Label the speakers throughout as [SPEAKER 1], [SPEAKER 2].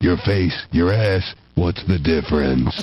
[SPEAKER 1] your face, your ass. What's the difference?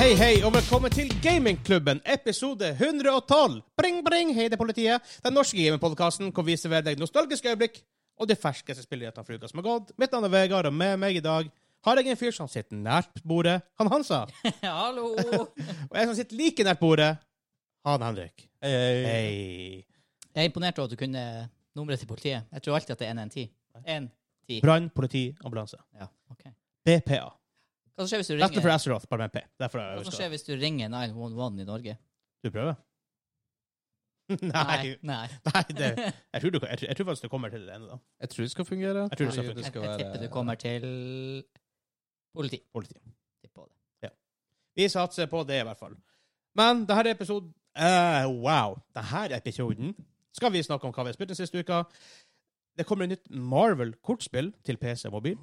[SPEAKER 2] Hei, hei, og velkommen til Gamingklubben, episode 112. Bring, bring, hei, det er politiet. Den norske gamingpodkasten hvor vi serverer deg nostalgiske øyeblikk og det ferskeste spillnyhetene fra uka som har gått. Mitt navn er Vegard, og med meg i dag har jeg en fyr som sitter nært bordet, han Hansa.
[SPEAKER 3] Hallo!
[SPEAKER 2] Og jeg som sitter like nært bordet, han Henrik.
[SPEAKER 4] Hei, hei.
[SPEAKER 2] Hei.
[SPEAKER 3] Jeg er imponert over at du kunne nummeret til politiet. Jeg tror alltid at det er 110. 110.
[SPEAKER 2] Brann, politi, ambulanse.
[SPEAKER 3] Ja, ok.
[SPEAKER 2] BPA.
[SPEAKER 3] Hva som skjer hvis du
[SPEAKER 2] Dette er for
[SPEAKER 3] ringer,
[SPEAKER 2] Azeroth, bare med en P. Derfor
[SPEAKER 3] hva
[SPEAKER 2] jeg
[SPEAKER 3] som
[SPEAKER 2] husker.
[SPEAKER 3] skjer hvis du ringer 911 i Norge?
[SPEAKER 2] Du prøver? Nei.
[SPEAKER 3] Nei.
[SPEAKER 2] Nei det, jeg, tror du, jeg, tror, jeg tror faktisk du kommer til det ene, da.
[SPEAKER 4] Jeg tror det skal fungere.
[SPEAKER 2] Jeg tror det skal
[SPEAKER 4] Fordi
[SPEAKER 2] fungere.
[SPEAKER 3] Jeg, jeg tipper du kommer til politi.
[SPEAKER 2] Politi.
[SPEAKER 3] Tipper på det.
[SPEAKER 2] Vi satser på det, i hvert fall. Men denne episoden eh, Wow! Denne episoden skal vi snakke om hva vi har spilt den siste uka. Det kommer et nytt Marvel-kortspill til PC og mobil.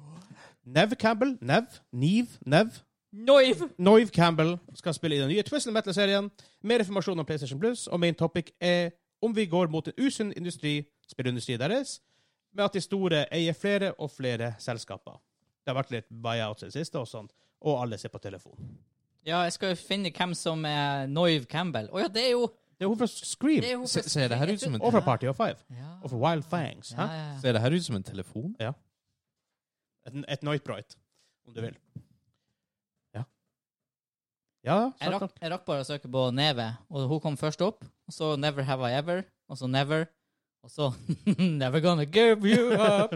[SPEAKER 2] Nev Campbell, Nev, Neve, Nev,
[SPEAKER 3] Noiv!
[SPEAKER 2] Noive Campbell skal spille i den nye Twistle Metal-serien. Mer informasjon om PlayStation Plus, og main topic er om vi går mot en usunn industri, spillindustrien deres, med at de store eier flere og flere selskaper. Det har vært litt buyouts i det siste, og sånn, og alle ser på telefon.
[SPEAKER 3] Ja, jeg skal jo finne hvem som er Noiv Campbell. Å ja, det er jo
[SPEAKER 2] Det er hun fra Scream.
[SPEAKER 3] det er hun
[SPEAKER 4] Se- ser det her ut som en-
[SPEAKER 2] Og fra Party of Five.
[SPEAKER 3] Ja.
[SPEAKER 2] Og fra Wild Fangs.
[SPEAKER 3] Ja,
[SPEAKER 2] hæ?
[SPEAKER 3] ja, ja.
[SPEAKER 4] Ser det her ut som en telefon?
[SPEAKER 2] Et, et Night Bright, om du vil. Ja. Ja,
[SPEAKER 3] Jeg
[SPEAKER 2] snakk
[SPEAKER 3] rakk,
[SPEAKER 2] om
[SPEAKER 3] jeg rakk bare å søke på Neve, og hun kom først opp. Og så Never Have I Ever, og så Never, og så Never Gonna Give You Up.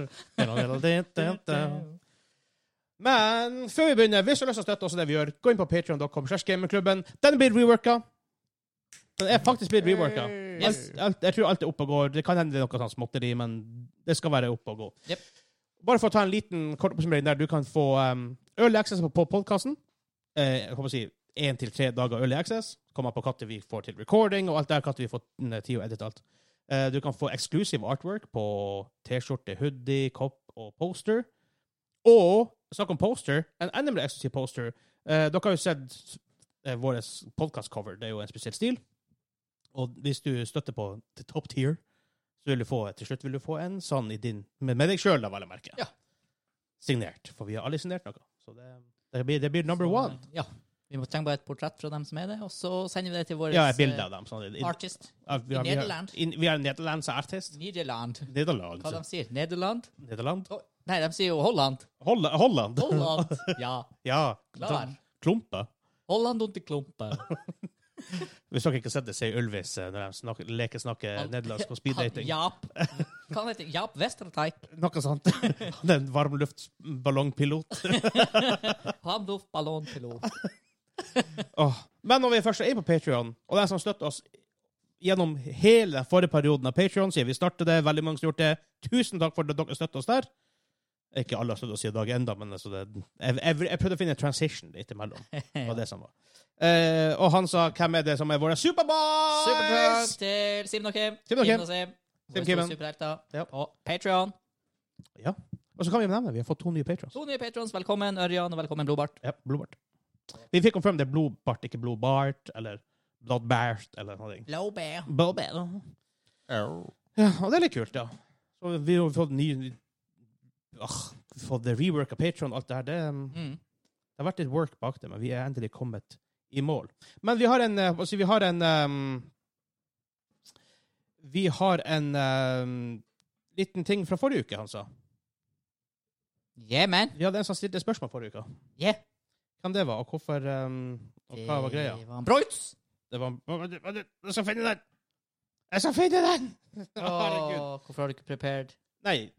[SPEAKER 2] Men før vi begynner, hvis du har lyst til å støtte oss i det vi gjør, gå inn på patreon.com slash gamingklubben. Den blir reworka. Den er faktisk blitt reworka.
[SPEAKER 3] Yes.
[SPEAKER 2] Alt, alt, jeg tror alt er oppe og går. Det kan hende det er noe sånn småtteri, men det skal være oppe og gå.
[SPEAKER 3] Jep.
[SPEAKER 2] Bare for å ta en liten kort oppsummering der. Du kan få um, early access på podkasten. Eh, jeg håper å si én til tre dager early access. Kommer an på når vi får til recording, og alt der når vi får mm, tid å edite alt. Eh, du kan få exclusive artwork på T-skjorte, hoodie, kopp og poster. Og snakk om poster, en enda mer eksklusiv poster. Eh, dere har jo sett eh, vår podkastcover. Det er jo en spesiell stil. Og hvis du støtter på the top tier, så vil du få, til slutt vil du få en sånn i din, med, med deg sjøl, da, vel å merke.
[SPEAKER 3] Ja.
[SPEAKER 2] Signert. For vi har alle signert noe. Så det, det, blir, det blir number
[SPEAKER 3] Så,
[SPEAKER 2] one.
[SPEAKER 3] Ja. Vi må trenger bare et portrett fra dem som er det, og så sender vi det til vår
[SPEAKER 2] Ja, et bilde av dem. Sånn, i, i,
[SPEAKER 3] artist.
[SPEAKER 2] ja, vi har,
[SPEAKER 3] eh,
[SPEAKER 2] vi har-
[SPEAKER 3] i Nederland.
[SPEAKER 2] i- Vi har en nederlandsk artist.
[SPEAKER 3] Nederland.
[SPEAKER 2] Nederland.
[SPEAKER 3] Hva de sier Nederland?
[SPEAKER 2] Nederland.
[SPEAKER 3] Å, nei, de sier jo Holland.
[SPEAKER 2] Holla- Holland.
[SPEAKER 3] Holland. Ja.
[SPEAKER 2] Ja.
[SPEAKER 3] Klar.
[SPEAKER 2] sånn Klumpe.
[SPEAKER 3] Holland und die Klumpe.
[SPEAKER 2] Hvis dere ikke har sett det, sier Ylvis eh, når de snakker, leker snakker nederlandsk på speeddating.
[SPEAKER 3] Jaap. Hva heter det? Jaap Westerteik.
[SPEAKER 2] Noe sånt. Han er en varmluftballongpilot.
[SPEAKER 3] Hamdorf ballonpilot.
[SPEAKER 2] Åh. Men når vi først er på Patreon, og de som støtter oss gjennom hele den forrige perioden av Patreon, siden vi startet det, veldig mange som har gjort det, tusen takk for at dere støtter oss der. Ikke alle har støttet oss i dag enda, men altså det, jeg, jeg, jeg prøvde å finne en transition litt imellom. Det var det som var. Eh, og han sa, hvem er det som er våre Superboys?
[SPEAKER 3] Supertruck til Simen og Kim.
[SPEAKER 2] Simen og Kim.
[SPEAKER 3] Sim.
[SPEAKER 2] Kim
[SPEAKER 3] Våre
[SPEAKER 2] Kimmen.
[SPEAKER 3] store Superhelter.
[SPEAKER 2] Ja.
[SPEAKER 3] På Patreon.
[SPEAKER 2] Ja. Og så kan vi nevne, vi har fått to nye Patreons.
[SPEAKER 3] To nye patrons. Velkommen Ørjan, og velkommen Blodbart.
[SPEAKER 2] Ja, blodbart. Vi fikk confirm det er blodbart, ikke blodbart, eller blodbart, eller noe.
[SPEAKER 3] Blåbær.
[SPEAKER 2] Blodbart.
[SPEAKER 4] Au.
[SPEAKER 2] Ja, og det er litt kult, ja. Så vi har jo fått ny ah, Fått det rework av Patron og alt det her. Det, um,
[SPEAKER 3] Mm.
[SPEAKER 2] det har vært litt work bak det, men vi er endelig kommet i mål. Men vi har en eh, altså, Vi har en um, Vi har en um, liten ting fra forrige uke, han sa.
[SPEAKER 3] Yeah, man.
[SPEAKER 2] Vi hadde en som stilte spørsmål forrige uke.
[SPEAKER 3] Yeah.
[SPEAKER 2] Hvem det var, og hvorfor um, Og hva var greia?
[SPEAKER 3] Det var en Breutz.
[SPEAKER 2] Det var Jeg skal finne den! Jeg skal finne den! Herregud.
[SPEAKER 3] Åh, hvorfor har du ikke prepared?
[SPEAKER 2] Nei,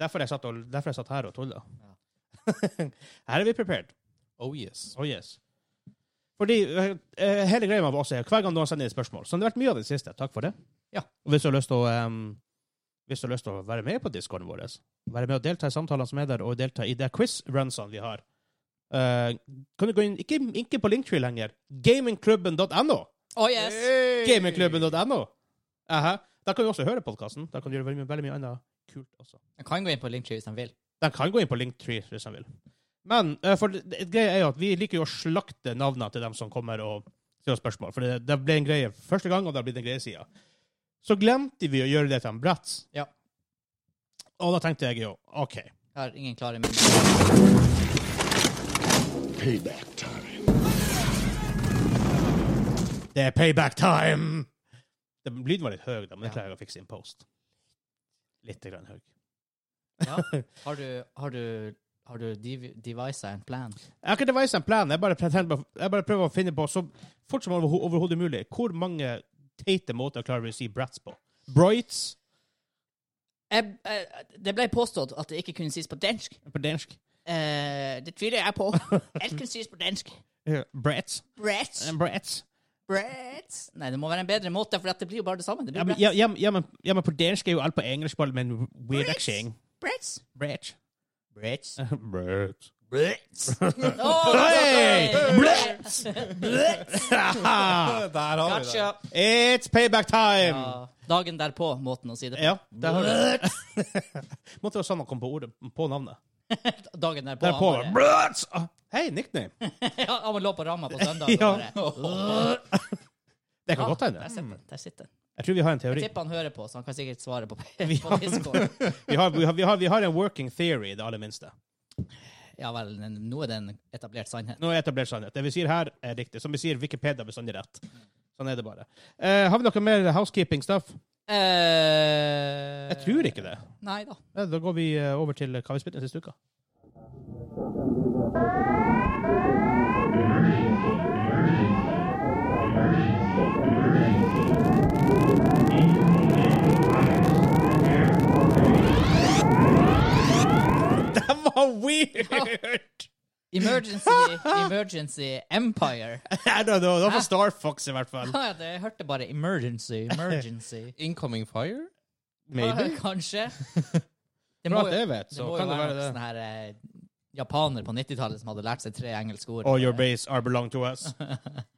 [SPEAKER 2] derfor jeg satt, og, derfor jeg satt her og tulla.
[SPEAKER 3] Ja.
[SPEAKER 2] her er vi prepared.
[SPEAKER 4] Oh yes.
[SPEAKER 2] Oh yes. Fordi eh, hele greia med oss er hver gang noen sender inn spørsmål. Så det har vært mye av det siste. Takk for det.
[SPEAKER 3] Ja.
[SPEAKER 2] Og hvis du har lyst til å em, hvis du har lyst til å være med på discorden vår, være med og delta i samtalene som er der, og delta i de quiz-runsene vi har, eh, kan du gå inn ikke, ikke på Linktree lenger. Gamingklubben.no.
[SPEAKER 3] Oh yes!
[SPEAKER 2] Gamingklubben.no. Aha. Da kan du også høre podkasten. Da kan du gjøre veldig, mye- veldig mye annet kult også.
[SPEAKER 3] Jeg kan gå inn på Linktree hvis han vil.
[SPEAKER 2] De kan gå inn på Linktree hvis de vil. Men eh, for det, det- greia er jo at vi liker jo å slakte navnene til dem som kommer og stiller spørsmål. For det, det ble en greie første gang, og det har blitt en greie siden. Så glemte vi å gjøre det til en Bratz.
[SPEAKER 3] Ja.
[SPEAKER 2] Og da tenkte jeg jo OK.
[SPEAKER 3] Jeg har ingen klare minner.
[SPEAKER 1] Payback time.
[SPEAKER 2] Det er payback time! Det, lyden var litt høy, da, men det klarer jeg å fikse i en post. Litt grann høy.
[SPEAKER 3] Ja. Har du, har du, har du dev- devisa en plan?
[SPEAKER 2] Jeg har ikke devisa en plan. Jeg bare, pretender- jeg bare prøver å finne på så fort som overho- overhodet mulig hvor mange teite måter klarer vi å si brats på. Broits
[SPEAKER 5] Jeg, eh, det ble påstått at det ikke kunne sies på dansk.
[SPEAKER 2] på dansk.
[SPEAKER 5] Eh, det tviler jeg på. Alt kan sies på dansk.
[SPEAKER 2] Eh, Brats.
[SPEAKER 5] Brats.
[SPEAKER 2] Eh, Brats.
[SPEAKER 5] Brats.
[SPEAKER 3] Nei, det må være en bedre måte, for at det blir jo bare det samme. Det
[SPEAKER 2] Ja,
[SPEAKER 3] blir
[SPEAKER 2] men,
[SPEAKER 3] brett.
[SPEAKER 2] ja, ja, men- ja, men, ja, men på dansk er jo alt på engelsk, bare med en weird aksjeng.
[SPEAKER 5] Brats.
[SPEAKER 2] Brats.
[SPEAKER 3] Brett.
[SPEAKER 2] Brats.
[SPEAKER 3] Åh,
[SPEAKER 2] Hey!
[SPEAKER 3] sorry!
[SPEAKER 2] Haha!
[SPEAKER 4] Der har vi det.
[SPEAKER 3] Gotcha.
[SPEAKER 2] It's payback time!
[SPEAKER 3] Ja, dagen derpå, måten å si det på.
[SPEAKER 2] Ja, der har du det. Måtte være sånn han kom på ordet, på navnet.
[SPEAKER 3] Dagen derpå.
[SPEAKER 2] Der på.
[SPEAKER 3] han bare-
[SPEAKER 2] Brats! Ah, Hei, nickname.
[SPEAKER 3] ja, han bare lå på ramma på søndag.
[SPEAKER 2] Ja.
[SPEAKER 3] og bare,
[SPEAKER 2] Det kan godt
[SPEAKER 3] Der
[SPEAKER 2] hende.
[SPEAKER 3] sitter den. der sitter den.
[SPEAKER 2] Jeg tror vi har en teori.
[SPEAKER 3] Jeg tipper han hører på, så han kan sikkert svare på,
[SPEAKER 2] har-
[SPEAKER 3] på Discord.
[SPEAKER 2] Vi har, vi, har, vi, har, vi har en working theory, i det aller minste.
[SPEAKER 3] Ja vel, den- nå er det en etablert sannhet.
[SPEAKER 2] Nå er etablert sannhet. Det vi sier her, er riktig. Som vi sier, Wikipedia er bestandig rett. Sånn er det bare. Eh, har vi noe mer housekeeping-stuff?
[SPEAKER 3] Eh,
[SPEAKER 2] Jeg tror ikke det.
[SPEAKER 3] Nei da.
[SPEAKER 2] Ja, Da går vi eh, over til hva vi spilte siste uka. Det var weird!
[SPEAKER 3] Emergency, emergency Empire.
[SPEAKER 2] I don't know. Det var Star Fox, i hvert fall.
[SPEAKER 3] Ja, det- jeg hørte bare emergency, emergency.
[SPEAKER 4] Incoming fire?
[SPEAKER 2] Maybe.
[SPEAKER 3] Kanskje. Det
[SPEAKER 2] Bra
[SPEAKER 3] må
[SPEAKER 2] at
[SPEAKER 3] jo-
[SPEAKER 2] jeg vet,
[SPEAKER 3] Det
[SPEAKER 2] så
[SPEAKER 3] må jo
[SPEAKER 2] kan det
[SPEAKER 3] være
[SPEAKER 2] være
[SPEAKER 3] noen
[SPEAKER 2] det.
[SPEAKER 3] sånne her eh, japaner på 90-tallet som hadde lært seg tre engelske ord.
[SPEAKER 2] All your base are belong to us.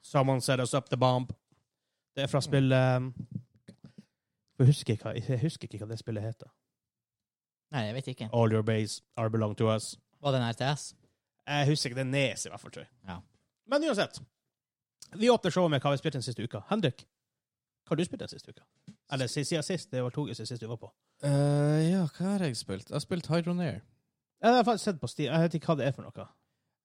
[SPEAKER 2] Someone set us up the bomb. Det er fra spillet um, jeg, husker ikke, hva- jeg husker ikke hva det spillet heter.
[SPEAKER 3] Nei, jeg vet ikke.
[SPEAKER 2] All your base are belong to us.
[SPEAKER 3] Var det en RTS?
[SPEAKER 2] Jeg husker ikke. Det er Nes, i hvert fall, tror jeg.
[SPEAKER 3] Ja.
[SPEAKER 2] Men uansett. Vi åpner showet med hva vi spilte den siste uka. Henrik, hva har du spilt den siste uka? Eller si- siden sist. Det var to uker siden sist du var på.
[SPEAKER 4] Eh, ja, hva har jeg spilt? Jeg har spilt Hydronair.
[SPEAKER 2] Jeg har faktisk sett på Steam. Jeg vet ikke hva det er for noe.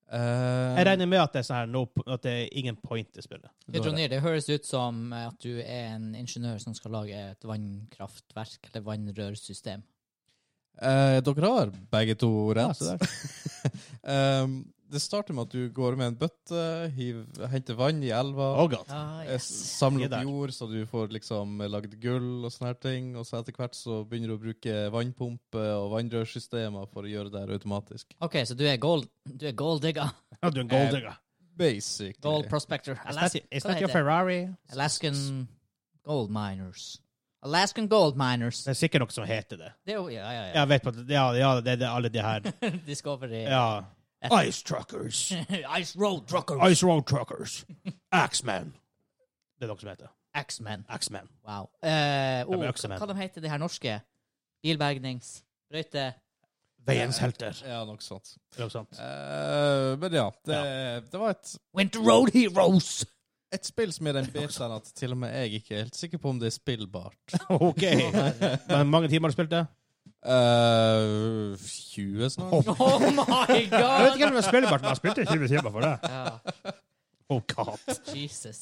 [SPEAKER 4] Uh,
[SPEAKER 2] Jeg regner med at det er sånn her no, at det er ingen point i spillet.
[SPEAKER 3] Hydronir, det høres ut som eh, at du er en ingeniør som skal lage et vannkraftverk eller vannrørsystem.
[SPEAKER 4] Eh, dere har begge to
[SPEAKER 2] Ja,
[SPEAKER 4] rett.
[SPEAKER 2] så der.
[SPEAKER 4] Ehm, det starter med at du går med en bøtte, hiv, henter vann i elva,
[SPEAKER 2] Oh god.
[SPEAKER 3] Ah,
[SPEAKER 4] eh, s-
[SPEAKER 2] Vi
[SPEAKER 4] samler
[SPEAKER 2] er der.
[SPEAKER 4] opp jord så du får liksom lagd gull og sånne her ting, og så etter hvert så begynner du å bruke vannpumpe og vannrørsystemer for å gjøre det her automatisk.
[SPEAKER 3] OK, så du er gold, du er gold digger.
[SPEAKER 2] Ja, du er en gold digger.
[SPEAKER 4] Basically.
[SPEAKER 3] Gold prospector.
[SPEAKER 2] Eh, It's not-
[SPEAKER 3] Alas
[SPEAKER 2] It's
[SPEAKER 3] hva
[SPEAKER 2] not your
[SPEAKER 3] heter det?
[SPEAKER 2] Ferrari.
[SPEAKER 3] Alaskan gold miners. Alaskan gold miners.
[SPEAKER 2] Det er sikkert noe som heter det.
[SPEAKER 3] Det er jo Ja, ja, ja.
[SPEAKER 2] Jeg vet på at ja, ja, det det er alle de her
[SPEAKER 3] Discovery.
[SPEAKER 2] ja. Ice Truckers.
[SPEAKER 3] Ice Road Trucker.
[SPEAKER 2] Ice Road Truckers. Axeman. Det er noe som heter
[SPEAKER 3] Axeman.
[SPEAKER 2] Axeman.
[SPEAKER 3] Wow. Eh, oh,
[SPEAKER 2] men
[SPEAKER 3] hva,
[SPEAKER 2] Øksemenn.
[SPEAKER 3] hva de heter de her norske? Bilbergnings... Brøyte...
[SPEAKER 2] Veiens helter.
[SPEAKER 4] Ja, noe sånt.
[SPEAKER 2] Er det sant?
[SPEAKER 4] Eh, men ja, det, det var et,
[SPEAKER 3] Winter Road Heroes!
[SPEAKER 4] et spill som er den betaen at til og med jeg ikke er helt sikker på om det er spillbart.
[SPEAKER 2] OK. Men mange timer har du spilt det?
[SPEAKER 4] Eh, 20 snart?
[SPEAKER 3] Oh my
[SPEAKER 2] Jeg vet
[SPEAKER 3] god!
[SPEAKER 2] ikke om det er spillbart, men jeg spilte 20 timer for det.
[SPEAKER 3] Ja,
[SPEAKER 2] Oh god.
[SPEAKER 3] Jesus.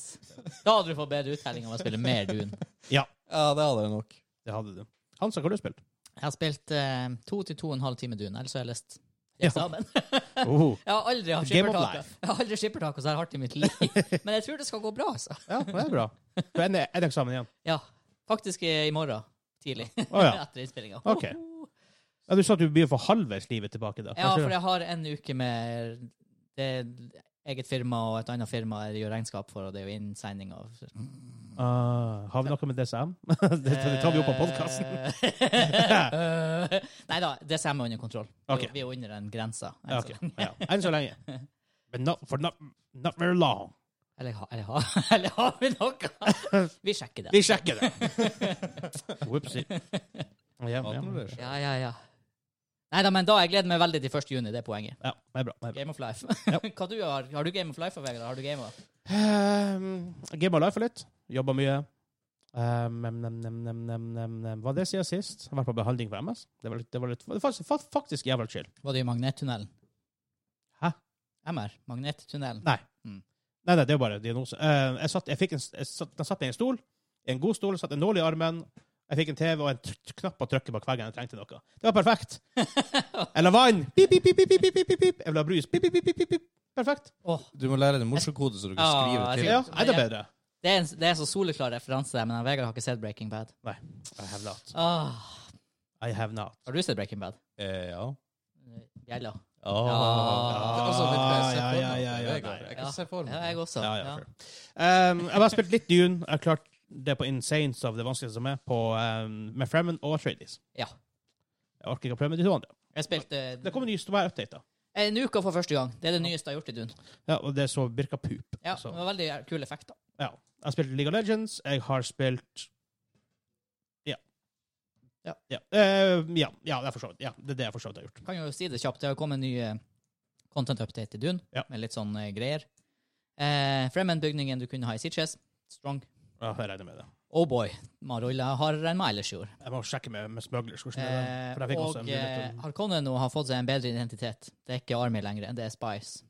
[SPEAKER 3] Da hadde du fått bedre uttelling om å spille mer Dune.
[SPEAKER 4] Ja, det hadde jeg nok.
[SPEAKER 2] Det hadde du. Hansa, hva har du spilt?
[SPEAKER 3] Jeg har spilt eh, to til to og en halv time Dune, ellers har jeg lest
[SPEAKER 2] Ja.
[SPEAKER 3] eksamen.
[SPEAKER 2] Oh.
[SPEAKER 3] Jeg har aldri hatt
[SPEAKER 2] Game of
[SPEAKER 3] skippertak.
[SPEAKER 2] life.
[SPEAKER 3] Jeg har aldri skippertak og så her hardt i mitt liv. Men jeg tror det skal gå bra, altså.
[SPEAKER 2] Ja, det er bra. Du er en- en eksamen igjen.
[SPEAKER 3] Ja. Faktisk eh, i morgen tidlig.
[SPEAKER 2] Å ja.
[SPEAKER 3] Etter innspillinga.
[SPEAKER 2] Ok. ja. Du sa at du begynner å få halvveis livet tilbake. da.
[SPEAKER 3] Ja, for
[SPEAKER 2] Kanskje-
[SPEAKER 3] jeg har en uke med det er eget firma og et annet firma jeg gjør regnskap for, og det er jo innsending av
[SPEAKER 2] Ah, Har vi noe med DSM? det, det tar vi opp på podkasten.
[SPEAKER 3] podkasten. Eh, Nei da, det stemmer under kontroll. Vi-
[SPEAKER 2] Ok.
[SPEAKER 3] Vi er under den grensa. enn
[SPEAKER 2] Ja,
[SPEAKER 3] så
[SPEAKER 2] ok.
[SPEAKER 3] lenge.
[SPEAKER 2] ja. Enn så lenge. But not, for not, not very long.
[SPEAKER 3] Eller, ha- eller, ha- eller har vi noe? Vi sjekker det.
[SPEAKER 2] Vi sjekker det. Whoopsie. Ja, ja.
[SPEAKER 4] Hadde du det?
[SPEAKER 3] Ja, ja, ja. Neida, men da, jeg gleder meg veldig til 1. juni, det er poenget.
[SPEAKER 2] Ja, det er bra. Det er bra.
[SPEAKER 3] Game of Life. Hva du har, har du Game of Life, Vegard? Har du Game of
[SPEAKER 2] Um, Gibba life litt. Jobba mye. Um, nem, nem, nem, nem, nem, nem, nem. Hva er det siden sist? Jeg har vært på behandling på MS. Det var, litt, det var litt, det var faktisk, faktisk jævla chill.
[SPEAKER 3] Var det i Magnettunnelen?
[SPEAKER 2] Hæ?
[SPEAKER 3] MR? Magnettunnelen?
[SPEAKER 2] Nei.
[SPEAKER 3] Mm.
[SPEAKER 2] Nei, nei, det er bare diagnose. Eh, jeg satt, jeg fikk en, jeg satt, jeg satt meg i en stol, i en god stol, satt en nål i armen, jeg fikk en TV og en tr- tr- knapp å trykke bak veggen, jeg trengte noe. Det var perfekt. Eller vann. Pip, pip, pip, pip, pip, pip, pip, pip. Jeg vil ha brus. Pip, pip, pip, pip, pip, pip. Perfekt.
[SPEAKER 3] Åh,
[SPEAKER 4] Du må lære deg en morsekode, så du kan
[SPEAKER 3] Ja,
[SPEAKER 4] skrive
[SPEAKER 3] jeg
[SPEAKER 4] til.
[SPEAKER 2] Ja, er det bedre?
[SPEAKER 3] det, er en, det er så soleklar referanse, men han Vegard har ikke sett Breaking Bad.
[SPEAKER 2] Nei. I have not.
[SPEAKER 3] Åh,
[SPEAKER 2] I have not.
[SPEAKER 3] har du sett Breaking Bad?
[SPEAKER 4] Eh, ja.
[SPEAKER 3] Gjella.
[SPEAKER 4] Ah.
[SPEAKER 3] Ja.
[SPEAKER 4] Altså, litt mer se
[SPEAKER 2] Ja, ja,
[SPEAKER 4] for meg.
[SPEAKER 2] ja, ja,
[SPEAKER 4] Jeg kan- Jeg
[SPEAKER 3] Ja.
[SPEAKER 4] kan se for
[SPEAKER 3] Ja, jeg
[SPEAKER 4] meg.
[SPEAKER 3] også.
[SPEAKER 2] Ja, ja, sure. Um, jeg har bare spilt litt Dune. Jeg har klart det på Insanes av det vanskeligste som er, på, um, med Fremen og Atreides.
[SPEAKER 3] Ja.
[SPEAKER 2] Jeg orker ikke å prøve med de to andre.
[SPEAKER 3] Jeg spilte eh,
[SPEAKER 2] Det kommer nye store updater.
[SPEAKER 3] en uke for første gang. Det er det nyeste jeg har gjort i Dune.
[SPEAKER 2] Ja, og det er så virka pup.
[SPEAKER 3] Ja,
[SPEAKER 2] Så-
[SPEAKER 3] det var veldig kule effekter.
[SPEAKER 2] Ja. Jeg har spilt League of Legends. Jeg har spilt Ja.
[SPEAKER 3] Ja.
[SPEAKER 2] Ja, Eh, ja, ja det er for så vidt ja, det er det jeg for så vidt har gjort.
[SPEAKER 3] Kan jo si det kjapt. Det har kommet en ny eh, content update i Dune,
[SPEAKER 2] Ja.
[SPEAKER 3] med litt sånn eh, greier. Eh, Fremen-bygningen du kunne ha i Sitches. Strong.
[SPEAKER 2] Ja, jeg regner med det.
[SPEAKER 3] Oh boy. Man ruller hardere enn meg ellers gjorde.
[SPEAKER 2] Jeg må sjekke med, med smugglers hvordan det er. For jeg
[SPEAKER 3] Eh,
[SPEAKER 2] fikk også
[SPEAKER 3] og
[SPEAKER 2] en
[SPEAKER 3] eh,
[SPEAKER 2] mulighet til
[SPEAKER 3] Harkonnen nå har fått seg en bedre identitet. Det er ikke Army lenger, det er Spice.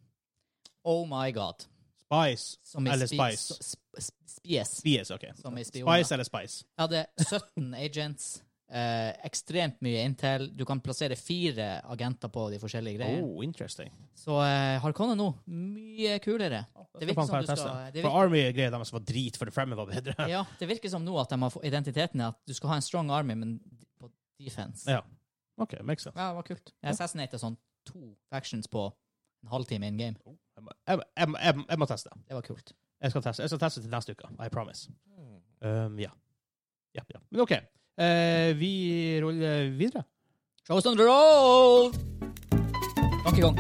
[SPEAKER 3] Oh my god.
[SPEAKER 2] Spice
[SPEAKER 3] Som i
[SPEAKER 2] eller
[SPEAKER 3] spi-
[SPEAKER 2] Spice.
[SPEAKER 3] s- sp- Spies.
[SPEAKER 2] Spies, OK.
[SPEAKER 3] Som i spioner.
[SPEAKER 2] Spice eller Spice.
[SPEAKER 3] Jeg hadde 17 agents. Eh, ekstremt mye intel. Du kan plassere fire agenter på de forskjellige greiene.
[SPEAKER 2] Oh, interesting.
[SPEAKER 3] Så eh, Harkonnen nå, mye kulere.
[SPEAKER 2] Ah,
[SPEAKER 3] Det virker som du skal det
[SPEAKER 2] For
[SPEAKER 3] virker,
[SPEAKER 2] Army-greia deres var drit, for det fremme var bedre.
[SPEAKER 3] ja, det virker som nå at de har fått identiteten er at du skal ha en strong army, men på defense.
[SPEAKER 2] Ja. OK, makes sense.
[SPEAKER 3] Ja, det var kult. Jeg assassinated sånn to factions på en halvtime in game.
[SPEAKER 2] Jeg, må- jeg, må- jeg, må- jeg, må- jeg må teste.
[SPEAKER 3] Det var kult.
[SPEAKER 2] Jeg skal teste, jeg skal teste til neste uke. I promise.
[SPEAKER 3] Hmm.
[SPEAKER 2] Um, ja. ja. Ja. Men OK. Eh, vi ruller videre.
[SPEAKER 3] Shows on the roll! Donkey Kong.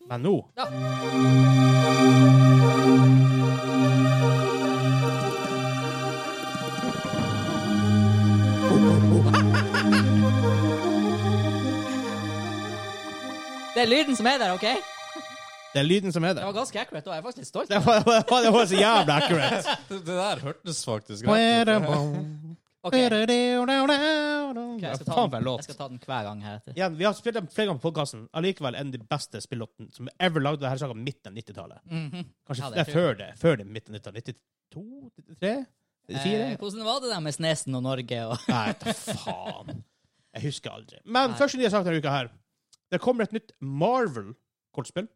[SPEAKER 2] Men nå
[SPEAKER 3] Ja. Det er lyden som er der, OK?
[SPEAKER 2] Det er lyden som er
[SPEAKER 3] Det
[SPEAKER 2] der.
[SPEAKER 3] var ganske accurate. da. Jeg er faktisk litt stolt.
[SPEAKER 2] Det var, det var, det var så jævla accurate.
[SPEAKER 4] Det det der hørtes faktisk rett ut.
[SPEAKER 2] Okay.
[SPEAKER 3] Ok, jeg
[SPEAKER 2] Ja,
[SPEAKER 3] skal, ta
[SPEAKER 2] faen for en
[SPEAKER 3] den, jeg
[SPEAKER 2] låt.
[SPEAKER 3] skal ta den hver gang heretter.
[SPEAKER 2] Igjen, vi har spilt den flere ganger på podkasten. Allikevel en av de beste spillåtene som ever lagd denne sangen midten av 90-tallet.
[SPEAKER 3] Mhm.
[SPEAKER 2] Kanskje
[SPEAKER 3] Ja, det
[SPEAKER 2] det er
[SPEAKER 3] tror
[SPEAKER 2] før det. Før det midten av 90-tallet. 92? 93? 94?
[SPEAKER 3] Eh, hvordan var det der med Snesen og Norge og
[SPEAKER 2] Nei, ta faen. Jeg husker aldri. Men første nye sak denne uka her. Det kommer et nytt Marvel-kortspill.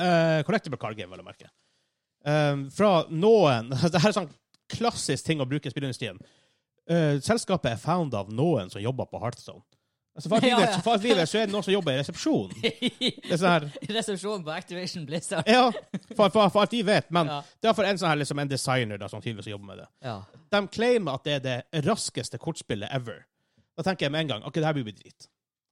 [SPEAKER 2] Eh, collectible card game, vel å merke. Eh, fra noen Dette er sånn klassisk ting å bruke i spillindustrien. Eh, selskapet er found av noen som jobber på Hearthstone. Altså, for alt vi
[SPEAKER 3] Ja,
[SPEAKER 2] vet,
[SPEAKER 3] ja.
[SPEAKER 2] for alt vi vet, så er det noen som jobber i resepsjonen. Det er sånn her
[SPEAKER 3] resepsjonen på Activation Blizzard?
[SPEAKER 2] Ja, for, for, for alt vi vet. Men
[SPEAKER 3] Ja.
[SPEAKER 2] det er for en sånn her liksom en designer da, som tydeligvis jobber med det.
[SPEAKER 3] Ja.
[SPEAKER 2] De claimer at det er det raskeste kortspillet ever. Da tenker jeg med en gang ok, det her blir jo drit.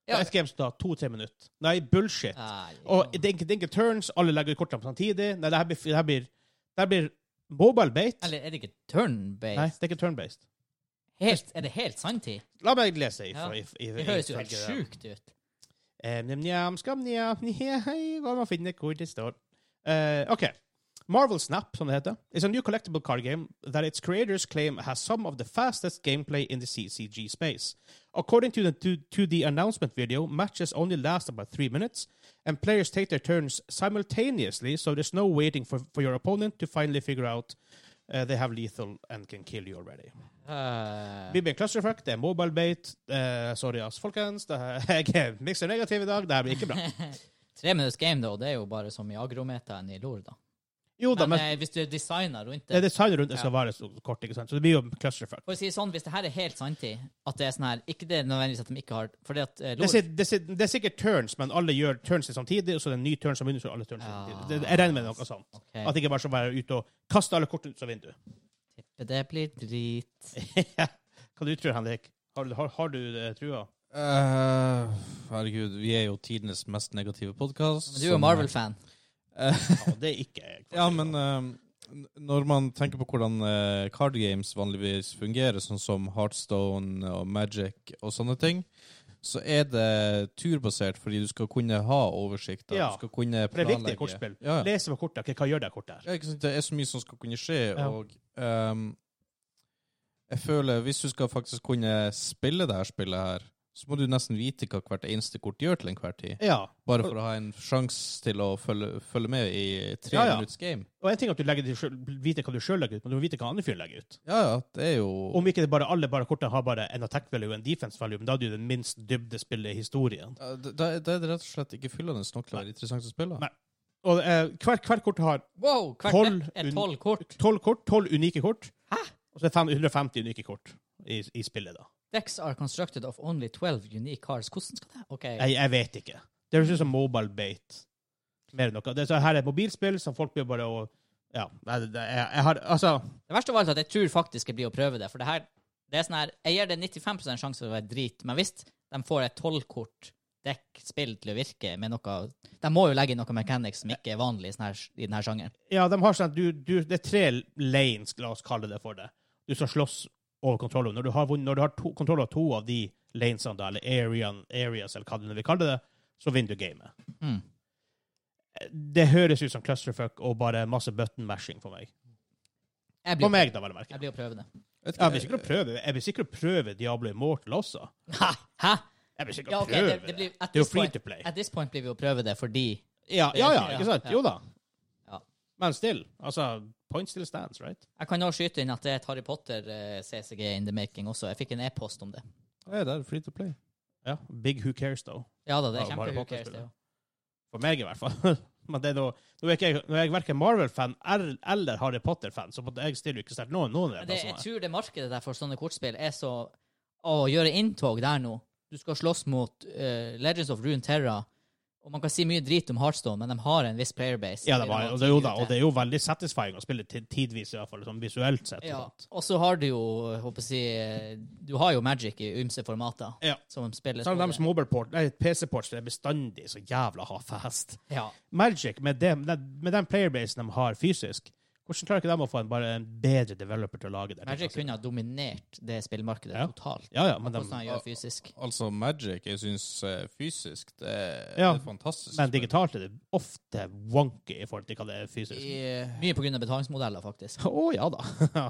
[SPEAKER 3] Ja.
[SPEAKER 2] Det er et game som tar to-tre minutter. Nei, bullshit.
[SPEAKER 3] Nei.
[SPEAKER 2] Og det er ikke- det er ikke turns, alle legger ut kortene på samtidig. Nei, det her blir, det her blir, det her blir mobile-bait.
[SPEAKER 3] Eller er det ikke
[SPEAKER 2] Nei,
[SPEAKER 3] turn-based?
[SPEAKER 2] det er ikke turn-based.
[SPEAKER 3] Helt, er det helt sanntid?
[SPEAKER 2] La meg lese ifra.
[SPEAKER 3] Ja.
[SPEAKER 2] if- if-
[SPEAKER 3] Det høres jo
[SPEAKER 2] ifølge
[SPEAKER 3] helt
[SPEAKER 2] dem.
[SPEAKER 3] sjukt ut.
[SPEAKER 2] Em, njam, njam, skam, njam, njei, Går man finner hvor det står. Eh, OK. Marvel Snap, som det heter, is a new collectible card game that its creators claim has some of the fastest gameplay in the CCG space. According to the, to, to the announcement video, matches only last about three minutes, and players take their turns simultaneously, so there's no waiting for, for your opponent to finally figure out uh, they have lethal and can kill you already.
[SPEAKER 3] Eh,
[SPEAKER 2] Blir med clusterfuck, det er mobile bait. Eh, sorry, ass, folkens. Det her, jeg er mikser negativ i dag. Det her blir ikke bra.
[SPEAKER 3] tre minutters game, da, og det er jo bare som i agrometa enn i lor, da.
[SPEAKER 2] Jo da,
[SPEAKER 3] Men,
[SPEAKER 2] men
[SPEAKER 3] eh, hvis du designer rundt
[SPEAKER 2] det er
[SPEAKER 3] det
[SPEAKER 2] designet rundt det skal være så kort, ikke sant? Så det blir jo clusterfuck.
[SPEAKER 3] For å si det sånn, Hvis det her er helt sanntid, at det er sånn her Ikke det er nødvendigvis at de ikke har Fordi at eh,
[SPEAKER 2] Det
[SPEAKER 3] lor
[SPEAKER 2] er, si- det, er, si- det er sikkert turns, men alle gjør turns samtidig, og så er det en ny turn som begynner, så er alle turns samtidig. Det, jeg regner med noe sånt.
[SPEAKER 3] Ok.
[SPEAKER 2] At det ikke bare skal være ute og kaste alle kortene ut av vinduet.
[SPEAKER 3] Det blir drit.
[SPEAKER 2] Hva du tror Henrik? Har, du- har, har du eh, trua?
[SPEAKER 4] Eh, herregud, vi er jo tidenes mest negative podkast.
[SPEAKER 3] Men du er jo Marvel-fan.
[SPEAKER 2] Ja, det er ikke jeg.
[SPEAKER 4] Ja, men eh, N- Når man tenker på hvordan eh, card games vanligvis fungerer, sånn som Heartstone og Magic og sånne ting, så er det turbasert fordi du skal kunne ha oversikt. da.
[SPEAKER 2] Ja,
[SPEAKER 4] Du skal kunne
[SPEAKER 2] For det er
[SPEAKER 4] planlegge.
[SPEAKER 2] viktig i kortspill.
[SPEAKER 4] Ja, ja.
[SPEAKER 2] Lese på kortet. ok, hva gjør det kortet her?
[SPEAKER 4] Ja, ikke sant? Det er så mye som skal kunne skje,
[SPEAKER 2] Ja.
[SPEAKER 4] og ehm, jeg føler hvis du skal faktisk kunne spille det her spillet her, så må du nesten vite hva hvert eneste kort gjør til enhver tid.
[SPEAKER 2] Ja.
[SPEAKER 4] Bare for å ha en sjanse til å følge, følge med i tre
[SPEAKER 2] Ja, ja.
[SPEAKER 4] minutts game.
[SPEAKER 2] Og en ting er at du legger, det selv- vite hva du sjøl legger ut, men du må vite hva andre fyr legger ut.
[SPEAKER 4] Ja, ja, det er jo
[SPEAKER 2] Om ikke det bare alle bare kortene har bare en attack value og en defense value, men da er det jo den minst dybde spillet i historien.
[SPEAKER 4] Ja, det, det det er rett og slett ikke fyllende nok til å være interessant å spille.
[SPEAKER 2] Nei. Og eh, hver, hver kort har
[SPEAKER 3] Wow! Hvert
[SPEAKER 2] Tolv
[SPEAKER 3] brett er
[SPEAKER 2] un-
[SPEAKER 3] tolv kort.
[SPEAKER 2] tolv kort, tolv unike kort. Og så er det fem- 150 unike kort i, i spillet, da.
[SPEAKER 3] Decks are constructed of only 12 unique cards. Hvordan skal det OK.
[SPEAKER 2] Jeg, jeg vet ikke. Det høres ut som mobile bait. Mer enn noe. Det, så her er et mobilspill som folk blir bare å Ja. Nei, det, det, jeg, jeg har Altså,
[SPEAKER 3] Det verste av alt er at jeg tror faktisk jeg blir å prøve det. For det her, det er sånn her Jeg gir det 95 sjanse for å være drit, men hvis de får et tolvkort dekk spill til å virke med noe De må jo legge inn noe mechanics som ikke er vanlig i sånn her, i denne sjangeren.
[SPEAKER 2] ja, de har sånn at du, du Det er tre lanes, la oss kalle det for det. Du skal slåss over kontroll over. Når du har, vunnet- når du har to, kontroll over to av de lanesene, da, eller arean, areas, eller hva du nå vil kalle det, så vinner du gamet.
[SPEAKER 3] Mm.
[SPEAKER 2] Det høres ut som clusterfuck og bare masse button mashing for meg.
[SPEAKER 3] Jeg blir,
[SPEAKER 2] For
[SPEAKER 3] å prøve-
[SPEAKER 2] meg, da, vel å merke.
[SPEAKER 3] jeg blir å prøve det.
[SPEAKER 4] Vet
[SPEAKER 2] Jeg vil sikkert prøve, jeg vil sikkert prøve Diablo Immortal også.
[SPEAKER 3] Hæ? Hæ?
[SPEAKER 2] Jeg vil sikkert
[SPEAKER 3] Ja, ok,
[SPEAKER 2] prøve
[SPEAKER 3] det, det, blir, at
[SPEAKER 2] Det er jo
[SPEAKER 3] this
[SPEAKER 2] free
[SPEAKER 3] point-
[SPEAKER 2] to play.
[SPEAKER 3] At this point blir vi å prøve det fordi
[SPEAKER 2] Ja,
[SPEAKER 3] Det
[SPEAKER 2] ja,
[SPEAKER 3] er
[SPEAKER 2] ja,
[SPEAKER 3] sånn, ja.
[SPEAKER 2] ikke sant?
[SPEAKER 3] Ja.
[SPEAKER 2] Jo da.
[SPEAKER 3] Ja.
[SPEAKER 2] Men still. Altså, point still stands, right?
[SPEAKER 3] Jeg kan også skyte inn at det er et Harry eh, Potter-CCG in the making også. Jeg fikk en e-post om det.
[SPEAKER 4] Nei, det er free to play.
[SPEAKER 2] Ja. Big who cares, though.
[SPEAKER 3] Ja da, det er
[SPEAKER 2] Ja, om Harry
[SPEAKER 3] kjempehukkers,
[SPEAKER 2] Potter-spillet.
[SPEAKER 3] det jo.
[SPEAKER 2] For meg, i hvert fall. Men det er da, nå er ikke jeg, nå er jeg verken Marvel-fan er- eller Harry Potter-fan, så måtte jeg stiller jo ikke sterkt noen, noen av de
[SPEAKER 3] Men det, jeg
[SPEAKER 2] plassene.
[SPEAKER 3] tror det markedet der for sånne kortspill er så Å gjøre inntog der nå. Du skal slåss mot eh, Legends of Rune Terra. Og man kan si mye drit om Heartstone, men de har en viss playerbase.
[SPEAKER 2] Ja, det var, og det, er jo da, og det er jo veldig satisfying å spille til- tidvis, i hvert fall, sånn visuelt sett. og
[SPEAKER 3] Ja,
[SPEAKER 2] sånt.
[SPEAKER 3] og så har du jo, jeg håper jeg å si eh, Du har jo Magic i ymse formater.
[SPEAKER 2] Ja.
[SPEAKER 3] Som spilles
[SPEAKER 2] Selv om
[SPEAKER 3] både-
[SPEAKER 2] de mobilport, nei, PC-ports er bestandig så jævla hardfast.
[SPEAKER 3] Ja.
[SPEAKER 2] Magic, med, dem, med den playerbasen de har fysisk, hvordan klarer ikke de å få en, bare en bedre developer til å lage det?
[SPEAKER 3] Magic kunne ha dominert det spillmarkedet
[SPEAKER 2] Ja.
[SPEAKER 3] totalt.
[SPEAKER 2] Ja, ja, men,
[SPEAKER 3] Hvordan han
[SPEAKER 2] de,
[SPEAKER 3] gjør fysisk.
[SPEAKER 4] Altså Magic, jeg syns fysisk det er,
[SPEAKER 2] Ja,
[SPEAKER 4] det er fantastisk.
[SPEAKER 2] men digitalt er det ofte wonky i forhold til hva det er fysisk. Å
[SPEAKER 4] I-
[SPEAKER 3] eh, Mye på grunn av betalingsmodeller, faktisk.
[SPEAKER 2] ja da.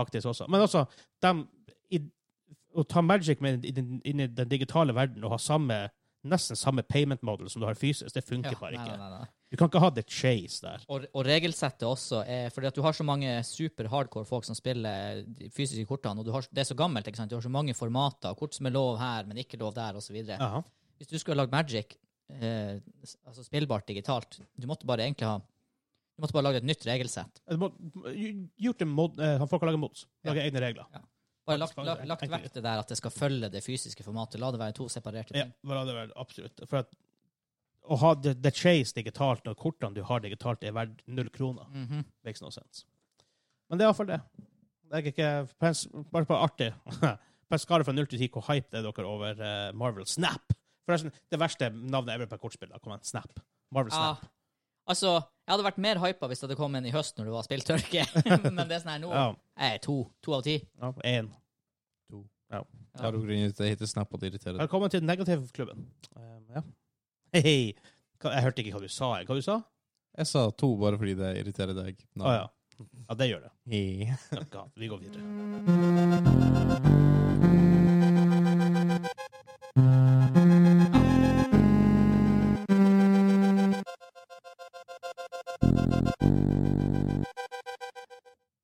[SPEAKER 2] Faktisk også. Men altså, dem- i, å ta Magic med i den, inn i den digitale verden og ha samme, nesten samme payment model som du har fysisk, det funker
[SPEAKER 3] Ja,
[SPEAKER 2] bare
[SPEAKER 3] nei,
[SPEAKER 2] ikke.
[SPEAKER 3] nei, nei, nei.
[SPEAKER 2] Du kan ikke ha the chase der.
[SPEAKER 3] Og, og regelsettet også er fordi at du har så mange super hardcore folk som spiller de fysiske kortene, og du har, det er så gammelt, ikke sant? Du har så mange formater, kort som er lov her, men ikke lov der, osv. videre
[SPEAKER 2] Ja.
[SPEAKER 3] Hvis du skulle lagd Magic, eh, s- altså spillbart digitalt, du måtte bare egentlig ha Du måtte bare lage et nytt regelsett.
[SPEAKER 2] Du må, gjort det mod, eh, folk har laget mods. Laget egne regler.
[SPEAKER 3] Bare lagt,
[SPEAKER 2] Faktisk,
[SPEAKER 3] lagt, lagt
[SPEAKER 2] egentlig.
[SPEAKER 3] vekk det der at det skal følge det fysiske formatet. La det være to separerte
[SPEAKER 2] Ja,
[SPEAKER 3] ting.
[SPEAKER 2] det hadde vært absolutt. For at å ha the, the chase digitalt når kortene du har digitalt, er verdt null kroner.
[SPEAKER 3] Mhm.
[SPEAKER 2] Makes no sense. Men det er iallfall det. Det er ikke pens- bare på artig. På en skala fra 0 til 10, hvor hype det er dere over eh, Marvel Snap? Forresten, det verste navnet ever på et kortspill. da. Kom igjen, Snap. Marvel
[SPEAKER 3] Ja.
[SPEAKER 2] Snap.
[SPEAKER 3] Altså, jeg hadde vært mer hypa hvis det hadde kommet en i høst når det var spilltørke. Men det er sånn her nå.
[SPEAKER 2] Ja.
[SPEAKER 3] Jeg er to. To av ti.
[SPEAKER 2] ja, en.
[SPEAKER 4] Har du grunn til at det heter Snap og det irriterer deg?
[SPEAKER 2] Velkommen til Negativklubben. Um, ja. Hei, hei. Hva- Jeg hørte ikke hva du sa. jeg. Hva du sa?
[SPEAKER 4] Jeg sa to bare fordi det irriterer deg.
[SPEAKER 2] Å ja. Ja, det gjør det.
[SPEAKER 4] Hei.
[SPEAKER 2] Ja, God, vi går videre.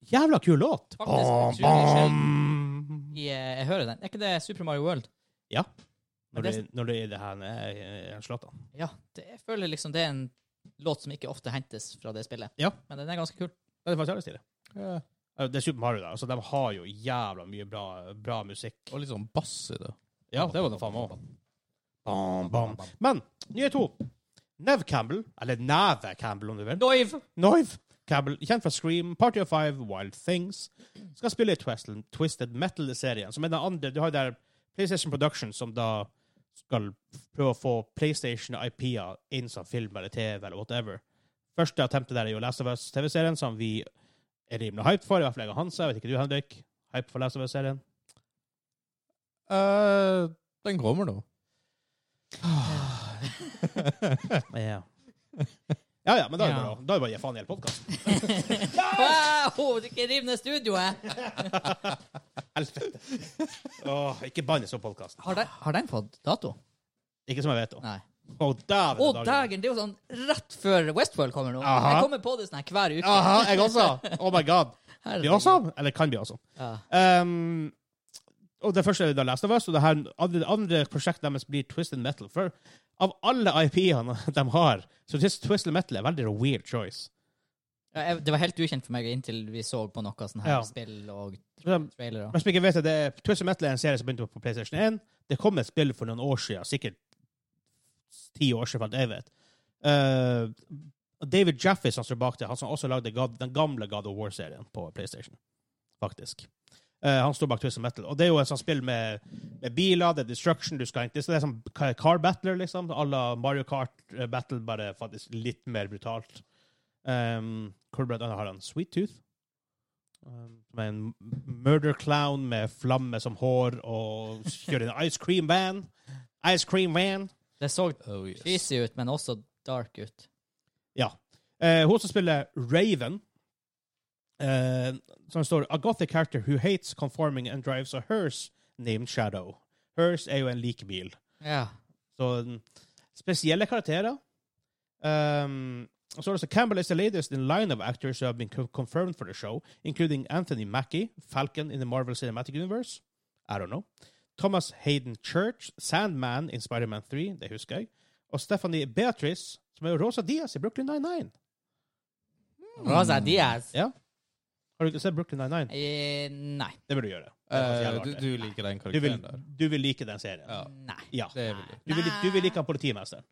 [SPEAKER 2] Jævla kul låt!
[SPEAKER 3] Faktisk utrolig sjelden. I, eh, jeg hører den. Er ikke det Super Mario World?
[SPEAKER 2] Når det, når det er det her eh, eh, Zlatan.
[SPEAKER 3] Ja. Det, jeg føler liksom det er en låt som ikke ofte hentes fra det spillet.
[SPEAKER 2] Ja.
[SPEAKER 3] Men den er ganske kul.
[SPEAKER 2] Det er faktisk jævlig stilig.
[SPEAKER 4] Ja.
[SPEAKER 2] Eh, Det er Super Mario, da. Altså, de har jo jævla mye bra, bra musikk.
[SPEAKER 4] Og litt sånn bass i det.
[SPEAKER 2] Ja, det var det faen meg òg. Bam, bam. Men nyhet to. Nev Campbell, eller Neve Campbell om du vil,
[SPEAKER 3] Doiv!
[SPEAKER 2] Noive Campbell, kjent fra Scream, Party of Five, Wild Things, skal spille i Twisted, Twisted Metal-serien, som er den andre Du har jo der PlayStation Productions, som da skal prøve å få PlayStation-IP-er inn som film eller TV eller whatever, Første attemptet der er jo Last of Us-TV-serien, som vi er rimelig hyped for. I hvert fall jeg og Hansa. Jeg vet ikke du, Henrik? Hype for Last of Us-serien?
[SPEAKER 4] Eh, den kommer nå.
[SPEAKER 2] Ja. ja ja, men da er det
[SPEAKER 3] Ja.
[SPEAKER 2] bare, å- da er det bare å gi faen i hele podkasten.
[SPEAKER 3] Wow! Du ikke riv ned studioet!
[SPEAKER 2] Helvete. Åh, ikke bannes på podkasten.
[SPEAKER 3] Har, de, har den fått dato?
[SPEAKER 2] Ikke som jeg vet om.
[SPEAKER 3] Nei.
[SPEAKER 2] Å, dæven!
[SPEAKER 3] Å,
[SPEAKER 2] dagen.
[SPEAKER 3] dagen! Det er jo sånn rett før Westworld kommer nå.
[SPEAKER 2] Aha.
[SPEAKER 3] Jeg kommer på det sånn her hver uke.
[SPEAKER 2] Aha, jeg også! Oh my god. Blir awesome? Eller kan bli awesome.
[SPEAKER 3] Ja.
[SPEAKER 2] Um, og det første er da Last of Us, og det her andre, det andre prosjektet deres blir Twisted Metal. For av alle IP-ene de har, så synes Twisted Metal er veldig weird choice.
[SPEAKER 3] Ja, jeg, det var helt ukjent for meg inntil vi så på noe sånn her
[SPEAKER 2] Ja.
[SPEAKER 3] spill og
[SPEAKER 2] For de-
[SPEAKER 3] trailer.
[SPEAKER 2] Hvis man ikke vet det, det er, Twisted Metal er en serie som begynte på PlayStation 1. Det kom et spill for noen år siden, sikkert ti år siden, for alt jeg vet. Uh, David Jaffe, som står bak det, han som også lagde God, den gamle God of War-serien på PlayStation, faktisk. Eh, han står bak Twisted Metal. Og det er jo et sånt spill med, med biler, det er destruction, du skal egentlig Det er sånn ka- car battler, liksom. À la Mario Kart eh, Battle, bare faktisk litt mer brutalt. Um, hvor blant annet har han Sweet Tooth, um, som er en murder clown med flamme som hår, og kjører en ice cream van. Ice cream van.
[SPEAKER 3] Det så
[SPEAKER 4] Oh, yes.
[SPEAKER 3] cheesy ut, men også dark ut.
[SPEAKER 2] Ja. Eh, hun som spiller Raven, eh, som står A gothic character who hates conforming and drives a hearse named Shadow. Hearse er jo en likebil.
[SPEAKER 3] Ja.
[SPEAKER 2] Så mm, spesielle karakterer. Um, og så er det også Campbell is the latest in line of actors who have been co- confirmed for the show, including Anthony Mackie, Falcon in the Marvel Cinematic Universe. I don't know. Thomas Hayden Church, Sandman in Spider-Man 3, det husker jeg. Og Stephanie Beatrice, som er jo Rosa Diaz i Brooklyn Nine-Nine.
[SPEAKER 3] Rosa Diaz?
[SPEAKER 2] Ja. Har du ikke sett Brooklyn Nine-Nine?
[SPEAKER 3] Eh, nei.
[SPEAKER 2] Det bør du gjøre. Det er ganske
[SPEAKER 4] Eh,
[SPEAKER 2] jævlig
[SPEAKER 4] du,
[SPEAKER 2] artig.
[SPEAKER 4] du liker den
[SPEAKER 2] du, vil,
[SPEAKER 4] karakteren der.
[SPEAKER 2] du vil like den serien.
[SPEAKER 4] Ja,
[SPEAKER 3] Nei.
[SPEAKER 2] Ja.
[SPEAKER 4] det vil du.
[SPEAKER 2] Du vil, du vil like han politimesteren.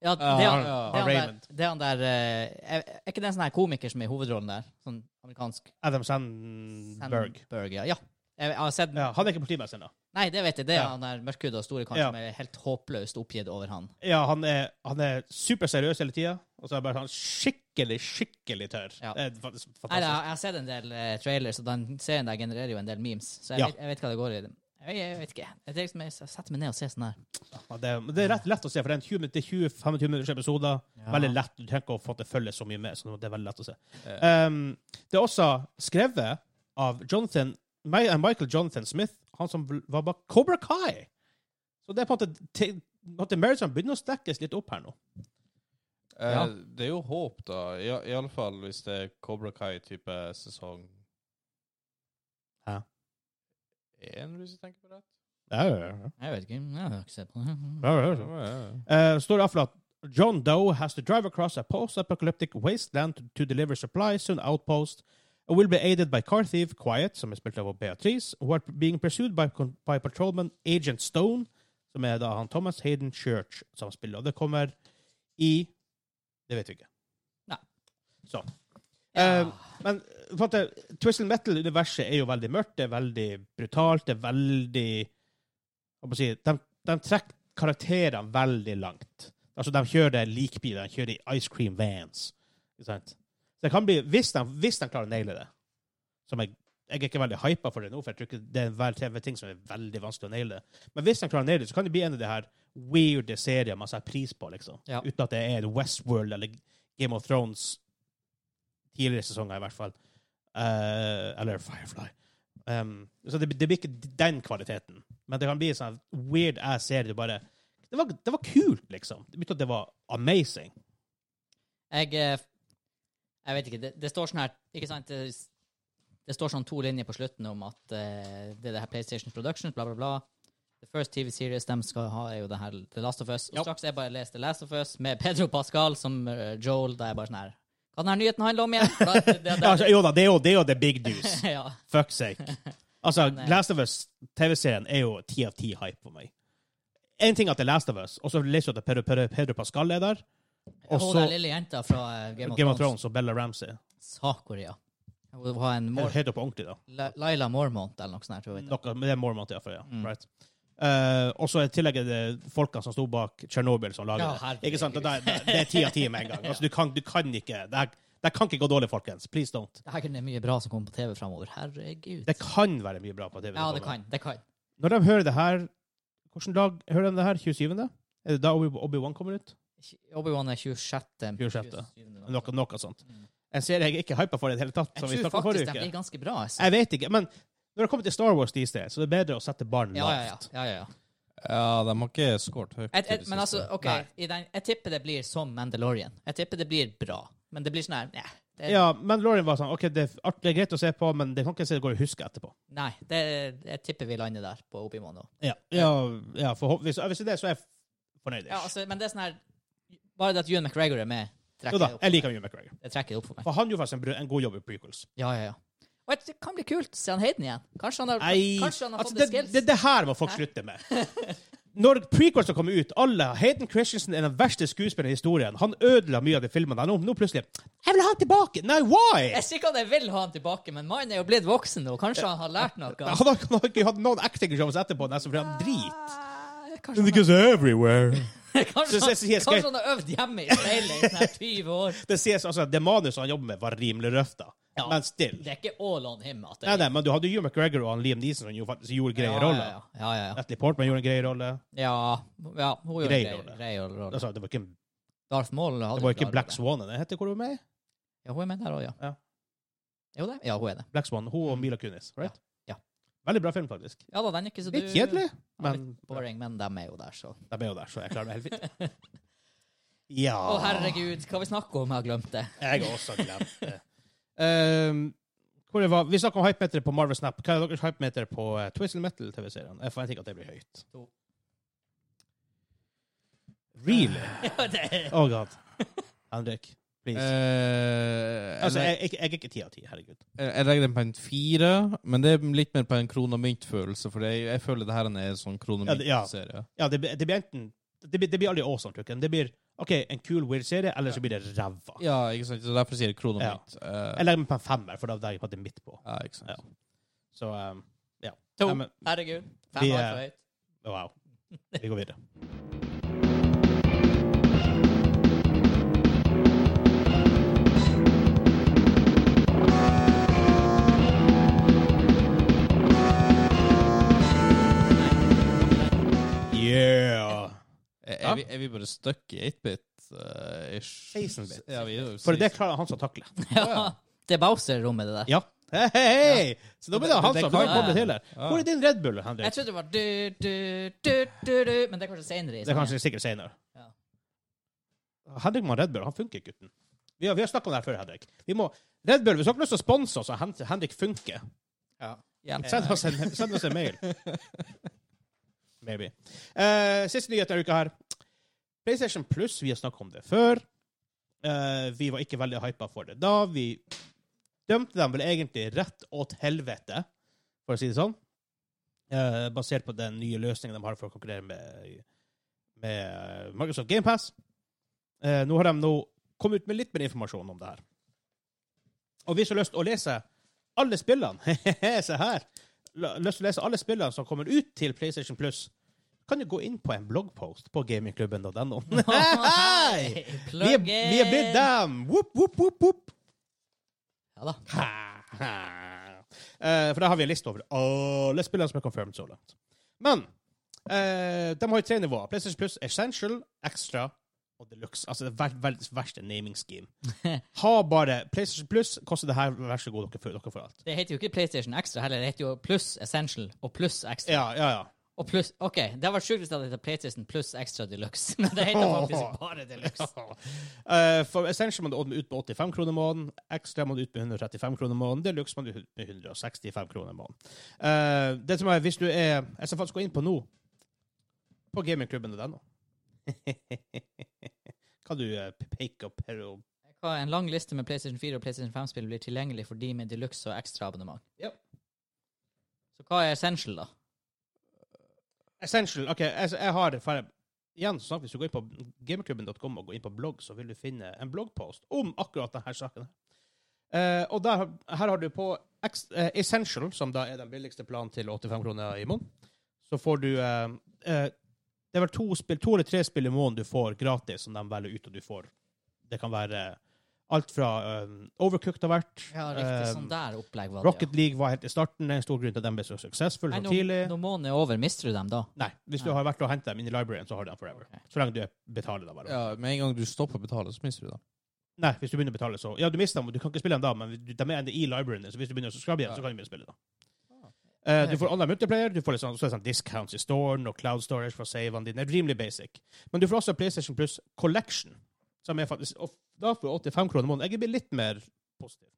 [SPEAKER 3] Ja, det,
[SPEAKER 4] Ja,
[SPEAKER 3] er
[SPEAKER 4] han-
[SPEAKER 3] han-
[SPEAKER 4] ja,
[SPEAKER 3] det, er han
[SPEAKER 2] Raymond.
[SPEAKER 3] der, det er han der eh, Er er ikke det en sånn her komiker som er i hovedrollen der? Sånn amerikansk
[SPEAKER 2] Adam Sandberg.
[SPEAKER 3] Sandberg, ja. ja. Jeg, jeg har sett
[SPEAKER 2] Mm, Ja, han er ikke politimesteren, da.
[SPEAKER 3] Nei, det vet jeg. Det er
[SPEAKER 2] Ja.
[SPEAKER 3] han der mørkhuda og store karen
[SPEAKER 2] Ja.
[SPEAKER 3] som er helt håpløst oppgitt over han.
[SPEAKER 2] Ja, han er, han er superseriøs hele tida, og så er bare han skikkelig, skikkelig tørr.
[SPEAKER 3] Ja.
[SPEAKER 2] Det er faktisk
[SPEAKER 3] Nei, jeg,
[SPEAKER 2] fantastisk.
[SPEAKER 3] jeg har sett en del eh, trailers, og den serien der genererer jo en del memes. Så jeg,
[SPEAKER 2] Ja.
[SPEAKER 3] vet, jeg vet hva det går i. Jeg, jeg vet ikke. Jeg, tenker som jeg setter meg ned og ser sånn her.
[SPEAKER 2] Ja, det, er- men det er rett lett å se, for det er en 20 til 20 25 minutters episoder. Veldig lett. Du trenger ikke å få til å følge så mye med, så det er veldig lett å se. Um, det er også skrevet av Jonathan, Mi- eh, Michael Jonathan Smith, han som vel- var bak Cobra Kai. Så det er på en måte te- på en måte Maritime begynner å stekkes litt opp her nå.
[SPEAKER 4] Eh,
[SPEAKER 3] Ja.
[SPEAKER 4] Det er jo håp, da. I, i alle fall hvis det er Cobra Kai-type sesong
[SPEAKER 2] Hæ?
[SPEAKER 4] Én, hvis jeg tenker på det.
[SPEAKER 2] Ja, ja, ja.
[SPEAKER 3] Jeg vet ikke. Jeg har ikke sett på det.
[SPEAKER 2] ja, ja, ja.
[SPEAKER 4] Ja, ja, ja.
[SPEAKER 2] Uh, står det iallfall at John Doe has to drive across a post-apocalyptic wasteland to, to deliver supplies to an outpost and will be aided by car thief Quiet, som er spilt av Beatrice, who are being pursued by, con- by patrolman Agent Stone, som er da han Thomas Hayden Church som spiller. Og det kommer i Det vet vi ikke.
[SPEAKER 3] Nei.
[SPEAKER 2] Så.
[SPEAKER 3] Ja.
[SPEAKER 2] Eh, men på en måte, Twisted Metal-universet er jo veldig mørkt, det er veldig brutalt, det er veldig hva må jeg si, de, de trekker karakterene veldig langt. Altså, de kjører likbiler, de kjører i ice cream vans. Ikke sant? Så det kan bli, hvis de, hvis de klarer å naile det som jeg, jeg er ikke veldig hypa for det nå, for jeg tror ikke det er en vel- TV-ting som er veldig vanskelig å naile. Men hvis de klarer å naile det, så kan det bli en av de her weirde serier man setter pris på, liksom.
[SPEAKER 3] Ja.
[SPEAKER 2] Uten at det er Westworld eller Game of Thrones tidligere sesonger, i hvert fall. Eh, eller Firefly. Um, så det, det blir ikke den kvaliteten. Men det kan bli en sånn weird ass serie. Du bare det var, det var kult, liksom. Uten at det var amazing.
[SPEAKER 3] Jeg, eh, jeg vet ikke. Det, det står sånn her Ikke sant? Det, det står sånn to linjer på slutten om at eh, det er det her PlayStation Productions, bla, bla, bla. The first TV series de skal ha, er jo det her The Last of Us. Og straks jeg bare leser The Last of Us med Pedro Pascal som eh, Joel, da er jeg bare sånn her Hva den her nyheten handler om igjen? Da, det, det,
[SPEAKER 2] Ja, altså, jo da, det er jo det, er jo the big news.
[SPEAKER 3] det, ja.
[SPEAKER 2] Fuck sake. Altså,
[SPEAKER 3] Nei.
[SPEAKER 2] Last of Us, TV-serien, er jo ti av ti hype for meg. Én ting at det er Last of Us, og så leser du at Pedro, Pedro, Pedro Pascal er der. Og
[SPEAKER 3] Hun
[SPEAKER 2] så
[SPEAKER 3] der lille jenta fra eh, Game of,
[SPEAKER 2] Game of
[SPEAKER 3] Thrones.
[SPEAKER 2] Thrones og Bella Ramsey.
[SPEAKER 3] Sakuria. Hun har en mor
[SPEAKER 2] Helt opp på ordentlig, da.
[SPEAKER 3] La Laila Mormont eller noe sånt. her, tror jeg.
[SPEAKER 2] Noe, men det er Mormont, iallfall. Ja.
[SPEAKER 3] Mm.
[SPEAKER 2] Right. Eh, og så i tillegg er det folka som sto bak Tsjernobyl, som lager
[SPEAKER 3] Ja,
[SPEAKER 2] det. Ikke sant? Det,
[SPEAKER 3] herregud.
[SPEAKER 2] der- det er ti av ti med en gang. Altså, du, kan, du kan ikke det, her- det kan ikke gå dårlig, folkens. Please don't.
[SPEAKER 3] Det her kunne det mye bra som kom på TV framover. Herregud.
[SPEAKER 2] Det kan være mye bra på TV.
[SPEAKER 3] ja, det kan. Det kan.
[SPEAKER 2] Når de hører det her Hvilken dag hører de det her? 27.? Er det da Obi- Obi-Wan kommer ut?
[SPEAKER 3] Obi-Wan er 26.
[SPEAKER 2] 26..
[SPEAKER 3] 27..
[SPEAKER 2] Noe, noe sånt. En serie jeg ikke hypa for i det hele tatt.
[SPEAKER 3] Mm. Jeg
[SPEAKER 2] Som vi
[SPEAKER 3] tror
[SPEAKER 2] snakket om forrige
[SPEAKER 3] faktisk det
[SPEAKER 2] uke.
[SPEAKER 3] blir ganske bra. altså.
[SPEAKER 2] Jeg vet ikke, men når det kommer til Star Wars these days, så er det bedre å sette barn
[SPEAKER 3] Ja, ja, ja.
[SPEAKER 2] lavt.
[SPEAKER 3] ja, ja, ja.
[SPEAKER 4] Ja, de har ikke skåret høyt.
[SPEAKER 3] Jeg,
[SPEAKER 4] i
[SPEAKER 3] jeg,
[SPEAKER 4] det
[SPEAKER 3] men
[SPEAKER 4] siste.
[SPEAKER 3] altså, OK,
[SPEAKER 2] Nei.
[SPEAKER 3] i den, jeg tipper det blir som Mandalorian. Jeg tipper det blir bra. Men det blir sånn her nei, det,
[SPEAKER 2] Ja, men Lauren var sånn OK, det er, art- det er greit å se på, men det kan ikke se det går å huske etterpå.
[SPEAKER 3] nei det, jeg tipper vi lander der på Obi-Wan nå.
[SPEAKER 2] Ja, ja, ja forhåp- hvis, hvis det er det, så er jeg fornøyd.
[SPEAKER 3] Ja, altså, men det er sånn her Bare det at Ewan McGregor er med,
[SPEAKER 2] jo
[SPEAKER 3] trekker
[SPEAKER 2] da,
[SPEAKER 3] det opp,
[SPEAKER 2] jeg liker mye McGregor.
[SPEAKER 3] det trekker det opp for meg.
[SPEAKER 2] For han gjorde faktisk en, br- en god jobb i prequels.
[SPEAKER 3] Ja, ja, ja. Og det kan bli kult. Se han Hayden igjen. Kanskje han har,
[SPEAKER 2] Nei,
[SPEAKER 3] kanskje han har
[SPEAKER 2] altså,
[SPEAKER 3] fått
[SPEAKER 2] det,
[SPEAKER 3] et
[SPEAKER 2] det,
[SPEAKER 3] skills.
[SPEAKER 2] det, her må folk slutte med. Når prequels har kommet ut, alle Hayden Christensen er den verste skuespilleren i historien. Han ødela mye av de filmene. Nå, nå plutselig Jeg vil ha han tilbake! Nei, why?
[SPEAKER 3] Jeg sier ikke at jeg vil ha han tilbake, men mannen er jo blitt voksen nå. Kanskje han har lært noe.
[SPEAKER 2] Han har, han har ikke hatt noen acting shows etterpå, nesten, for han er drit.
[SPEAKER 3] Eh, Kanskje han,
[SPEAKER 2] Because everywhere.
[SPEAKER 3] kanskje,
[SPEAKER 2] Så- så- så- jeg
[SPEAKER 3] han,
[SPEAKER 2] skal-
[SPEAKER 3] kanskje han sånn- har øvd hjemme i speilet i sånn her 20 år.
[SPEAKER 2] Det sies altså at det manuset han jobber med, var rimelig røft, da.
[SPEAKER 3] Ja.
[SPEAKER 2] Men still.
[SPEAKER 3] Det er ikke all on him at det
[SPEAKER 2] Nei, nei, men du hadde jo Hugh McGregor og han Liam Neeson som jo faktisk gjorde greie
[SPEAKER 3] ja,
[SPEAKER 2] roller.
[SPEAKER 3] ja, ja, ja, ja.
[SPEAKER 2] Natalie Portman gjorde en greie rolle.
[SPEAKER 3] ja, ja. Hun gjorde
[SPEAKER 2] Grei
[SPEAKER 3] grei
[SPEAKER 2] rolle.
[SPEAKER 3] grei rolle.
[SPEAKER 2] Altså, det var ikke,
[SPEAKER 3] Darth Maul hadde
[SPEAKER 2] det var ikke
[SPEAKER 3] bra
[SPEAKER 2] Black
[SPEAKER 3] rolle.
[SPEAKER 2] Swan det heter hvor hun er med?
[SPEAKER 3] Ja, hun er med der òg, ja.
[SPEAKER 2] Ja.
[SPEAKER 3] Er hun det? Ja, hun er det.
[SPEAKER 2] Black Swan. Hun og Mila Kunis, right?
[SPEAKER 3] Mm. Ja.
[SPEAKER 2] Veldig bra film, faktisk.
[SPEAKER 3] Ja da, den er ikke så du
[SPEAKER 2] Litt kjedelig, men de
[SPEAKER 3] Boring, men de er jo der, så.
[SPEAKER 2] er jo der, så jeg klarer meg helt fint. Ja
[SPEAKER 3] Å, herregud, hva vi snakker om? Jeg har glemt det.
[SPEAKER 2] Jeg har også glemt det. Ehm, hvor det var, vi snakket om hypemeter på Marvel Snap. Hva er deres hypemeter på uh, Twisted Metal-TV-serien? Jeg forventer ikke at det blir høyt.
[SPEAKER 3] To.
[SPEAKER 2] Really?
[SPEAKER 3] Ja, det er-
[SPEAKER 2] Oh god. Henrik, please.
[SPEAKER 4] Eh,
[SPEAKER 2] altså,
[SPEAKER 4] jeg,
[SPEAKER 2] jeg, jeg, jeg er ikke ti av ti, herregud.
[SPEAKER 4] jeg, jeg legger den på en fire, men det er litt mer på en krone og mynt-følelse, for jeg, jeg føler det her er en sånn krone og
[SPEAKER 2] Ja, det- ja.
[SPEAKER 4] mynt-serie.
[SPEAKER 2] Ja, det, blir- det blir enten Det blir, det blir aldri awesome, tror jeg. Det blir OK, en kul, weird serie, eller så blir det ræva.
[SPEAKER 4] Ja, ikke sant? Så derfor sier jeg krone og
[SPEAKER 2] Ja.
[SPEAKER 4] mynt. Eh,
[SPEAKER 2] Jeg legger meg på en femmer, for da er jeg på at det er midt på.
[SPEAKER 4] ja, ikke sant.
[SPEAKER 2] Ja. Så ehm, ja.
[SPEAKER 3] To.
[SPEAKER 2] Nei, men-
[SPEAKER 3] Herregud. Fem
[SPEAKER 2] Vi
[SPEAKER 3] år
[SPEAKER 2] er-
[SPEAKER 3] for høyt.
[SPEAKER 2] Wow. Vi går videre. Yeah.
[SPEAKER 4] Er,
[SPEAKER 2] Ja.
[SPEAKER 4] er, vi, er vi bare stuck i 8-bit-ish?
[SPEAKER 2] 16-bit.
[SPEAKER 4] Ja, vi er jo
[SPEAKER 2] For det klarer han som takler.
[SPEAKER 3] Ja. Det er Bowser-rommet, det der.
[SPEAKER 2] Ja. Hei, hei, hei! Så da blir det han
[SPEAKER 4] Det-
[SPEAKER 2] som
[SPEAKER 4] det
[SPEAKER 2] kan
[SPEAKER 4] kan-
[SPEAKER 2] komme til her. Hvor er din Red Bull,
[SPEAKER 3] Jeg
[SPEAKER 2] Henrik?
[SPEAKER 3] trodde det var du, du, du, du, du, men det er kanskje senere. i
[SPEAKER 2] Det er
[SPEAKER 3] sangen.
[SPEAKER 2] kanskje sikkert senere.
[SPEAKER 3] Ja.
[SPEAKER 2] Henrik må ha Red Bull. Han funker, gutten. Vi har, vi har snakket om det her før, Henrik. Vi må, Red Bull, hvis dere har lyst til å sponse oss og hente Henrik Funke,
[SPEAKER 3] Hjelp.
[SPEAKER 2] send oss en, send oss en mail. Maybe. Eh, siste nyhet denne uka her. PlayStation Plus, vi har snakket om det før. Eh, vi var ikke veldig hypa for det da. Vi dømte dem vel egentlig rett åt helvete, for å si det sånn. Eh, basert på den nye løsningen de har for å konkurrere med, med Microsoft GamePass. Eh, nå har de nå kommet ut med litt mer informasjon om det her. Og vi som har lyst til å lese alle spillene Se her! La- Lyst til å lese alle spillene som kommer ut til PlayStation Plus, kan du gå inn på en bloggpost på gamingklubben.no. Hei! Vi er,
[SPEAKER 3] Plug
[SPEAKER 2] vi er blitt
[SPEAKER 3] in.
[SPEAKER 2] dem! Whoop, whoop, whoop, whoop.
[SPEAKER 3] Ja da.
[SPEAKER 2] Ha, ha. Eh, for da har vi en liste over alle spillene som er confirmed så langt. Men eh, de har jo tre nivåer. PlayStation Plus Essential, Extra og Deluxe. Altså det ver verdens verste naming scheme. Ha bare PlayStation Plus, koster det her, vær så god, dere får, dere får alt.
[SPEAKER 3] Det heter jo ikke PlayStation Extra heller, det heter jo Pluss Essential og Pluss Extra.
[SPEAKER 2] Ja, ja, ja.
[SPEAKER 3] Og pluss, OK, det hadde vært sjukt hvis det hadde hett PlayStation Pluss Extra Deluxe, men det heter faktisk bare Deluxe.
[SPEAKER 2] Eh, for Essential må du ut med 85 kroner måneden, Extra må du ut med 135 kroner måneden, Deluxe må du ut med 165 kroner måneden. Eh, det som er, hvis du er Jeg skal faktisk gå inn på nå, på gamingklubben.no. kan du eh, peke opp her og
[SPEAKER 3] Hva, En lang liste med PlayStation 4 og PlayStation 5-spill blir tilgjengelig for de med Deluxe og ekstra abonnement.
[SPEAKER 2] Ja.
[SPEAKER 3] Så hva er Essential, da?
[SPEAKER 2] Essential. OK, jeg, jeg har for, Igjen, så snakk, hvis du går inn på gamerklubben.com og går inn på blogg, så vil du finne en bloggpost om akkurat denne saken. her. Eh, og der, har- her har du på ex- eh, Essential, som da er den billigste planen til 85 kroner i måneden, så får du eh, eh, Det er vel to, spill, to eller tre spill i måneden du får gratis, som de velger ut, og du får Det kan være alt fra eh, Overcooked har vært
[SPEAKER 3] Ja,
[SPEAKER 2] eh,
[SPEAKER 3] riktig. Sånn der opplegg var det,
[SPEAKER 2] Rocket League var helt i starten. Det er en stor grunn til at de ble så suksessfulle
[SPEAKER 3] Nei,
[SPEAKER 2] så
[SPEAKER 3] nå,
[SPEAKER 2] tidlig.
[SPEAKER 3] når måneden er over, mister du dem da?
[SPEAKER 2] Nei, hvis du
[SPEAKER 3] Nei.
[SPEAKER 2] har vært og hentet dem inn i libraryen, så har du dem forever.
[SPEAKER 3] Ok.
[SPEAKER 2] Så lenge du betaler dem. bare.
[SPEAKER 4] Ja, Med en gang du stopper å betale, så mister du det.
[SPEAKER 2] Nei, hvis du begynner å betale, så Ja, du mister dem, og du kan ikke spille dem da, men du- de er ennå i libraryen din, så hvis du begynner å subscribe igjen,
[SPEAKER 4] Ja.
[SPEAKER 2] så kan du begynne å spille da.
[SPEAKER 4] Ah.
[SPEAKER 2] Eh, du får online multiplayer, du får litt sånn, så er det sånn discounts i storen og cloud storage for savene dine. Det er Rimelig basic. Men du får også PlayStation Plus Collection, som er faktisk og Da for 85 kroner i måneden. Jeg blir litt mer positiv.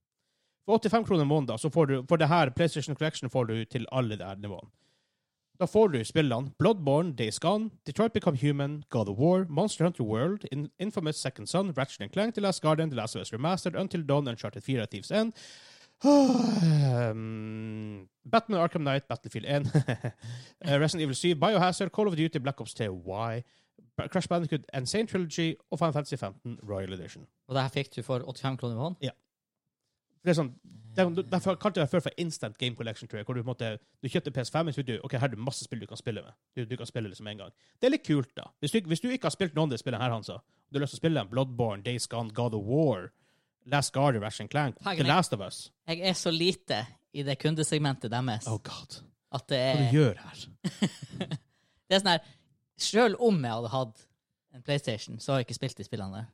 [SPEAKER 2] For 85 kroner i måneden, da, så får du for det her PlayStation Collection får du til alle de her nivåene. Da får du spillene Bloodborne, Days Gone, Detroit Become Human, God of War, Monster Hunter World, In Infamous Second Son, Ratchet and Clank, The Last Guardian, The Last of Us Remastered, Until Dawn, Uncharted 4, Thieves End, um, Batman Arkham Knight, Battlefield 1, eh, Resident Evil 7, Biohazard, Call of Duty, Black Ops 2, Y, Ba- Crash Bandicoot, Insane Trilogy og Final Fantasy 15 Royal Edition.
[SPEAKER 3] Og det her fikk du for 85 kroner i måneden?
[SPEAKER 2] Det er sånn, de, de kalte det før for Instant Game Collection, tror jeg, hvor du på en måte, du kjøpte PS5, men så du, ok, her er det masse spill du kan spille med. Du, du kan spille liksom en gang. Det er litt kult, da. Hvis du, hvis du ikke har spilt noen av de spillene her, Hansa, og du har lyst til å spille dem, Bloodborne, Days Gone, God of War, Last Guardian, Ratchet and Clank,
[SPEAKER 3] Herregud.
[SPEAKER 2] The Last of Us.
[SPEAKER 3] Jeg er så lite i det kundesegmentet deres
[SPEAKER 2] Oh, god.
[SPEAKER 3] at det
[SPEAKER 2] Hva
[SPEAKER 3] er
[SPEAKER 2] du gjør her?
[SPEAKER 3] Det er sånn her Sjøl om jeg hadde hatt en PlayStation, så har jeg ikke spilt de spillene der.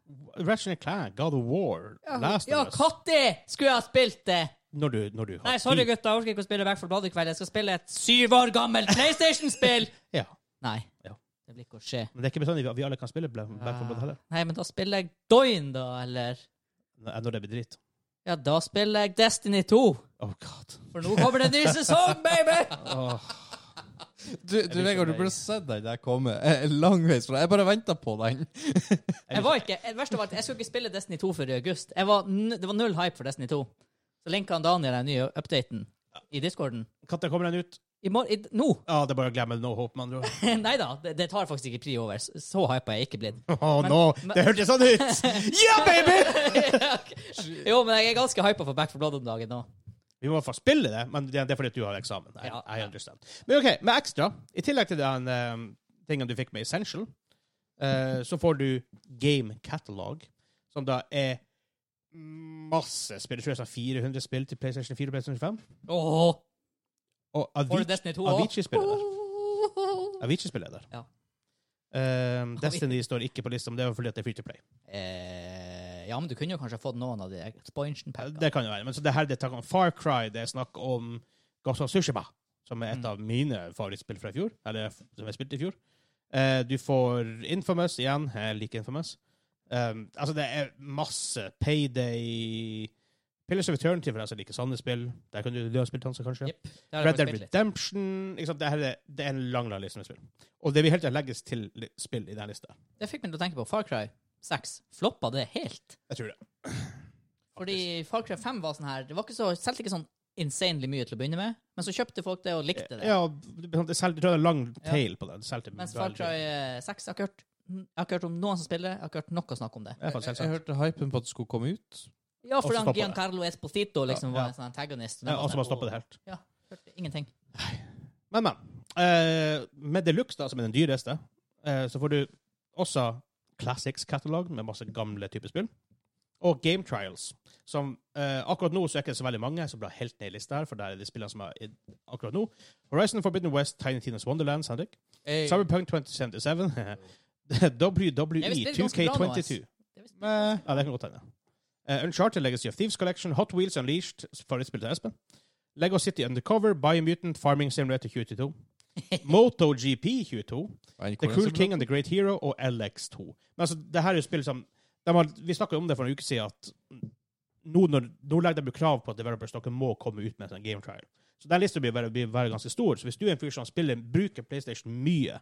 [SPEAKER 2] Ratchet and Clank, God of War, Last
[SPEAKER 3] Ja,
[SPEAKER 2] of Us.
[SPEAKER 3] når skulle jeg ha spilt det?!
[SPEAKER 2] Når du, når du har
[SPEAKER 3] Nei, sorry,
[SPEAKER 2] tid.
[SPEAKER 3] gutta. Jeg orker ikke å spille Back for Blood i kveld. Jeg skal spille et syv år gammelt PlayStation-spill!
[SPEAKER 2] Ja.
[SPEAKER 3] Nei.
[SPEAKER 2] Ja.
[SPEAKER 3] Det blir ikke å skje.
[SPEAKER 2] Men det er ikke bestandig vi- vi alle kan spille Bla- Back 4 Blood heller.
[SPEAKER 3] Nei, men da spiller jeg Doin, da, eller
[SPEAKER 2] Nei, Når det blir dritt.
[SPEAKER 3] Ja, da spiller jeg Destiny 2.
[SPEAKER 2] Oh god.
[SPEAKER 3] For nå kommer det en ny sesong, baby!
[SPEAKER 4] Du,
[SPEAKER 2] blir
[SPEAKER 4] du
[SPEAKER 2] så
[SPEAKER 4] Vegard, du
[SPEAKER 2] lei.
[SPEAKER 4] burde sett den der komme. Eh, Langveis fra Jeg bare venta på den.
[SPEAKER 3] Jeg var ikke, det verste var at jeg skulle ikke spille Destiny 2 før i august. Jeg var, n- det var null hype for Destiny 2. Så linka han Daniel den nye updaten i discorden.
[SPEAKER 2] Katta kommer den ut?
[SPEAKER 3] I mor i, d- nå!
[SPEAKER 2] Ja, det er bare å glemme no hope, med andre ord.
[SPEAKER 3] Nei da, det, det tar faktisk ikke pri over. S- Så hypa er jeg ikke blitt.
[SPEAKER 2] Å
[SPEAKER 3] Men-
[SPEAKER 2] nå,
[SPEAKER 3] men-
[SPEAKER 2] det hørtes sånn ut! Ja, baby!
[SPEAKER 3] Jo, men jeg er ganske hypa for Back for Blood om dagen nå.
[SPEAKER 2] Vi må i hvert fall spille det, men det det er fordi at du har eksamen. I,
[SPEAKER 3] Ja,
[SPEAKER 2] I
[SPEAKER 3] ja.
[SPEAKER 2] understand. Men OK, med ekstra, i tillegg til den eh, tingen du fikk med Essential, eh, så får du Game Catalog, som da er masse spill. Jeg tror det er sånn 400 spill til PlayStation 4 og PlayStation 5.
[SPEAKER 3] Åh,
[SPEAKER 2] Og
[SPEAKER 3] får
[SPEAKER 2] Avicii
[SPEAKER 3] du Destiny 2 òg?
[SPEAKER 2] Avicii spiller der. Avicii spiller der.
[SPEAKER 3] Ja.
[SPEAKER 2] Eh, Destiny står ikke på lista, men det er jo fordi at det er free to play.
[SPEAKER 3] Eh, ja, men du kunne jo kanskje fått noen av de expansion packene.
[SPEAKER 2] Det kan jo være. Men så det her det er snakk om Far Cry, det er snakk om Ghost of Tsushima, som
[SPEAKER 3] Mm.
[SPEAKER 2] er et av mine favorittspill fra i fjor. Eller f- som jeg spilte i fjor. Eh, du får Infamous igjen. Jeg liker Infamous. Um, altså, det er masse Payday Pillars of Eternity, for deg som liker sanne spill. Der kan du, du har spilt Hansa, kanskje?
[SPEAKER 3] Jepp. Det har jeg
[SPEAKER 2] Red Dead
[SPEAKER 3] faktisk spilt litt.
[SPEAKER 2] Redemption ikke sant? Det, her er, det er en lang lang liste med spill. Og det vil helt til legges til li- spill i den lista.
[SPEAKER 3] Det fikk meg til å tenke på Far Cry 6. Floppa det helt?
[SPEAKER 2] Jeg tror det.
[SPEAKER 3] Fordi Far Cry 5 var sånn her Det var ikke så, selv ikke sånn insanely mye til å begynne med, men så kjøpte folk det og likte det.
[SPEAKER 2] Eh, Ja, det er sant, jeg tror det er lang
[SPEAKER 3] Ja.
[SPEAKER 2] tail på den. Solgte
[SPEAKER 3] Mens
[SPEAKER 2] veldig-
[SPEAKER 3] Far Cry eh, 6 jeg har, ikke hørt, jeg har ikke hørt om noen som spiller det. Jeg har ikke hørt noe snakk om det.
[SPEAKER 2] Det er
[SPEAKER 4] Jeg,
[SPEAKER 2] faktisk helt
[SPEAKER 4] jeg,
[SPEAKER 2] sant.
[SPEAKER 4] hørte hypen på at det skulle komme ut.
[SPEAKER 3] Ja,
[SPEAKER 2] Og så
[SPEAKER 3] fordi han
[SPEAKER 2] stoppet det.
[SPEAKER 3] Giancarlo Esposito liksom
[SPEAKER 2] Ja, ja.
[SPEAKER 3] var en sånn antagonist.
[SPEAKER 2] Ja, altså- og så bare stoppa det helt.
[SPEAKER 3] Hørte ingenting.
[SPEAKER 2] Men, men. eh, med Deluxe, da, som er den dyreste, eh, så får du også Classics Catalog med masse gamle typer spill. Og Game Trials, som eh, akkurat nå så er ikke det så veldig mange som blir helt ned i lista her, for der er de spillene som er i, akkurat nå. Horizon Forbidden West, Tiny Tina's Wonderlands, Henrik.
[SPEAKER 4] Jeg,
[SPEAKER 2] Cyberpunk 2077.
[SPEAKER 3] Jeg vil
[SPEAKER 2] WWE
[SPEAKER 3] spille ganske bra nå, ass.
[SPEAKER 2] 2K22. Eh, ja, det kan godt hende. Eh, Uncharted Legacy of Thieves Collection, Hot Wheels Unleashed, forhåndsspill til Espen. Lego City Undercover, Biomutant, Farming Simulator 22. MotoGP 22. The Cool King and The Great Hero og LX2. Men altså, det her er jo spill som de har, Vi snakka jo om det for en uke siden, at nå, når, nå legger de jo krav på at developers dere må komme ut med en sånn game trial. Så den lista blir, bare- blir være ganske stor. Så hvis du er en fyr som spiller, bruker PlayStation mye,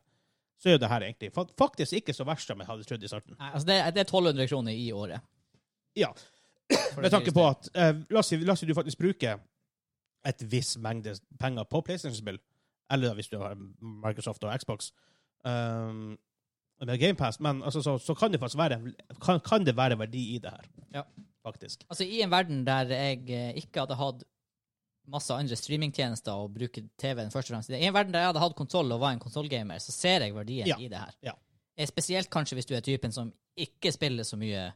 [SPEAKER 2] så er jo det her egentlig fa- faktisk ikke så verst som jeg hadde trodd i starten.
[SPEAKER 3] Nei, altså det, er- det er 1200 kroner i året.
[SPEAKER 2] Ja, Med tanke på at eh, la, oss si, la oss si du faktisk bruker et viss mengde penger på PlayStation-spill, eller hvis du har Microsoft og Xbox um, med GamePass, men altså, så, så kan det faktisk være kan, kan det være verdi i det her,
[SPEAKER 3] Ja.
[SPEAKER 2] faktisk.
[SPEAKER 3] Altså I en verden der jeg eh, ikke hadde hatt masse andre streamingtjenester og bruker TV-en først og fremst. I en verden der jeg hadde hatt konsoll og var en konsollgamer, så ser jeg verdien
[SPEAKER 2] Ja.
[SPEAKER 3] i det her.
[SPEAKER 2] Ja.
[SPEAKER 3] Eh, Spesielt kanskje hvis du er typen som ikke spiller så mye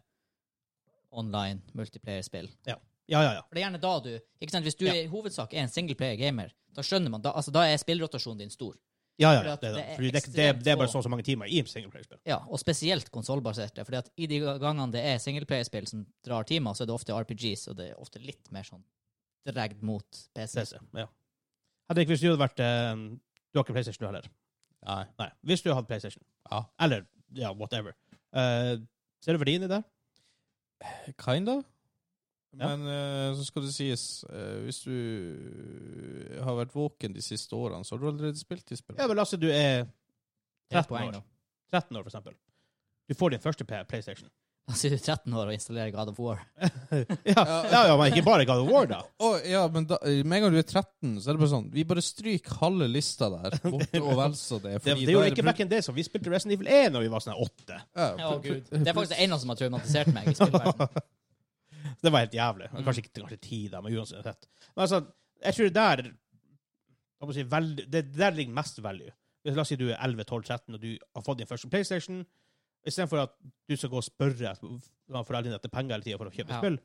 [SPEAKER 3] online multiplayer-spill.
[SPEAKER 2] Ja, ja, ja.
[SPEAKER 3] For det er gjerne da du ikke sant? Hvis du
[SPEAKER 2] Ja.
[SPEAKER 3] i hovedsak er en singleplayer-gamer, da skjønner man, da, altså, da er spillrotasjonen din stor.
[SPEAKER 2] ja, ja,
[SPEAKER 3] For
[SPEAKER 2] ja.
[SPEAKER 3] at
[SPEAKER 2] Det, er
[SPEAKER 3] det
[SPEAKER 2] det.
[SPEAKER 3] er
[SPEAKER 2] Fordi det, det, det er bare
[SPEAKER 3] ekstremt
[SPEAKER 2] så og så mange timer i singleplayerspill.
[SPEAKER 3] Ja, og spesielt konsollbaserte. fordi at i de gangene det er singleplayerspill som drar timer, så er det ofte RPGs, og det er ofte litt mer sånn dregt mot PC.
[SPEAKER 2] CC. Ja. Hadde ikke hvis du hadde vært eh, Du har ikke PlayStation, du heller?
[SPEAKER 4] Nei.
[SPEAKER 2] Nei. Hvis du hadde PlayStation,
[SPEAKER 4] Ja.
[SPEAKER 2] eller ja, whatever, Eh, ser du verdien i det?
[SPEAKER 4] Eh, Kinda.
[SPEAKER 2] Ja.
[SPEAKER 4] Men eh, så skal det sies, eh, hvis du har vært våken de siste årene, så har du allerede spilt
[SPEAKER 2] Ja,
[SPEAKER 4] de spillene.
[SPEAKER 2] men la oss si du er
[SPEAKER 3] Det er et
[SPEAKER 2] 13
[SPEAKER 3] poeng,
[SPEAKER 2] år.
[SPEAKER 3] da.
[SPEAKER 2] 13 år, for eksempel. Du får din første P- PlayStation.
[SPEAKER 3] Altså, du er 13 år og installerer God of War.
[SPEAKER 2] ja, ja, ja, men ikke bare God of War, da.
[SPEAKER 4] Å, ja, men da, eh, med en gang du er 13, så er det bare sånn Vi bare stryker halve lista der, borte og vel så det.
[SPEAKER 2] Det,
[SPEAKER 4] fordi
[SPEAKER 2] det
[SPEAKER 4] da
[SPEAKER 2] gjorde
[SPEAKER 4] er
[SPEAKER 2] ikke
[SPEAKER 4] brut-
[SPEAKER 2] back in days, og vi spilte Resident Evil 1 da vi var sånn her åtte.
[SPEAKER 4] Ja,
[SPEAKER 3] Å,
[SPEAKER 4] pl-
[SPEAKER 3] Gud.
[SPEAKER 4] pl-
[SPEAKER 3] Det er faktisk det eneste som har traumatisert meg i spillverdenen.
[SPEAKER 2] Det var helt jævlig. Kanskje ikke kanskje ti, da, men uansett. Men altså, jeg tror det der jeg må si, value, det det der ligger mest value. Hvis La oss si du er 11-12-13 og du har fått din første PlayStation. Istedenfor at du skal gå og spørre et- av foreldrene etter penger hele tida for å kjøpe
[SPEAKER 3] Ja.
[SPEAKER 2] spill.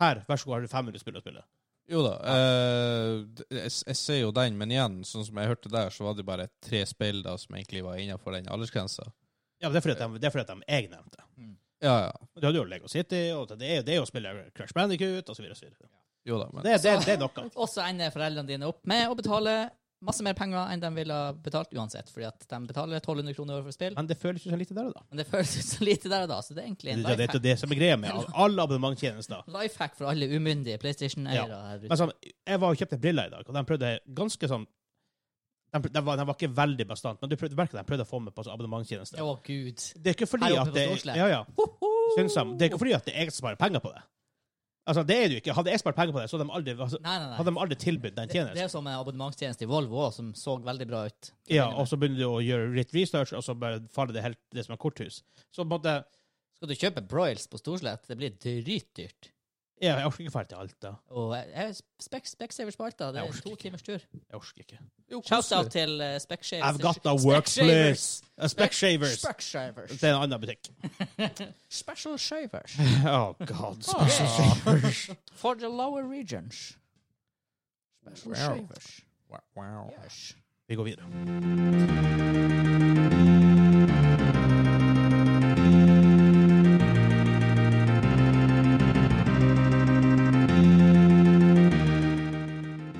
[SPEAKER 2] Her, vær så god, har du 500 spill å spille.
[SPEAKER 4] Jo da. eh, d- jeg, jeg ser jo den, men igjen, sånn som jeg hørte der, så var det bare tre spill da som egentlig var innenfor den aldersgrensa.
[SPEAKER 2] Ja, men Det er fordi at de, det er fordi at de jeg nevnte.
[SPEAKER 4] Ja, ja.
[SPEAKER 2] Du hadde jo Lego City, og det er jo det er jo å spille Crash Bandicoot osv. Det,
[SPEAKER 4] Jo da, men
[SPEAKER 2] det, det, det er noe.
[SPEAKER 3] Og så ender foreldrene dine opp med å betale masse mer penger enn de ville ha betalt uansett, fordi at de betaler 1200 kroner over for spill.
[SPEAKER 2] Men det føles jo så lite der og da.
[SPEAKER 3] Men det føles ut så lite der og da, så det er egentlig
[SPEAKER 2] Det
[SPEAKER 3] en
[SPEAKER 2] det- det er
[SPEAKER 3] lifehack
[SPEAKER 2] det som er greia med alle abonnementtjenester.
[SPEAKER 3] lifehack for alle umyndige PlayStation-eiere her ute.
[SPEAKER 2] Men sånn, jeg var og kjøpte briller i dag, og de prøvde ganske sånn De, prøvde, de, var, de var ikke veldig bastant, men du prøvde, du merker at de prøvde å få meg på sånn abonnementstjenester.
[SPEAKER 3] Å, gud.
[SPEAKER 2] Det er ikke fordi
[SPEAKER 3] Her oppe
[SPEAKER 2] at
[SPEAKER 3] på
[SPEAKER 2] det,
[SPEAKER 3] Storslett.
[SPEAKER 2] ja, ja, syns de, det er ikke fordi at det er jeg som sparer penger på det. Altså, det er det jo ikke. Hadde jeg spart penger på det, så hadde de aldri, altså,
[SPEAKER 3] Nei, nei, nei.
[SPEAKER 2] hadde de aldri tilbudt den
[SPEAKER 3] Det, det
[SPEAKER 2] tjenesten.
[SPEAKER 3] er som en abonnementstjeneste i Volvo også, som så veldig bra ut.
[SPEAKER 2] Ja, og så begynner du å gjøre litt research, og så bare faller det helt det som er korthus. Så på en måte
[SPEAKER 3] Skal du kjøpe broils på Storslett? Det blir dritdyrt.
[SPEAKER 2] ja, Jeg orker ikke dra til Alta.
[SPEAKER 3] Og jeg- jeg- spek- Specsavers på Alta, det
[SPEAKER 2] Jeg
[SPEAKER 3] er
[SPEAKER 2] orker
[SPEAKER 3] to
[SPEAKER 2] ikke.
[SPEAKER 3] timers tur.
[SPEAKER 2] Jeg orker ikke.
[SPEAKER 4] jo,
[SPEAKER 3] Shout-out
[SPEAKER 4] koselig.
[SPEAKER 3] til uh, Specshavers.
[SPEAKER 2] I've got a workplace. Uh, Specshavers.
[SPEAKER 3] Specshavers.
[SPEAKER 2] Det er en annen butikk.
[SPEAKER 3] Special shavers.
[SPEAKER 2] Oh god.
[SPEAKER 3] Ah. For the lower regions. Special shavers.
[SPEAKER 4] Wow, wow.
[SPEAKER 3] Yes.
[SPEAKER 2] Vi går videre.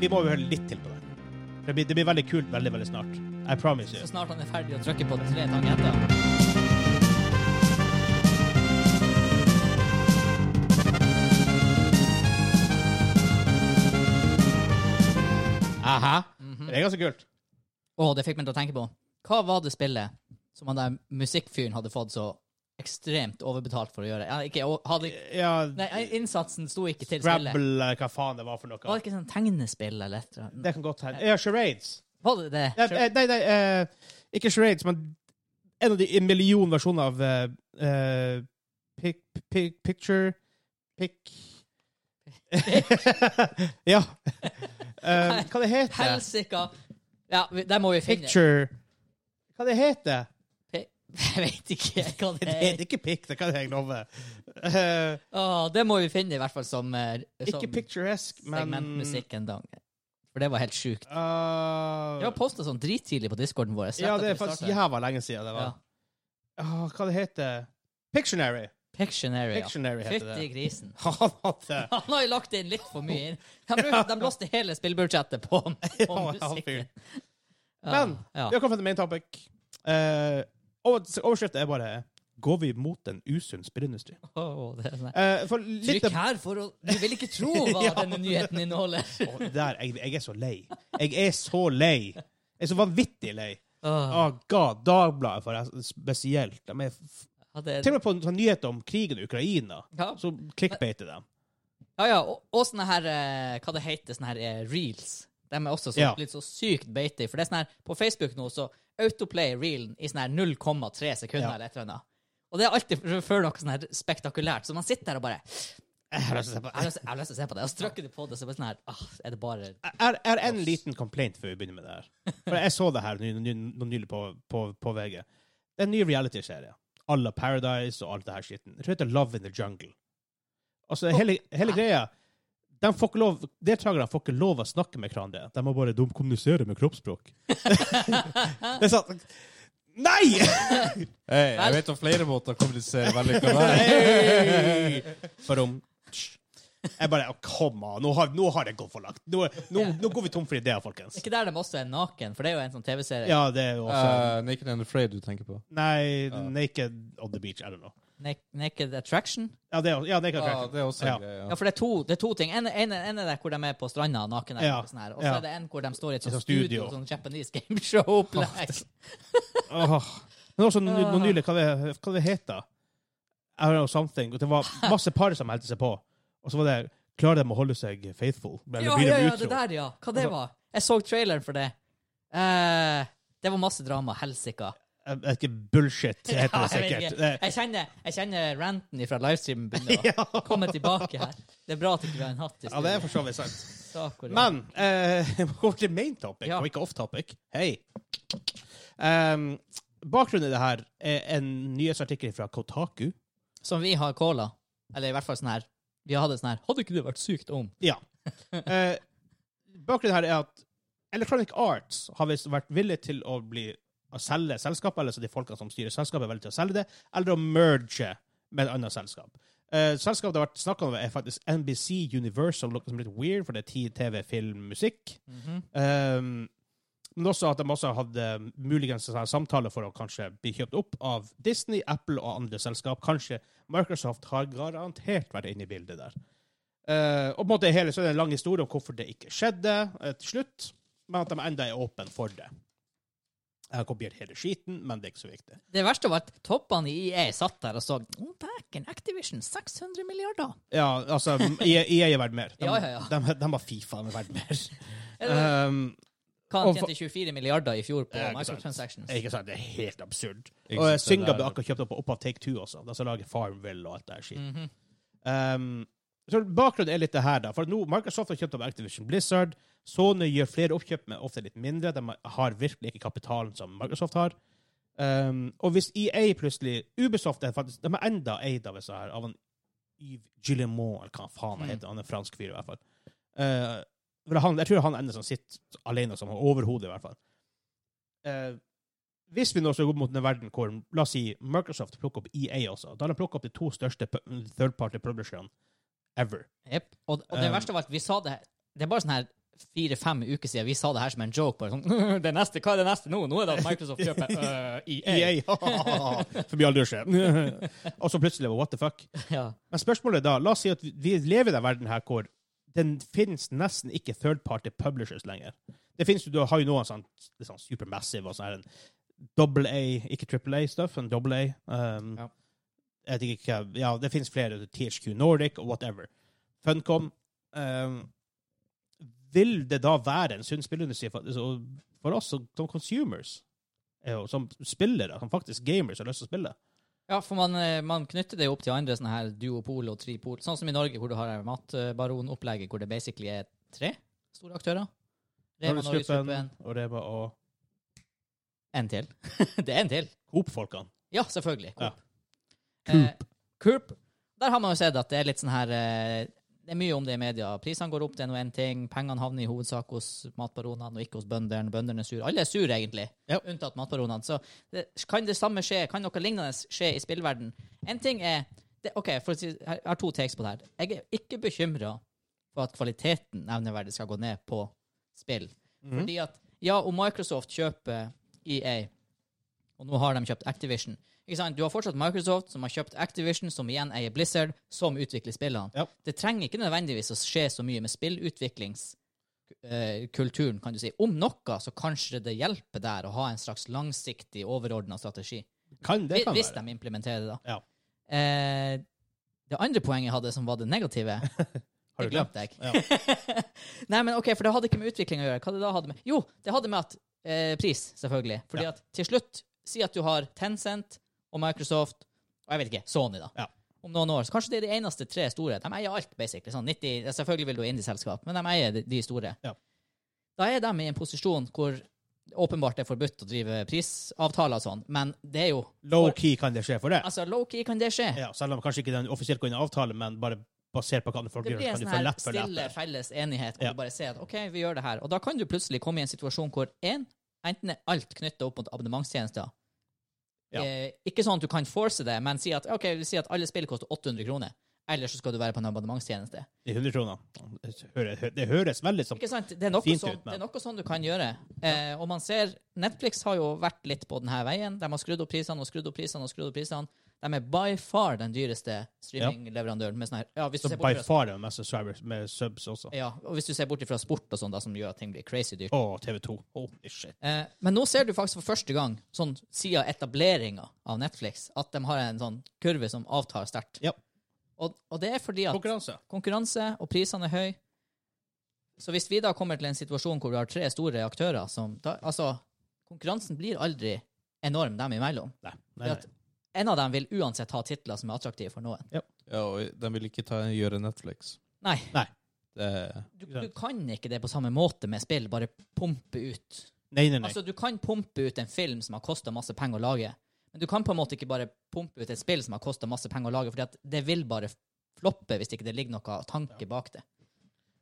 [SPEAKER 2] Vi må jo høre litt til på det. Det blir, det blir veldig kult veldig, veldig snart. I promise
[SPEAKER 3] Så
[SPEAKER 2] you.
[SPEAKER 3] snart han er ferdig å trykke på tre tangenter.
[SPEAKER 2] Aha.
[SPEAKER 3] Mhm.
[SPEAKER 2] Det er ganske kult.
[SPEAKER 3] Å, det fikk meg til å tenke på. Hva var det spillet som han der musikkfyren hadde fått så ekstremt overbetalt for å gjøre? Ja, ikke, og hadde,
[SPEAKER 2] Ja,
[SPEAKER 3] nei, innsatsen sto ikke til spillet.
[SPEAKER 2] Scrabble, eller hva faen det var for noe.
[SPEAKER 3] Var det ikke sånn tegnespill eller et eller annet?
[SPEAKER 2] Det kan godt hende. Ja, charades.
[SPEAKER 3] Var det det?
[SPEAKER 2] Ja, eh, nei, nei, eh, ikke charades, men en av de en million versjoner av eh, eh, pic, pic, Picture Pic Ja. Eh, hva det heter det?
[SPEAKER 3] Helsika! Ja, vi- der må vi finne
[SPEAKER 2] Picture Hva det heter
[SPEAKER 3] Pe- Jeg vet ikke hva det
[SPEAKER 2] det?
[SPEAKER 3] er.
[SPEAKER 2] heter ikke pic, det kan jeg love. Eh,
[SPEAKER 3] Å, det må vi finne, i hvert fall som, eh, som
[SPEAKER 2] ikke picturesque, men
[SPEAKER 3] segmentmusikk en dag. For det var helt sjukt.
[SPEAKER 2] Eh,
[SPEAKER 3] Det var posta sånn drittidlig på discorden vår. rett
[SPEAKER 2] ja, det er
[SPEAKER 3] etter vi
[SPEAKER 2] faktisk
[SPEAKER 3] startet.
[SPEAKER 2] jævla lenge siden det var.
[SPEAKER 3] Ja.
[SPEAKER 2] Ah, hva det heter Pictionary.
[SPEAKER 3] Pictionary. ja.
[SPEAKER 2] Pictionary heter det.
[SPEAKER 3] Fytti grisen.
[SPEAKER 2] Han hadde
[SPEAKER 3] Han har jo lagt inn litt for mye inn. De, brukte, de blåste hele spillbudsjettet på, på
[SPEAKER 2] Ja, han fyren.
[SPEAKER 3] musikken.
[SPEAKER 2] Men
[SPEAKER 3] ja.
[SPEAKER 2] vi har kommet til main topic. Eh, over- overskriften er bare 'Går vi mot en usunn spillindustri'?
[SPEAKER 3] Åh, det er sånn.
[SPEAKER 2] Eh, for litt
[SPEAKER 3] Trykk her for å Du vil ikke tro hva
[SPEAKER 2] Ja.
[SPEAKER 3] denne nyheten inneholder.
[SPEAKER 2] Å, det der, jeg, jeg er så lei. Jeg er så lei. Jeg er så vanvittig lei.
[SPEAKER 3] Åh,
[SPEAKER 2] Oh, God, Dagbladet for spesielt. De er f
[SPEAKER 3] ja, det,
[SPEAKER 2] til og med på en sånn nyhet om krigen i Ukraina,
[SPEAKER 3] ja.
[SPEAKER 2] så clickbaiter de.
[SPEAKER 3] ja, ja. Og, og sånne her eh, Hva det heter sånne her eh, reels. De er også så,
[SPEAKER 2] Ja.
[SPEAKER 3] litt så sykt beite. For det er sånn her På Facebook nå så autoplay reelen i sånn her 0,3 sekunder
[SPEAKER 2] Ja.
[SPEAKER 3] eller et eller annet. Og det er alltid f- før noe sånn her spektakulært. Så man sitter der og bare
[SPEAKER 2] Jeg har lyst til å se på
[SPEAKER 3] Jeg har lyst- jeg har lyst til å se på det. Jeg strøkker det på det, så er det bare sånn her ah, Er det bare
[SPEAKER 2] Jeg jeg har en liten complaint før vi begynner med det her. For jeg så det her ny- ny- nå nylig på, på, på VG. Det er en ny reality-serie. À la Paradise og alt det her skitten. Jeg tror det heter Love in the Jungle. Altså, hele, hele greia de får ikke lov, Deltakerne får ikke lov å snakke med hverandre. De må bare kommunisere med kroppsspråk. det er sant. Nei!
[SPEAKER 4] Hey, jeg vet om flere måter å kommunisere veldig bra
[SPEAKER 2] Hey! For om Jeg bare oh, Kom an, nå har, nå har det gått for langt. Nå, nå, nå går vi tom for ideer, folkens.
[SPEAKER 3] Ikke der de også er naken, for det er jo en sånn TV-serie.
[SPEAKER 2] Ja, det er jo også
[SPEAKER 4] Eh, Naked and Afraid du tenker på.
[SPEAKER 2] Nei, Naked on the beach, I don't know.
[SPEAKER 3] Nak- Naked Attraction.
[SPEAKER 2] Ja, det er, ja, naked
[SPEAKER 4] Ja,
[SPEAKER 2] Attraction.
[SPEAKER 4] det er også en
[SPEAKER 2] Ja.
[SPEAKER 4] greie.
[SPEAKER 3] Ja, for det er to, det er to ting. En, en, en er der hvor de er på stranda naken, eller
[SPEAKER 2] Ja.
[SPEAKER 3] noe sånt her. og så
[SPEAKER 2] Ja.
[SPEAKER 3] er det en hvor de står i et
[SPEAKER 2] I
[SPEAKER 3] sånt
[SPEAKER 2] sånn
[SPEAKER 3] studio,
[SPEAKER 2] studio.
[SPEAKER 3] sånn Japanese gameshow-opplegg.
[SPEAKER 2] Åh. Men også nå
[SPEAKER 3] Ah.
[SPEAKER 2] nå nylig, hva det, hva det heter I don't know, something. Det var masse par som meldte seg på. Og så var det Klarer de å holde seg faithful? Eller
[SPEAKER 3] Ja,
[SPEAKER 2] blir
[SPEAKER 3] ja,
[SPEAKER 2] de
[SPEAKER 3] ja, det
[SPEAKER 2] utro?
[SPEAKER 3] der, ja. Hva
[SPEAKER 2] Altså-
[SPEAKER 3] det var? Jeg så traileren for det. Eh, det var masse drama. Helsika.
[SPEAKER 2] Jeg vet ikke bullshit, heter det
[SPEAKER 3] Ja, jeg vet
[SPEAKER 2] sikkert.
[SPEAKER 3] ikke.
[SPEAKER 2] Det-
[SPEAKER 3] Jeg kjenner, jeg kjenner ranten fra livestreamen begynner å komme tilbake her. Det er bra at ikke vi har en hatt i
[SPEAKER 2] Ja, det er for så vidt sant.
[SPEAKER 3] studio. Men
[SPEAKER 2] Men eh, vi går til main topic,
[SPEAKER 3] Ja.
[SPEAKER 2] og ikke off topic. Hei. Um, bakgrunnen i det her er en nyhetsartikkel fra Kotaku.
[SPEAKER 3] Som vi har cola. Eller i hvert fall sånn her. Vi hadde sånn her Hadde ikke det vært sykt om?
[SPEAKER 2] Ja. Eh, bakgrunnen her er at Electronic Arts har visst vært villig til å, bli, å selge selskapet, eller så de folkene som styrer selskapet, er villige til å selge det, eller å merge med et annet selskap. Eh, selskapet det har vært snakk om, er faktisk NBC Universal, noe som er litt weird, for det er ti TV, film, musikk. Eh, men også at de også hadde muligens en sånn samtale for å kanskje bli kjøpt opp av Disney, Apple og andre selskap. Kanskje Microsoft har garantert vært inne i bildet der. Eh, og på en måte hele, så er det en lang historie om hvorfor det ikke skjedde eh, til slutt, men at de enda er åpne for det. Jeg har kopiert hele skiten, men det er ikke så viktig.
[SPEAKER 3] Det verste var at toppene i EA satt der og så oh, Dæken, Activision, 600 milliarder.
[SPEAKER 2] Ja, altså, EA er verdt mer. De,
[SPEAKER 3] Ja, ja, ja.
[SPEAKER 2] de, de har Fifa de er verdt mer. Um,
[SPEAKER 3] Hva han
[SPEAKER 2] Og
[SPEAKER 3] tjente 24 milliarder i fjor på
[SPEAKER 2] Ja, ikke sant.
[SPEAKER 3] microtransactions?
[SPEAKER 2] ikke sant, det er helt absurd.
[SPEAKER 4] Ikke
[SPEAKER 2] Og
[SPEAKER 4] sant, det
[SPEAKER 2] Synga
[SPEAKER 4] der-
[SPEAKER 2] ble akkurat kjøpt opp, opp av Take Two også, de som lager Farmville og alt det der skiten. Um, så bakgrunnen er litt det her, da. For nå, Microsoft har kjøpt opp Activision Blizzard. Sony gjør flere oppkjøp, men ofte litt mindre. De har virkelig ikke kapitalen som Microsoft har. Um, og hvis EA plutselig Ubisoft er faktisk, de er enda eid av, disse her, av en Yves Gillemont, eller hva faen han heter. Han er en fransk fyr, i hvert fall. Eh, for han, jeg tror han ender som sitter alene som overhodet, i hvert fall. Eh, hvis vi nå skal gå mot en verden hvor la oss si, Microsoft plukker opp EA også, da har de plukket opp de to største pu- third party publisherne ever.
[SPEAKER 3] Jep. Og, og det
[SPEAKER 2] Um,
[SPEAKER 3] verste var at vi sa det Det er bare sånn her fire-fem uker siden vi sa det her som en joke. Bare sånn det neste, Hva er det neste nå? Nå er det at Microsoft kjøper øh, EA.
[SPEAKER 2] EA, Forbi all dusje. og så plutselig, well, what the fuck?
[SPEAKER 3] Ja.
[SPEAKER 2] Men spørsmålet er da, la oss si at vi- vi lever i den verden her hvor den finnes nesten ikke third party publishers lenger. Det finnes jo, du har jo noen sånn, det er sånn supermassive og sånn her, en double A, ikke triple A-stuff, en double A. Um,
[SPEAKER 3] Ja.
[SPEAKER 2] Jeg vet ikke hva, ja, det finnes flere, THQ Nordic og whatever. Funcom. Um, vil det da være en sunn spillindustri for, så- for oss som, som consumers? eh, og Som spillere, som faktisk gamers har lyst til å spille?
[SPEAKER 3] ja, for man, eh, man knytter det jo opp til andre sånne her duopol og tripol. Sånn som i Norge, hvor du har eh, matbaronopplegget, hvor det basically er tre store aktører. Rema, Norgesgruppen,
[SPEAKER 2] Norgesgruppen, og Rema og
[SPEAKER 3] en til. det er en til.
[SPEAKER 2] Coop-folkene.
[SPEAKER 3] Ja, selvfølgelig.
[SPEAKER 2] Ja.
[SPEAKER 3] Coop. Eh, Coop. Der har man jo sett at det er litt sånn her eh, Det er mye om det i media. Prisene går opp, det er nå én ting. Pengene havner i hovedsak hos matbaronene og ikke hos bøndene. Bøndene er sure. Alle er sure, egentlig, unntatt matbaronene. Så det, kan det samme skje? Kan noe lignende skje i spillverden? En ting er det, OK, for å si, jeg har to takes på det her. Jeg er ikke bekymra for at kvaliteten nevneverdig skal gå ned på spill. Fordi at ja, om Microsoft kjøper E EA, og nå har de kjøpt Activision ikke sant? Du har fortsatt Microsoft, som har kjøpt Activision, som igjen eier Blizzard, som utvikler spillene.
[SPEAKER 2] Ja.
[SPEAKER 3] Det trenger ikke nødvendigvis å skje så mye med spillutviklingskulturen, kan du si. Om noe, så kanskje det hjelper der å ha en slags langsiktig, overordna strategi.
[SPEAKER 2] Kan, det kan
[SPEAKER 3] Hvis
[SPEAKER 2] være.
[SPEAKER 3] de implementerer det, da.
[SPEAKER 2] Ja.
[SPEAKER 3] Eh, det andre poenget jeg hadde, som var det negative
[SPEAKER 2] Har
[SPEAKER 3] Det glemte jeg. Nei, men ok, for det hadde ikke med utvikling å gjøre. Hva det da hadde med? Jo, det hadde med at eh, pris, selvfølgelig. Fordi
[SPEAKER 2] Ja.
[SPEAKER 3] at til slutt, si at du har Tencent og Microsoft, og jeg vet ikke, Sony da.
[SPEAKER 2] Ja.
[SPEAKER 3] om noen år. Så kanskje det er de eneste tre store. De eier alt, basically. Sånn 90, ja, selvfølgelig vil du ha indieselskap, men de eier de- de store.
[SPEAKER 2] Ja.
[SPEAKER 3] Da er de i en posisjon hvor det åpenbart er forbudt å drive prisavtaler og sånn, men det er jo
[SPEAKER 2] Low-key kan det skje for det.
[SPEAKER 3] Altså, low-key kan det skje.
[SPEAKER 2] Ja, selv om kanskje ikke den offisielt går inn i avtale, men bare basert på hva du får
[SPEAKER 3] Det
[SPEAKER 2] gjøre,
[SPEAKER 3] blir en
[SPEAKER 2] kan du
[SPEAKER 3] sånn
[SPEAKER 2] få
[SPEAKER 3] her
[SPEAKER 2] lett for
[SPEAKER 3] stille,
[SPEAKER 2] lett.
[SPEAKER 3] felles enighet hvor
[SPEAKER 2] Ja.
[SPEAKER 3] du bare ser at OK, vi gjør det her. Og da kan du plutselig komme i en situasjon hvor en, enten er alt knytta opp mot abonnementstjenester
[SPEAKER 2] Ja.
[SPEAKER 3] eh, Ikke sånn at du kan force det, men si at OK, vi sier at alle spill koster 800 kroner. Eller så skal du være på en abonnementstjeneste.
[SPEAKER 2] De 100 kronene. Det høres- Det høres veldig som
[SPEAKER 3] Ikke sant? Det er noe,
[SPEAKER 2] Fint
[SPEAKER 3] sånn,
[SPEAKER 2] ut, men-
[SPEAKER 3] det er noe sånn du kan gjøre. Eh, og man ser Netflix har jo vært litt på denne veien. De har skrudd opp prisene og skrudd opp prisene og skrudd opp prisene. De er by far den dyreste streamingleverandøren. med sånn her- Ja, hvis du
[SPEAKER 2] som
[SPEAKER 3] ser
[SPEAKER 2] by
[SPEAKER 3] bort fra
[SPEAKER 2] far er mest subscribers med subs også.
[SPEAKER 3] Ja, og hvis du ser bort ifra sport og sånn, da, som gjør at ting blir crazy dyrt.
[SPEAKER 2] Og TV2. Holy shit.
[SPEAKER 3] Eh, men nå ser du faktisk for første gang, sånn siden etableringa av Netflix, at de har en sånn kurve som avtar sterkt.
[SPEAKER 2] Ja.
[SPEAKER 3] Og, og det er fordi at
[SPEAKER 2] Konkurranse.
[SPEAKER 3] konkurranse og prisene er høy. Så hvis vi da kommer til en situasjon hvor du har tre store aktører som da, Altså, konkurransen blir aldri enorm dem imellom.
[SPEAKER 2] Nei. nei,
[SPEAKER 3] For
[SPEAKER 2] nei.
[SPEAKER 3] at en av dem vil uansett ha titler som er attraktive for noen.
[SPEAKER 4] Ja, og de vil ikke ta, gjøre Netflix.
[SPEAKER 3] Nei.
[SPEAKER 4] Det er
[SPEAKER 3] Du, du kan ikke det på samme måte med spill. Bare pumpe ut
[SPEAKER 2] nei, nei, nei.
[SPEAKER 3] Altså, du kan pumpe ut en film som har kosta masse penger å lage, men du kan på en måte ikke bare pumpe ut et spill som har kosta masse penger å lage, for det vil bare floppe hvis ikke det ligger noe tanke bak det.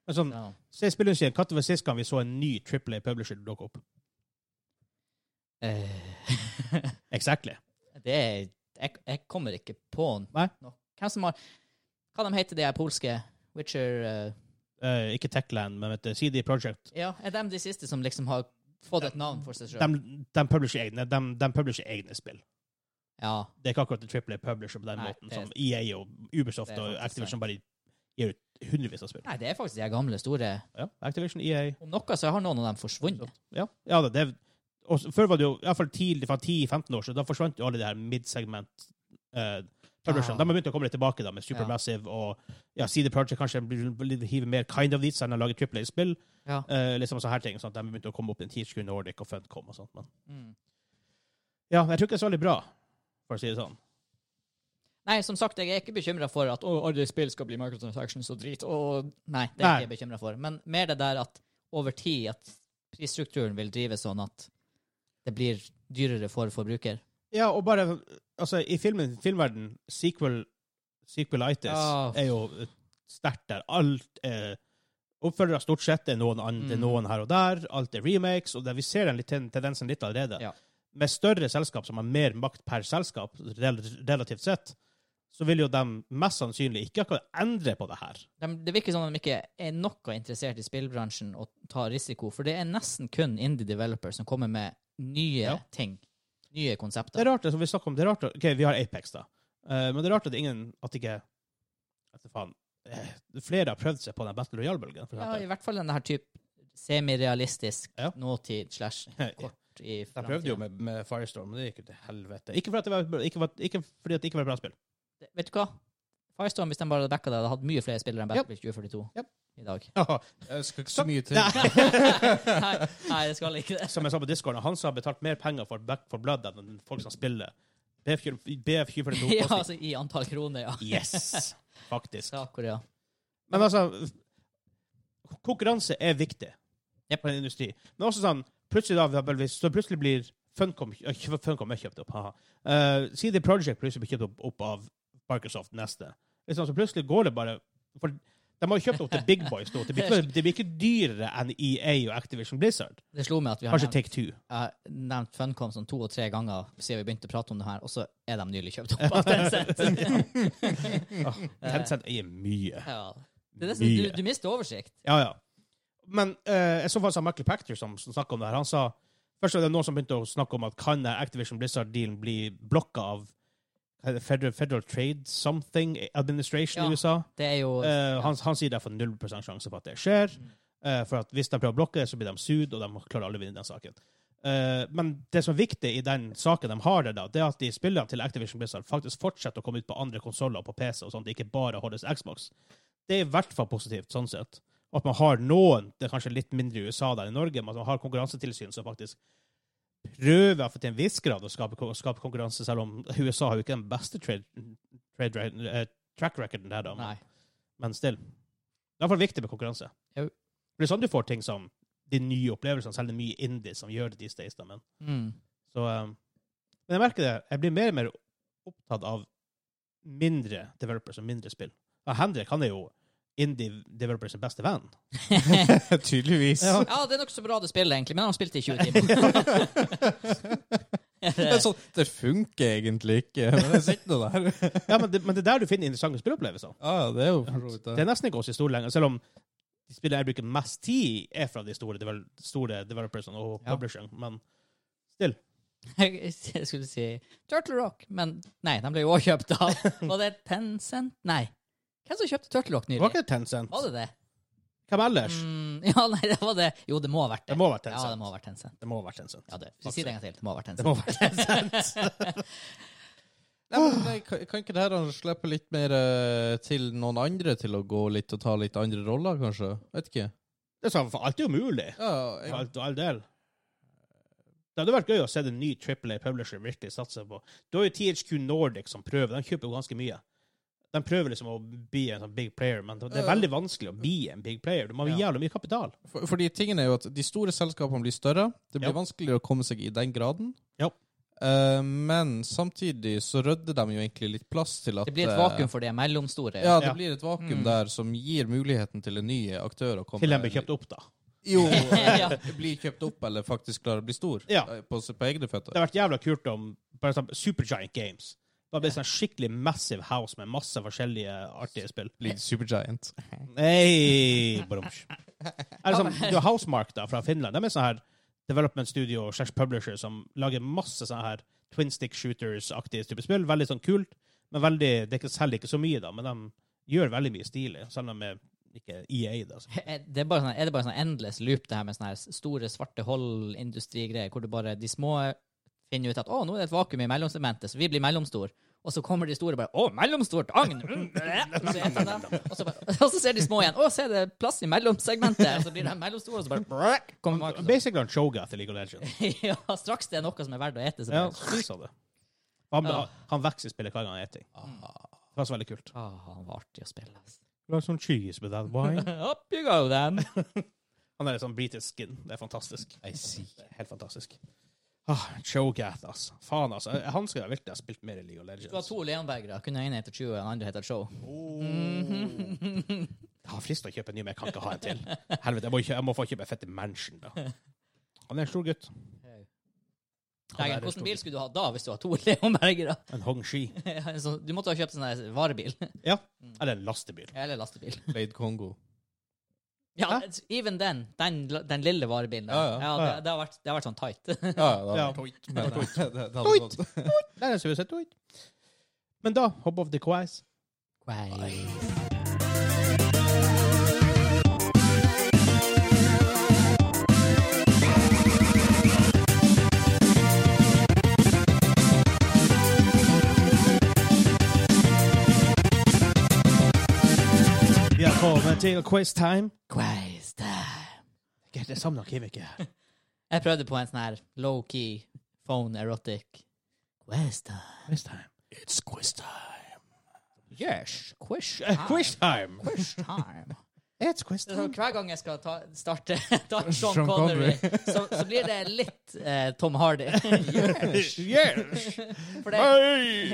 [SPEAKER 2] Men sånn,
[SPEAKER 3] Ja.
[SPEAKER 2] se spillindustrien. Når var sist gang vi så en ny Triple A-publisher dukke opp?
[SPEAKER 3] Eh,
[SPEAKER 2] Exactly.
[SPEAKER 3] det er jeg, jeg kommer ikke på
[SPEAKER 2] Nei.
[SPEAKER 3] noe. Hvem som har Hva de heter de her polske Witcher eh,
[SPEAKER 2] Eh, ikke Techland, men vet du, CD Projekt.
[SPEAKER 3] Ja, er de de siste som liksom har fått et navn for seg sjøl?
[SPEAKER 2] De, de publisher egne, de, de publisher egne spill.
[SPEAKER 3] Ja.
[SPEAKER 2] Det er ikke akkurat en Triple A-publisher på den
[SPEAKER 3] Nei,
[SPEAKER 2] måten,
[SPEAKER 3] det er-
[SPEAKER 2] som EA og Ubisoft
[SPEAKER 3] Det er
[SPEAKER 2] og
[SPEAKER 3] faktisk
[SPEAKER 2] Activision bare gir ut hundrevis av spill.
[SPEAKER 3] Nei, det er faktisk de her gamle, store
[SPEAKER 2] Ja, Activision, EA
[SPEAKER 3] Om noe så har noen av dem forsvunnet.
[SPEAKER 2] Ja, ja det, det og så- Før var det jo i hvert fall tidlig, fra 10-15 år siden, da forsvant jo alle de her midsegment eh, publisherne.
[SPEAKER 3] Ah.
[SPEAKER 2] De har begynt å komme litt tilbake da, med Supermassive og ja, CD Projekt kanskje blir- blir- hiver mer kind of dit enn å lage triple A-spill.
[SPEAKER 3] Ja.
[SPEAKER 2] Eh, liksom sånne her ting. Sånn at de har begynt å komme opp i en THQ Nordic og Funcom og sånt. Men
[SPEAKER 3] Mm.
[SPEAKER 2] ja, jeg tror ikke det er så veldig bra, for å si det sånn.
[SPEAKER 3] Nei, som sagt, jeg er ikke bekymra for at «Å, alle spill skal bli microtransactions og drit. Og... Nei, det er
[SPEAKER 2] Nei.
[SPEAKER 3] ikke jeg bekymra for. Men mer det der at over tid at prisstrukturen vil drive sånn at det blir dyrere for forbruker.
[SPEAKER 2] Ja, og bare Altså, i filmen, filmverden, sequel Sequelitis
[SPEAKER 3] Ah.
[SPEAKER 2] er jo eh, sterkt der. Alt er Oppfølgere stort sett det er noen, an-
[SPEAKER 3] Mm.
[SPEAKER 2] det er noen her og der. Alt er remakes, og det, vi ser den litt, ten- tendensen litt allerede.
[SPEAKER 3] Ja.
[SPEAKER 2] Med større selskap som har mer makt per selskap, rel relativt sett, så vil jo de mest sannsynlig ikke akkurat endre på det her.
[SPEAKER 3] De, det virker sånn at de ikke er noe interessert i spillbransjen og tar risiko, for det er nesten kun indie developers som kommer med nye
[SPEAKER 2] Ja.
[SPEAKER 3] ting. Nye
[SPEAKER 2] Det
[SPEAKER 3] konsepter.
[SPEAKER 2] er rart, det som vi snakker om, det er rart, å- ok, vi har Apex da, Eh, men det er rart at ingen, at ikke, vet du faen, eh, flere har prøvd seg på den Battle Royale-bølgen, for
[SPEAKER 3] Ja,
[SPEAKER 2] eksempel.
[SPEAKER 3] I hvert fall denne her type semirealistisk
[SPEAKER 2] Ja.
[SPEAKER 3] nåtid slash kort i
[SPEAKER 2] De prøvde jo
[SPEAKER 3] fremtiden.
[SPEAKER 2] med, med Firestorm, men det gikk jo til helvete. Ikke, for at det var, ikke, for at, ikke fordi at det ikke var et bra spill.
[SPEAKER 3] Det- Vet du hva? Firestorm, hvis de bare hadde backa deg, hadde hatt mye flere spillere enn Battlefield 2042
[SPEAKER 2] Yep.
[SPEAKER 3] i dag.
[SPEAKER 4] Jeg skal ikke så mye til.
[SPEAKER 3] Nei, nei, det skal ikke det.
[SPEAKER 2] Som jeg sa på Discord, han som har betalt mer penger for Back for Blood enn folk som spiller BF442.
[SPEAKER 3] Ja, altså I antall kroner, ja.
[SPEAKER 2] Yes! Faktisk.
[SPEAKER 3] Saker, ja.
[SPEAKER 2] Men altså, konkurranse er viktig
[SPEAKER 3] Yep.
[SPEAKER 2] for en industri. Men også sånn, plutselig da, vi har bare- så plutselig blir Funcom, øh, ikke Funcom er kjøpt opp, haha. Eh, CD Projekt plutselig blir kjøpt opp, opp av Microsoft neste. Liksom, så plutselig går det bare, for de har jo kjøpt opp til Big Boys nå. Det blir, ikke, det blir ikke dyrere enn EA og Activision Blizzard.
[SPEAKER 3] Det slo meg at vi har
[SPEAKER 2] Kanskje
[SPEAKER 3] nevnt,
[SPEAKER 2] Take Two.
[SPEAKER 3] jeg har nevnt Funcom sånn to og tre ganger siden vi begynte å prate om det her, og så er de nylig kjøpt opp av Tencent.
[SPEAKER 2] Tencent eier mye.
[SPEAKER 3] ja. Det er det som, du, du mister oversikt.
[SPEAKER 2] Ja, ja. Men eh, jeg så faktisk han Michael Pachter som, som snakket om det her. Han sa Først var det noen som begynte å snakke om at kan den Activision Blizzard-dealen bli blokka av hva heter det, Federal, Federal Trade Something Administration
[SPEAKER 3] Ja.
[SPEAKER 2] i USA?
[SPEAKER 3] Det er jo
[SPEAKER 2] Eh, han, han sier det er for 0 sjanse for at det skjer. Eh, for at hvis de prøver å blokke det, så blir de sued, og de klarer aldri å vinne den saken. Eh, men det som er viktig i den saken de har der, da, det er at de spillerne til Activision Blizzard faktisk fortsetter å komme ut på andre konsoller og på PC, og sånt, det ikke bare holdes Xbox. Det er i hvert fall positivt, sånn sett. At man har noen, det er kanskje litt mindre i USA der i Norge, men at man har konkurransetilsyn som faktisk prøver for til en viss grad å skape, skape konkurranse, selv om USA har jo ikke den beste trade, trade, ra- eh, track recorden der, da. Men,
[SPEAKER 3] Nei.
[SPEAKER 2] men still. Det er iallfall viktig med konkurranse.
[SPEAKER 3] Jo.
[SPEAKER 2] For det er sånn du får ting som de nye opplevelsene, selv om det er mye indie som gjør det these days. Da, men.
[SPEAKER 3] Mm.
[SPEAKER 2] Så, eh, men jeg merker det. Jeg blir mer og mer opptatt av mindre developers og mindre spill. Ja, Henrik han er jo indie developers sin beste venn.
[SPEAKER 4] Tydeligvis.
[SPEAKER 2] Ja.
[SPEAKER 3] Ja, det er nok så bra det spillet, egentlig, men han har spilt det i 20 timer.
[SPEAKER 4] Det, er sånn, det funker egentlig ikke, men det sitter nå der.
[SPEAKER 2] Ja, men det, men det er der du finner interessante spillopplevelser.
[SPEAKER 4] Ja, ja, det er jo for så vidt
[SPEAKER 2] Det
[SPEAKER 4] det.
[SPEAKER 2] er nesten ikke oss i store lenger, selv om de spillene jeg bruker mest tid i, er fra de store, devel store developersene og
[SPEAKER 3] Ja.
[SPEAKER 2] publishing. Men
[SPEAKER 3] Jeg skulle si Turtle Rock, men nei, de ble jo også kjøpt av Var det Tencent? Nei. Hvem som kjøpte Turtle Rock
[SPEAKER 2] det var
[SPEAKER 3] nylig?
[SPEAKER 2] ikke Tencent.
[SPEAKER 3] Var det det?
[SPEAKER 2] Hvem ellers?
[SPEAKER 3] Mm, ja, nei, det var det. Jo, det må ha vært det.
[SPEAKER 2] Det må være
[SPEAKER 3] Ja, det
[SPEAKER 2] Tencent.
[SPEAKER 3] må ha vært Tencent.
[SPEAKER 2] Det må være Tencent.
[SPEAKER 3] Ja, det. Si det en gang til. Det må ha vært
[SPEAKER 2] Det
[SPEAKER 3] Tencent.
[SPEAKER 2] må være Tencent.
[SPEAKER 4] Nei, men nei, kan, kan ikke det her han slippe litt mer eh, til noen andre til å gå litt og ta litt andre roller, kanskje? Vet ikke.
[SPEAKER 2] Det er sånn, for alt er jo mulig.
[SPEAKER 4] Ja,
[SPEAKER 2] For
[SPEAKER 4] jeg,
[SPEAKER 2] Alt og all del. Det hadde vært gøy å se en ny AAA publisher virkelig satse på. Du har jo THQ Nordic som prøver. De kjøper jo ganske mye. De prøver liksom å bli en sånn big player, men det er veldig vanskelig å bli en big player. Du må ha jævlig mye kapital.
[SPEAKER 4] for, fordi tingen er jo at de store selskapene blir større. Det blir
[SPEAKER 2] Ja.
[SPEAKER 4] vanskeligere å komme seg i den graden.
[SPEAKER 2] Ja.
[SPEAKER 4] Eh, men samtidig så rydder de jo egentlig litt plass til at
[SPEAKER 3] Det blir et
[SPEAKER 4] eh,
[SPEAKER 3] vakuum for de mellomstore.
[SPEAKER 4] Ja, det
[SPEAKER 2] Ja.
[SPEAKER 4] blir et vakuum
[SPEAKER 3] Mm.
[SPEAKER 4] der som gir muligheten til en ny aktør å komme
[SPEAKER 2] Til de blir kjøpt opp, da.
[SPEAKER 4] Jo, eh,
[SPEAKER 3] Ja.
[SPEAKER 4] blir kjøpt opp eller faktisk klarer å bli stor
[SPEAKER 2] Ja.
[SPEAKER 4] eh, på, på egne
[SPEAKER 2] Det
[SPEAKER 4] føtter.
[SPEAKER 2] hadde vært jævla kult om bare sånn Supergiant Games. Da blir det sånn skikkelig massive house med masse forskjellige artige spill.
[SPEAKER 4] Blir supergiant.
[SPEAKER 2] Nei! Brumsj. Er det sånn, du har Housemark da, fra Finland. De er sånn her development studio slash publisher som lager masse sånne her twin stick shooters-aktige type spill. Veldig sånn kult, men veldig, det er ikke- selger ikke så mye, da. Men de gjør veldig mye stilig, selv om de er ikke EA, da. Så.
[SPEAKER 3] Er det bare sånn, er det bare sånn endless loop, det her med sånne her store svarte hull-industrigreier, hvor du bare de små eh, finner ut at å, nå er det et vakuum i mellomsegmentet, så vi blir mellomstor. Og så kommer de store og bare å, mellomstort agn! Mm, blæ!» Og så spiser de dem. Og så bare- og så ser de små igjen. Å, se, det er plass i mellomsegmentet! Og så blir de mellomstore, og så bare blæ, kommer Marcus.
[SPEAKER 2] Basically en Shogat i League of Legends.
[SPEAKER 3] og- Ja, straks det er noe som er verdt å ete, så
[SPEAKER 2] Ja,
[SPEAKER 3] bare
[SPEAKER 2] vi sa det. Han,
[SPEAKER 3] Ja.
[SPEAKER 2] han vokser i spillet hver gang han spiser. Det var så veldig kult.
[SPEAKER 3] Å, han var artig å spille, altså.
[SPEAKER 2] Like some sånn cheese with that wine.
[SPEAKER 3] Up you go, then.
[SPEAKER 2] Han er litt sånn britisk skin. Det er fantastisk.
[SPEAKER 4] I see.
[SPEAKER 2] Det er Helt fantastisk. Ah, Cho'Gath, altså. Faen, altså. Han skulle jeg virkelig ha spilt mer i League of
[SPEAKER 3] Du har
[SPEAKER 2] Legends.
[SPEAKER 3] to Leonbergere. Kunne ene hete Chew, og den andre heter Show.
[SPEAKER 2] Jeg har frist til å kjøpe en ny, men jeg kan ikke ha en til. Helvete, jeg må, kjø jeg må få kjøpe en fette mansion, da. Han er en stor gutt. Han er en stor
[SPEAKER 3] Hvilken bil
[SPEAKER 2] gutt.
[SPEAKER 3] skulle du ha da, hvis du har to Leonbergere?
[SPEAKER 2] En Hongshi.
[SPEAKER 3] Ja, en sånn- Du måtte ha kjøpt sånn her varebil.
[SPEAKER 2] Ja. Eller en lastebil.
[SPEAKER 3] Eller lastebil.
[SPEAKER 4] Blade Kongo.
[SPEAKER 3] Ja, even den. Den, den lille varebilen. der.
[SPEAKER 4] Ja, ja.
[SPEAKER 2] Ja, ja.
[SPEAKER 3] det, det, har vært, det har vært sånn tight.
[SPEAKER 4] Ja, ja, det
[SPEAKER 2] Ja.
[SPEAKER 4] hadde vært men, eh, det- det hadde
[SPEAKER 2] Toit.
[SPEAKER 4] gått.
[SPEAKER 2] Det er det som vi har sett ut. Men da, hopp off the quiz. Vi har kommet til quiz time.
[SPEAKER 3] Quiz time.
[SPEAKER 2] Det savner Kivik her.
[SPEAKER 3] Jeg prøvde på en sånn her low-key phone erotic quiz time.
[SPEAKER 2] Quiz time.
[SPEAKER 4] It's quiz time.
[SPEAKER 3] Yes, quiz
[SPEAKER 2] Eh, Quiz time!
[SPEAKER 3] Quiz time.
[SPEAKER 2] It's quiz
[SPEAKER 3] Det er sånn,
[SPEAKER 2] time.
[SPEAKER 3] hver gang jeg skal ta, starte ta Sean,
[SPEAKER 4] Sean
[SPEAKER 3] Connery,
[SPEAKER 4] Connery.
[SPEAKER 3] så, så blir det litt eh, Tom Hardy. yes! For det,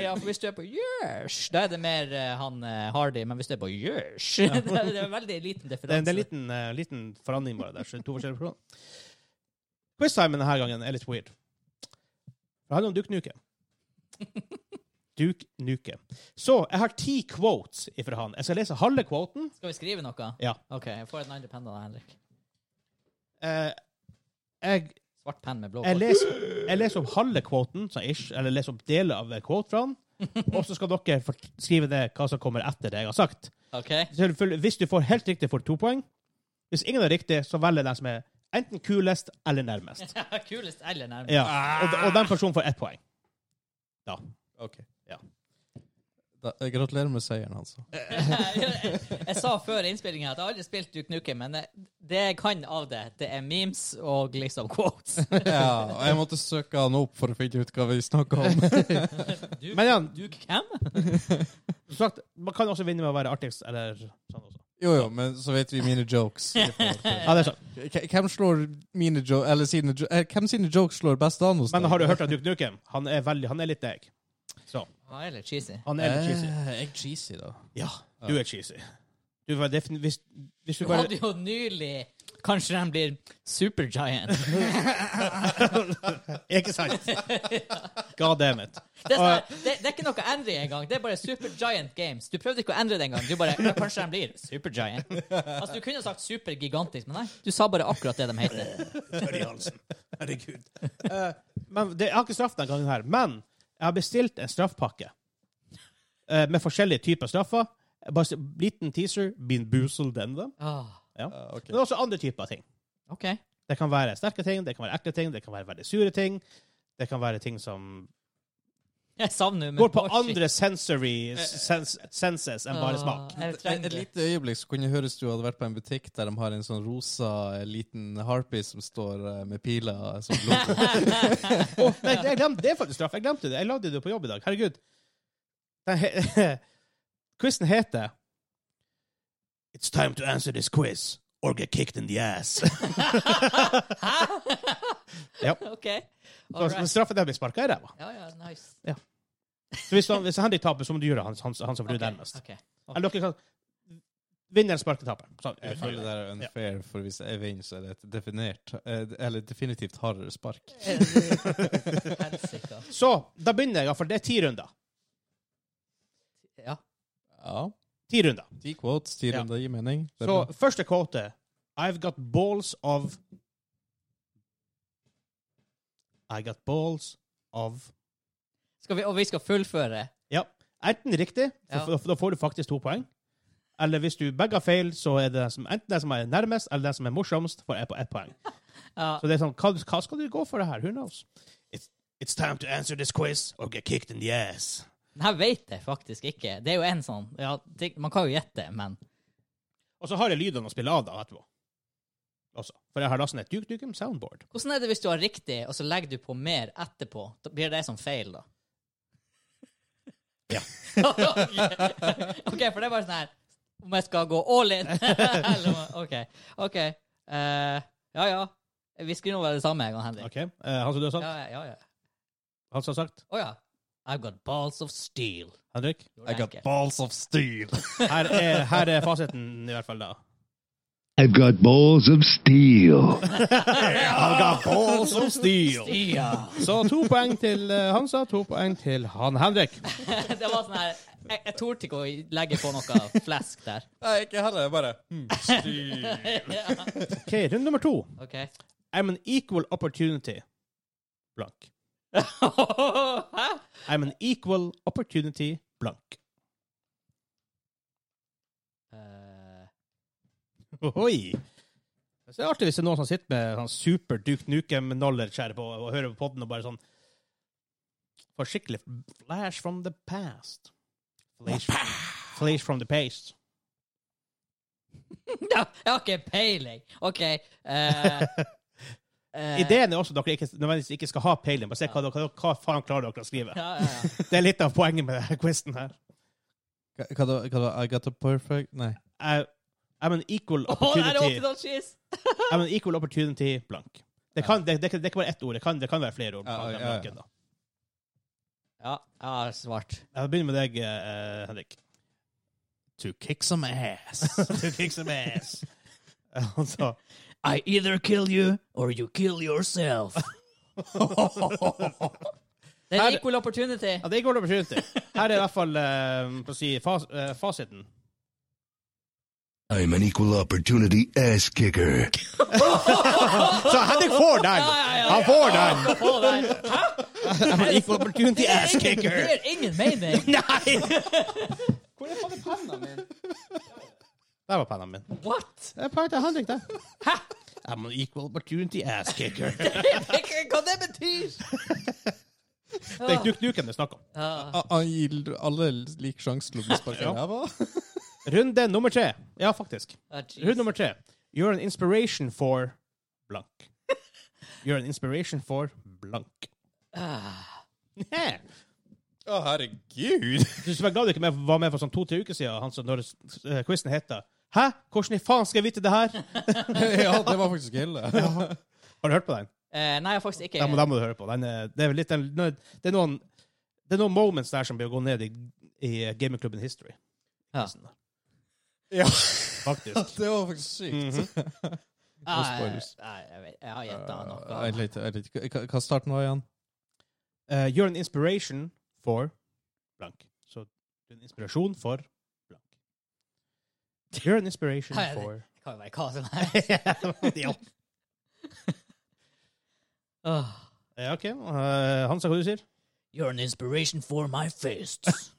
[SPEAKER 3] ja, for hvis du er på yes, da er det mer eh, han eh, Hardy, men hvis du er på yes, det, er, det er veldig liten
[SPEAKER 2] Det er, det er en
[SPEAKER 3] differanse.
[SPEAKER 2] liten, eh, liten forandring bare der. så to forskjellige program. Quiztimen denne gangen er litt weird. Det handler om Duke Nuke. Duke Nuke. Så jeg har ti quotes ifra han. Jeg skal lese halve quoten.
[SPEAKER 3] Skal vi skrive noe?
[SPEAKER 2] Ja.
[SPEAKER 3] OK, jeg får en andre penn da, Henrik.
[SPEAKER 2] Eh, jeg,
[SPEAKER 3] Svart penn med blå
[SPEAKER 2] jeg,
[SPEAKER 3] kort.
[SPEAKER 2] leser, jeg leser opp halve quoten, sånn ish, eller leser opp deler av en quote fra han. Og så skal dere fort- skrive ned hva som kommer etter det jeg har sagt.
[SPEAKER 3] OK?
[SPEAKER 2] Selvfølgelig, Hvis du får helt riktig, får du to poeng. Hvis ingen er riktig, så velger den som er enten kulest eller nærmest.
[SPEAKER 3] Kulest eller nærmest.
[SPEAKER 2] Ja. Og, og den personen får ett poeng. Ja.
[SPEAKER 4] Ok.
[SPEAKER 2] Ja.
[SPEAKER 4] Da, eh, gratulerer med seieren, altså.
[SPEAKER 3] jeg, jeg sa før innspillingen at jeg har aldri spilt Duke Nukem, men eh, det jeg kan av det, det er memes og liksom quotes.
[SPEAKER 4] Ja, og jeg måtte søke han opp for å finne ut hva vi snakka om.
[SPEAKER 2] Men ja,
[SPEAKER 3] Duke Cam?
[SPEAKER 2] Som sagt, man kan også vinne med å være artigst, eller sånn også.
[SPEAKER 4] Jo, jo, men så vet vi mine jokes. i forhold til-
[SPEAKER 2] Ja, det er sant.
[SPEAKER 4] K- Hvem slår mine jo Eller sine jo eh, Hvem sine jokes slår best an hos
[SPEAKER 2] Men
[SPEAKER 4] deg?
[SPEAKER 2] har du hørt av Duke Nukem? Han er, veldig, han er litt deg. Så,
[SPEAKER 3] Han er litt cheesy.
[SPEAKER 2] han er litt cheesy.
[SPEAKER 4] Eh, jeg er cheesy, da.
[SPEAKER 2] Ja, du er cheesy. Du var defin- hvis, hvis du
[SPEAKER 3] Du
[SPEAKER 2] bare
[SPEAKER 3] hadde jo nylig Kanskje de blir supergiant.
[SPEAKER 2] Ikke sant? God damn it.
[SPEAKER 3] Det er, sånn, her, det, det er ikke noe å endre engang. Det er bare supergiant games. Du prøvde ikke å endre det engang. Du bare «Ja, Kanskje de blir supergiant. Altså, du kunne sagt supergigantisk, men nei. Du sa bare akkurat det de heter.
[SPEAKER 2] Tørr i halsen. Herregud. Eh, men det, jeg har ikke straff denne gangen her. Men jeg har bestilt en straffpakke eh, med forskjellige typer straffer. Bare se- liten teaser, been boozled in them.
[SPEAKER 3] Ah,
[SPEAKER 4] Eh, ok.
[SPEAKER 2] Men også andre typer ting.
[SPEAKER 3] OK.
[SPEAKER 2] Det kan være sterke ting, det kan være ekle ting, det kan være veldig sure ting. Det kan være ting som
[SPEAKER 3] Jeg savner
[SPEAKER 2] går på andre sensory s- sens, senses enn bare smak.
[SPEAKER 3] Jeg
[SPEAKER 4] Et,
[SPEAKER 3] trenger Ah,
[SPEAKER 4] et
[SPEAKER 3] det.
[SPEAKER 4] lite øyeblikk så kunne det høres du hadde vært på en butikk der de har en sånn rosa eh, liten harpy som står eh, med piler eh, som logo.
[SPEAKER 2] Å, nei, jeg glemte, det er faktisk straff. Jeg glemte det. Jeg lagde det på jobb i dag. Herregud. Den he- Quizen heter It's time to answer this quiz or get kicked in the ass.
[SPEAKER 3] OK.
[SPEAKER 2] Så
[SPEAKER 3] All right.
[SPEAKER 2] straffen der blir sparka i ræva.
[SPEAKER 3] Ja, ja, nice.
[SPEAKER 2] Så Hvis, han- hvis Henrik taper, så må du gjøre han, han, han som blir
[SPEAKER 3] Ok,
[SPEAKER 2] nærmest.
[SPEAKER 3] ok.
[SPEAKER 2] Eller dere kan Vinneren sparker taperen. Sånn.
[SPEAKER 4] Jeg føler det er unfair, for hvis jeg vinner, så er det et definert eh, Eller definitivt hardere spark.
[SPEAKER 3] Helsike.
[SPEAKER 2] Så da begynner jeg, for det er ti runder.
[SPEAKER 3] Ja.
[SPEAKER 4] Ja.
[SPEAKER 2] Ti runder.
[SPEAKER 4] Ti quotes, ti
[SPEAKER 2] Ja.
[SPEAKER 4] runder, gir mening. Det er
[SPEAKER 2] Så
[SPEAKER 4] bra.
[SPEAKER 2] første quote er I've got balls of I got balls of
[SPEAKER 3] Skal vi, og vi skal fullføre.
[SPEAKER 2] Ja. Enten riktig,
[SPEAKER 3] Ja.
[SPEAKER 2] for, for, da får du faktisk to poeng. Eller hvis du begge har feil, så er det den som, enten den som er nærmest, eller den som er morsomst, får ett ett poeng.
[SPEAKER 3] Ja.
[SPEAKER 2] Så det er sånn, hva, hva skal du gå for det her? Who knows? It's, it's time to answer this quiz or get kicked in the ass.
[SPEAKER 3] Den her vet jeg faktisk ikke. Det er jo en sånn ja, det, Man kan jo gjette, men
[SPEAKER 2] Og så har jeg lydene å spille av da etterpå. Også. For jeg har lastet ned et Duke Nukem soundboard.
[SPEAKER 3] Hvordan er det hvis du har riktig, og så legger du på mer etterpå? Da blir det som feil, da?
[SPEAKER 2] Ja.
[SPEAKER 3] OK, for det er bare sånn her Om jeg skal gå all in? Eller om- OK. ok. Eh, ja, ja. Vi skulle nå være det samme, jeg og Henrik.
[SPEAKER 2] Ok, eh, Han som du har sagt?
[SPEAKER 3] Ja, ja, ja, ja.
[SPEAKER 2] Han som har sagt?
[SPEAKER 3] Å ja. I've got balls of steel.
[SPEAKER 2] Henrik?
[SPEAKER 3] Jo,
[SPEAKER 4] I
[SPEAKER 3] det er
[SPEAKER 4] got
[SPEAKER 3] enkelt.
[SPEAKER 4] balls of steel.
[SPEAKER 2] Her er, her er fasiten, i hvert fall da.
[SPEAKER 1] I've got balls of steel.
[SPEAKER 2] I've got balls of steel.
[SPEAKER 3] Ja.
[SPEAKER 2] Så to poeng til eh, Hansa, to poeng til han Henrik.
[SPEAKER 3] Det var sånn her Jeg, jeg torde ikke å legge på noe flesk der.
[SPEAKER 4] Nei, ikke heller. Jeg bare hmm.
[SPEAKER 2] Ok, Runde nummer to.
[SPEAKER 3] OK.
[SPEAKER 2] I'm an equal opportunity blank.
[SPEAKER 3] Hæ?
[SPEAKER 2] I'm an equal opportunity blank.
[SPEAKER 3] Eh,
[SPEAKER 2] Ohoi. Så det er artig hvis det er noen som sitter med sånn super Duke Nukem-knowledge her på, og hører på podden og bare sånn Får skikkelig flash from the past. Flash, flash from the past.
[SPEAKER 3] ja, jeg har ikke peiling. OK. eh, eh,
[SPEAKER 2] Ideen er også at dere ikke, nødvendigvis ikke skal ha peiling, bare se hva, dere- hva faen klarer dere å skrive.
[SPEAKER 3] ja, ja, ja.
[SPEAKER 2] Det er litt av poenget med denne quizen her.
[SPEAKER 4] Hva hva da? hva da? I got a perfect Nei.
[SPEAKER 2] I, I'm an equal
[SPEAKER 3] Å, der er
[SPEAKER 2] opportunity
[SPEAKER 3] åttidolls cheese!
[SPEAKER 2] I'm an equal opportunity blank. Det, kan, det, det, kan- det er ikke bare ett ord, det kan, det kan være flere ord.
[SPEAKER 4] Ja,
[SPEAKER 2] blant den
[SPEAKER 4] ja, ja.
[SPEAKER 2] blanken, da.
[SPEAKER 3] Ja, jeg har svart.
[SPEAKER 2] Jeg begynner med deg, eh, Henrik.
[SPEAKER 4] To kick some ass.
[SPEAKER 2] to kick some ass. Han sa
[SPEAKER 5] I either kill you, or you kill yourself.
[SPEAKER 3] Det er
[SPEAKER 2] Her-
[SPEAKER 3] en equal opportunity.
[SPEAKER 2] Ja, det går det å beskytte. Her er i hvert fall eh, på å si, fas, eh, fasiten.
[SPEAKER 1] I'm an equal opportunity ass kicker.
[SPEAKER 2] Så Henrik får den! Han får den!
[SPEAKER 3] Å, der. Hæ?
[SPEAKER 2] I'm an equal opportunity ass
[SPEAKER 3] Det
[SPEAKER 2] kicker.
[SPEAKER 3] gir ingen mening!
[SPEAKER 2] Nei! Hvor er faen penna min? Der var penna min.
[SPEAKER 3] What?
[SPEAKER 2] Det er poeng til Henrik, det. I'm an equal opportunity ass kicker.
[SPEAKER 3] Hva det betyr?
[SPEAKER 2] Det er Duke Nukem det er snakk om.
[SPEAKER 4] Han gir alle lik sjanse til å bli sparket i
[SPEAKER 2] Ja.
[SPEAKER 4] ræva.
[SPEAKER 2] Runde nummer tre. Ja, faktisk.
[SPEAKER 3] Ah, jeez.
[SPEAKER 2] Runde nummer tre. You're an inspiration for blank.
[SPEAKER 3] Ah.
[SPEAKER 2] You're an inspiration for blank. Yeah.
[SPEAKER 4] Å, herregud!
[SPEAKER 2] Du er glad du ikke med- var med for sånn to-tre uker siden, han som når eh, quizen heter Hæ? Hvordan i faen skal jeg vite det her?
[SPEAKER 4] ja, det var faktisk ille.
[SPEAKER 2] Har du hørt på den?
[SPEAKER 3] Eh, nei, jeg har faktisk ikke.
[SPEAKER 2] Da må, da må du høre på. Den er, det, er vel litt, den, det, er noen, det er noen moments der som blir å gå ned i, i gamingklubben history.
[SPEAKER 3] Ja.
[SPEAKER 4] Ja,
[SPEAKER 2] Faktisk.
[SPEAKER 4] det var faktisk sykt.
[SPEAKER 3] Ah,
[SPEAKER 4] Nå spoilers.
[SPEAKER 3] Nei, jeg, vet, jeg har gjetta
[SPEAKER 2] Uh,
[SPEAKER 3] noe.
[SPEAKER 4] Vent litt, vent litt. Hva- Hva starten var igjen?
[SPEAKER 2] Eh, you're an inspiration for blank. Så du er en inspirasjon for blank. You're an inspiration
[SPEAKER 3] Nei, det-
[SPEAKER 2] for
[SPEAKER 3] Det kan jo være hva som helst.
[SPEAKER 2] Ja.
[SPEAKER 3] Åh.
[SPEAKER 2] Eh, OK. Eh, Hansa, hva du sier
[SPEAKER 5] You're an inspiration for my fists.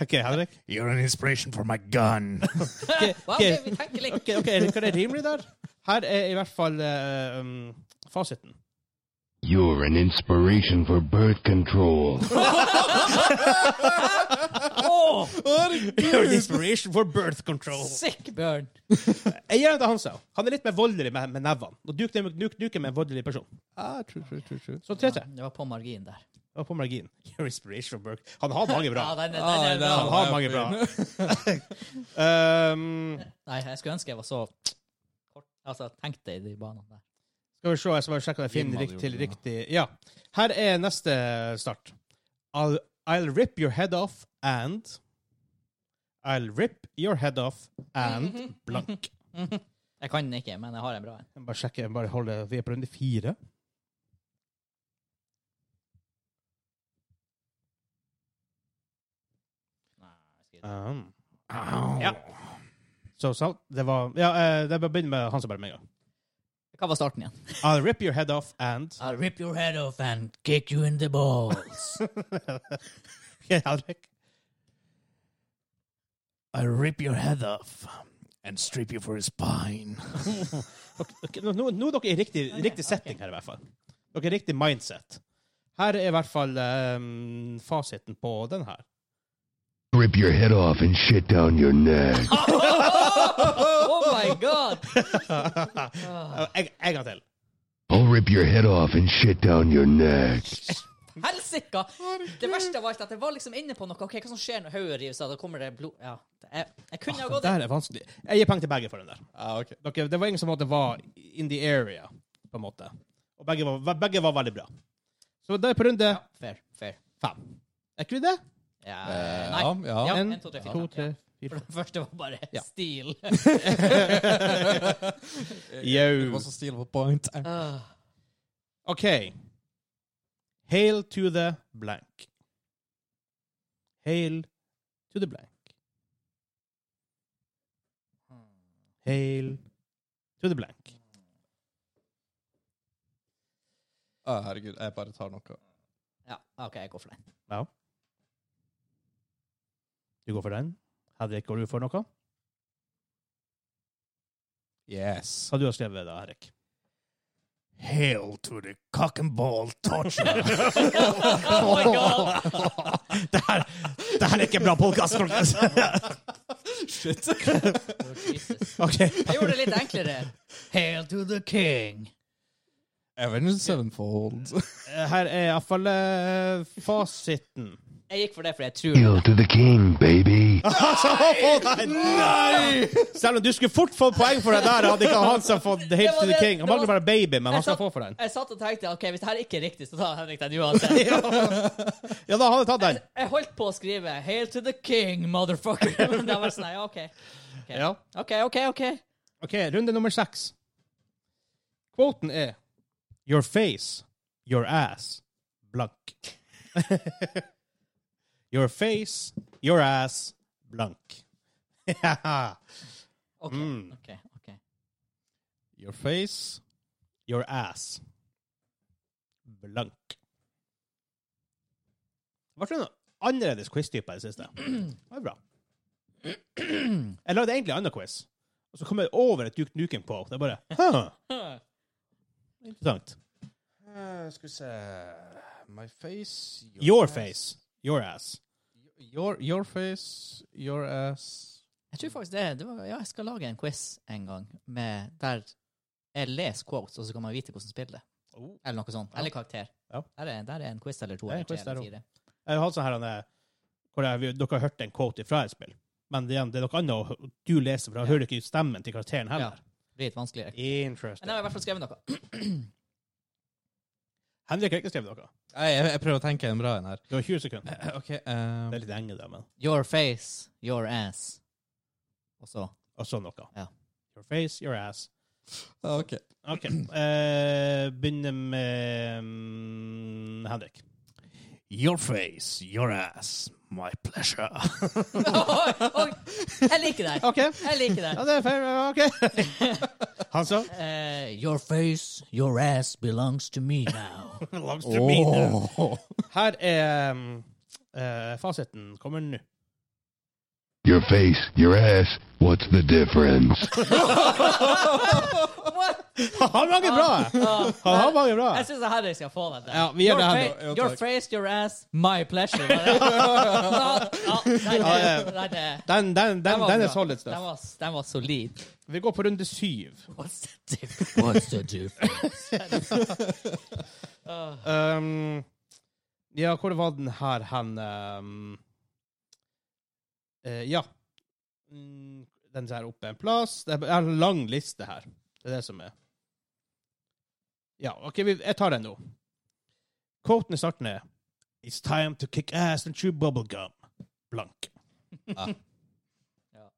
[SPEAKER 2] OK, Henrik?
[SPEAKER 1] You're an inspiration for my gun.
[SPEAKER 3] Wow, ok, vi tenker litt.
[SPEAKER 2] OK, ok, Erik, hva er det rimelig der? Her er i hvert fall eh, um, fasiten.
[SPEAKER 1] You're an inspiration for birth control.
[SPEAKER 3] Åh,
[SPEAKER 2] You're an inspiration for birth control.
[SPEAKER 3] sick burn!
[SPEAKER 2] Jeg gir den til Hansa. Han er litt mer voldelig med, med nevene. Og Duke Nukem Duke Nukem er en voldelig person.
[SPEAKER 4] Ah, true, true, true, true.
[SPEAKER 2] Så 3-3.
[SPEAKER 3] Det var på margin der.
[SPEAKER 2] Og på margin. Your inspiration Burke. Han har mange bra.
[SPEAKER 3] Ja, den, den,
[SPEAKER 4] Ah,
[SPEAKER 3] den er
[SPEAKER 4] det
[SPEAKER 3] bra.
[SPEAKER 2] Han har mange bra. um,
[SPEAKER 3] Nei, jeg skulle ønske jeg var så kort. Altså, tenk deg i de banene der.
[SPEAKER 2] skal vi se, jeg skal bare sjekke om jeg finner
[SPEAKER 4] Jim hadde
[SPEAKER 2] riktig,
[SPEAKER 4] gjort
[SPEAKER 2] til
[SPEAKER 4] det,
[SPEAKER 2] riktig Ja. Her er neste start. I'll, I'll rip your head off and I'll rip your head off and blank.
[SPEAKER 3] Jeg kan den ikke, men jeg har en bra en.
[SPEAKER 2] Jeg må Bare sjekke, jeg må bare holde, Vi er på runde fire. Um. Ja. Så salt, det var Ja, eh, det begynner med han som bare med en gang.
[SPEAKER 3] Hva var starten igjen?
[SPEAKER 2] I'll rip your head off and
[SPEAKER 5] I'll rip your head off and kick you in the balls.
[SPEAKER 2] Ok, Henrik.
[SPEAKER 1] I'll rip your head off and strip you for a spine.
[SPEAKER 2] Ok, nå, nå nå er dere i riktig, riktig setting her, i hvert fall. Dere er i riktig mindset. Her er i hvert fall ehm, fasiten på den her.
[SPEAKER 1] Rip your head off and shit down your neck.
[SPEAKER 3] Oh my god!
[SPEAKER 2] Eh, En, en gang til.
[SPEAKER 1] I'll rip your head off and shit down your neck.
[SPEAKER 3] Helsika! Det verste var at jeg var liksom inne på noe. Ok, Hva som skjer når hodet rives av? Da kommer det blod Ja. Jeg, jeg kunne ha
[SPEAKER 2] Den
[SPEAKER 3] gått inn.
[SPEAKER 2] Ah, der er vanskelig. Jeg gir penger til begge for den der.
[SPEAKER 4] Ah, ok.
[SPEAKER 2] Dere, det var ingen som på en måte var in the area, på en måte. Og begge var, begge var veldig bra. Så da er vi på runde
[SPEAKER 3] Fair. fair.
[SPEAKER 2] fem. Er ikke vi det?
[SPEAKER 3] Ja,
[SPEAKER 4] Eh,
[SPEAKER 3] nei.
[SPEAKER 4] ja, ja.
[SPEAKER 3] Ja,
[SPEAKER 2] En,
[SPEAKER 3] en, to, tre, fire.
[SPEAKER 2] to,
[SPEAKER 3] fem.
[SPEAKER 2] tre,
[SPEAKER 3] Ja.
[SPEAKER 2] fire.
[SPEAKER 3] For det første var bare
[SPEAKER 2] Ja.
[SPEAKER 3] stil.
[SPEAKER 4] Det
[SPEAKER 2] Yo.
[SPEAKER 4] var så stil på point.
[SPEAKER 3] Ah.
[SPEAKER 2] OK. Hail to the blank. Hail to the blank. Hail to the blank.
[SPEAKER 4] Ah, herregud, jeg bare tar noe.
[SPEAKER 3] Ja, OK, jeg går for den.
[SPEAKER 2] Ja. Du går for den. Henrik, går du for noe?
[SPEAKER 4] Yes.
[SPEAKER 2] Hva du har skrevet da, Henrik?
[SPEAKER 1] Hail to the cock and ball torture.
[SPEAKER 3] Oh my god!
[SPEAKER 2] det, her, det her er ikke en bra podkast, folkens.
[SPEAKER 4] Shit.
[SPEAKER 3] Jesus.
[SPEAKER 2] OK.
[SPEAKER 3] Jeg gjorde det litt enklere.
[SPEAKER 5] Hail to the king.
[SPEAKER 4] Avengers Sevenfold.
[SPEAKER 2] Eh, Her er iallfall eh, fasiten.
[SPEAKER 3] Jeg gikk for det fordi jeg tror
[SPEAKER 1] Hail to the king, baby.
[SPEAKER 2] Nei! Selv om du skulle fort fått poeng for det der, hadde ikke Hansa fått Hail
[SPEAKER 3] var
[SPEAKER 2] to the
[SPEAKER 3] det-
[SPEAKER 2] King.
[SPEAKER 3] det
[SPEAKER 2] Han mangler
[SPEAKER 3] var-
[SPEAKER 2] bare baby, men han skal
[SPEAKER 3] satt-
[SPEAKER 2] få for den.
[SPEAKER 3] Jeg satt og tenkte ok, hvis det her ikke er riktig, så tar Henrik den uansett.
[SPEAKER 2] Ja, da hadde jeg tatt den.
[SPEAKER 3] Jeg holdt på å skrive 'Hail to the king, motherfucker'. Men det var sånn, ja, ok.
[SPEAKER 2] Ja.
[SPEAKER 3] Ok, ok, ok.
[SPEAKER 2] OK, runde nummer seks. Kvoten er Your face, your ass, blank. your face, your ass, blank.
[SPEAKER 3] Ok,
[SPEAKER 2] Mm.
[SPEAKER 3] ok, ok.
[SPEAKER 4] Your face.
[SPEAKER 2] your ass, blank. Ble det noe annerledes quiz-type i det siste? Det var bra. Jeg lagde egentlig en annen quiz, og så kom jeg over et Duke Nukem på. Det er bare huh. Interessant.
[SPEAKER 4] Eh, skal vi se My face.
[SPEAKER 2] Your face. Your ass.
[SPEAKER 4] Your, your face. Your ass.
[SPEAKER 3] Jeg tror faktisk det, det var, Ja, jeg skal lage en quiz en gang med, der jeg leser quotes, og så kan man vite hvordan spillet er.
[SPEAKER 2] Oh.
[SPEAKER 3] Eller noe sånt. Eller karakter.
[SPEAKER 2] Ja.
[SPEAKER 3] Der, er, der er en quiz eller to.
[SPEAKER 2] Det er en
[SPEAKER 3] Eller tre
[SPEAKER 2] quiz
[SPEAKER 3] eller
[SPEAKER 2] der
[SPEAKER 3] fire.
[SPEAKER 2] Jeg har hatt sånn her, han, eh, hvor jeg, dere har hørt en quote fra et spill, men det er, det er noe annet å hø- du leser, for da hører du ikke stemmen til karakteren
[SPEAKER 3] Ja.
[SPEAKER 2] heller.
[SPEAKER 3] Det blir litt vanskeligere. Men
[SPEAKER 2] Interesting.
[SPEAKER 3] jeg har i hvert fall skrevet noe.
[SPEAKER 2] Henrik har ikke skrevet noe.
[SPEAKER 4] Nei, jeg, jeg prøver å tenke en bra en her.
[SPEAKER 2] Du har 20 sekunder.
[SPEAKER 4] OK eh,
[SPEAKER 2] Det er litt enge, det, men
[SPEAKER 3] Your face, your ass. Og så
[SPEAKER 2] Og så noe.
[SPEAKER 3] Ja.
[SPEAKER 2] Your face, your ass.
[SPEAKER 4] Ah, OK.
[SPEAKER 2] OK. Eh, begynner med mm, Henrik.
[SPEAKER 4] Your face, your ass, my pleasure.
[SPEAKER 3] Oi, Jeg liker det.
[SPEAKER 2] OK.
[SPEAKER 3] Jeg liker det.
[SPEAKER 2] Ja, det er fair. ja, OK. Hansa?
[SPEAKER 3] Eh, your face, your ass belongs to me now.
[SPEAKER 2] Langs turbinen. Her er mm, eh, fasiten. Kommer nå.
[SPEAKER 1] Your face, your ass, what's the difference?
[SPEAKER 2] Han har mange bra! Han har mange bra.
[SPEAKER 3] Ah, Jeg syns Henrik skal få den. der.
[SPEAKER 2] Ja, vi gjør
[SPEAKER 3] your,
[SPEAKER 2] det her
[SPEAKER 3] fa-
[SPEAKER 2] nå. Jo,
[SPEAKER 3] your
[SPEAKER 4] takk.
[SPEAKER 3] face, your ass, my pleasure. Var det? ja, den,
[SPEAKER 2] Ja,
[SPEAKER 3] er- den, er-
[SPEAKER 2] Den, den,
[SPEAKER 3] den
[SPEAKER 2] den,
[SPEAKER 3] var
[SPEAKER 2] den er
[SPEAKER 3] bra.
[SPEAKER 2] solid
[SPEAKER 3] Den
[SPEAKER 2] stuff.
[SPEAKER 3] var, den var solid.
[SPEAKER 2] Vi går på runde syv.
[SPEAKER 3] What's the difference? What's the difference?
[SPEAKER 2] Um, ja, hvor var den her hen um, eh, Ja. Mm, Den her oppe en plass. Det er en lang liste her. Det er det som er Ja, OK, vi, jeg tar den nå. Quoten i starten er It's time to kick ass and chew bubblegum. Blank.
[SPEAKER 4] Ah.
[SPEAKER 3] Ja.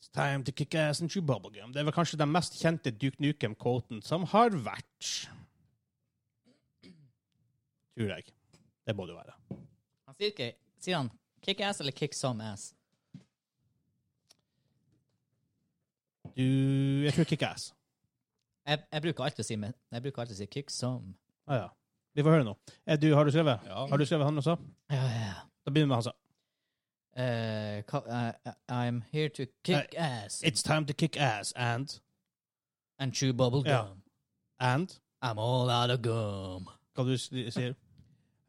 [SPEAKER 2] It's time to kick ass and chew bubblegum. Det er vel kanskje den mest kjente Duke Nukem-quoten som har vært. Tror jeg. Det må det være.
[SPEAKER 3] Han sier ikke Sier han kick ass eller kick some ass?
[SPEAKER 2] Du Jeg tror kick ass.
[SPEAKER 3] Jeg, jeg bruker alltid å si, men- jeg bruker alltid å si kick some.
[SPEAKER 2] Ah, ja. Vi får høre nå. Eh, Du, har du skrevet?
[SPEAKER 4] Ja.
[SPEAKER 2] Har du skrevet han også?
[SPEAKER 3] Ja, ja, ja.
[SPEAKER 2] Da begynner vi med han sa.
[SPEAKER 3] Eh, ka- eh, I'm here to kick ass
[SPEAKER 2] It's time to kick ass and
[SPEAKER 3] and chew bubble gum.
[SPEAKER 2] Ja. And
[SPEAKER 3] I'm all out of gum.
[SPEAKER 2] Hva du s- sier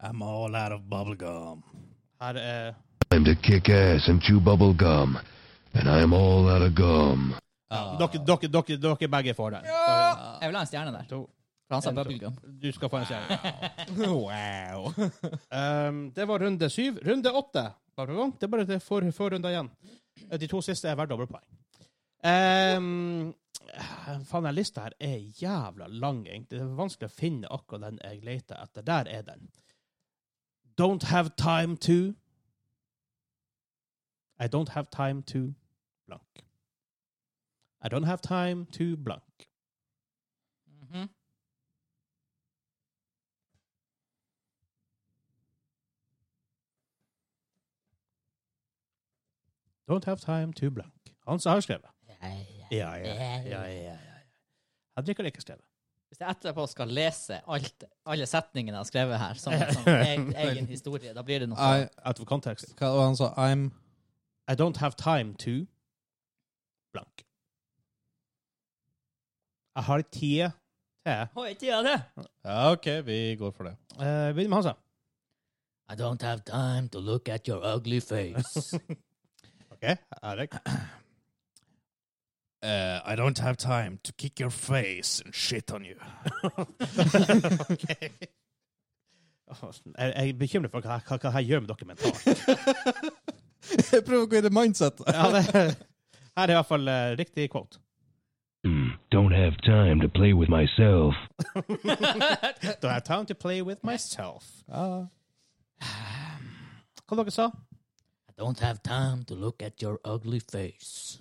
[SPEAKER 4] I'm all out of bubblegum.
[SPEAKER 2] Her er
[SPEAKER 1] Time to kick ass and chew bubble gum. And I'm all out of gum.
[SPEAKER 2] Dere, dere, dere, dere begge får den.
[SPEAKER 3] Jeg vil ha en stjerne der.
[SPEAKER 2] To.
[SPEAKER 3] For han sa
[SPEAKER 2] En, to.
[SPEAKER 3] bubble gum.
[SPEAKER 2] Du skal få en stjerne.
[SPEAKER 4] Wow.
[SPEAKER 2] Um, det var runde syv. Runde åtte. Bare på gang. Det er bare det får, får runder igjen. Eh, De to siste er hver dobbeltpoeng. Um, eh, faen, den lista her er jævla lang, egentlig. Det er vanskelig å finne akkurat den jeg leter etter. Der er den. Don't have time to I don't have time to blank. I don't have time to blank.
[SPEAKER 3] Mhm.
[SPEAKER 2] Don't have time to blank. Han som har skrevet. Ja, ja,
[SPEAKER 3] ja,
[SPEAKER 2] ja. ja, ja. Henrik har ikke skrevet.
[SPEAKER 3] Hvis jeg etterpå skal lese alt, alle setningene jeg har skrevet her, som en sånn egen, egen historie, da blir det noe
[SPEAKER 4] I,
[SPEAKER 2] Out of context.
[SPEAKER 4] hva var det han sa? I'm
[SPEAKER 2] I don't have time to blank. Jeg har tid til
[SPEAKER 3] Oi, ikke gjør det!
[SPEAKER 4] Ja, OK, vi går for det.
[SPEAKER 2] Eh, Begynn med Hansa.
[SPEAKER 3] I don't have time to look at your ugly face.
[SPEAKER 2] OK, Erik.
[SPEAKER 4] Uh, I don't have time to kick your face and shit on you.
[SPEAKER 2] Jeg, jeg er bekymret for hva, hva, hva her gjør med dere mentalt.
[SPEAKER 4] Jeg prøver å gå i det mindsetet.
[SPEAKER 2] Ja, det, her er i hvert fall eh, riktig quote.
[SPEAKER 1] Hmm, don't have time to play with myself.
[SPEAKER 2] Don't have time to play with myself. Hva dere sa
[SPEAKER 3] I don't have time to look at your ugly face.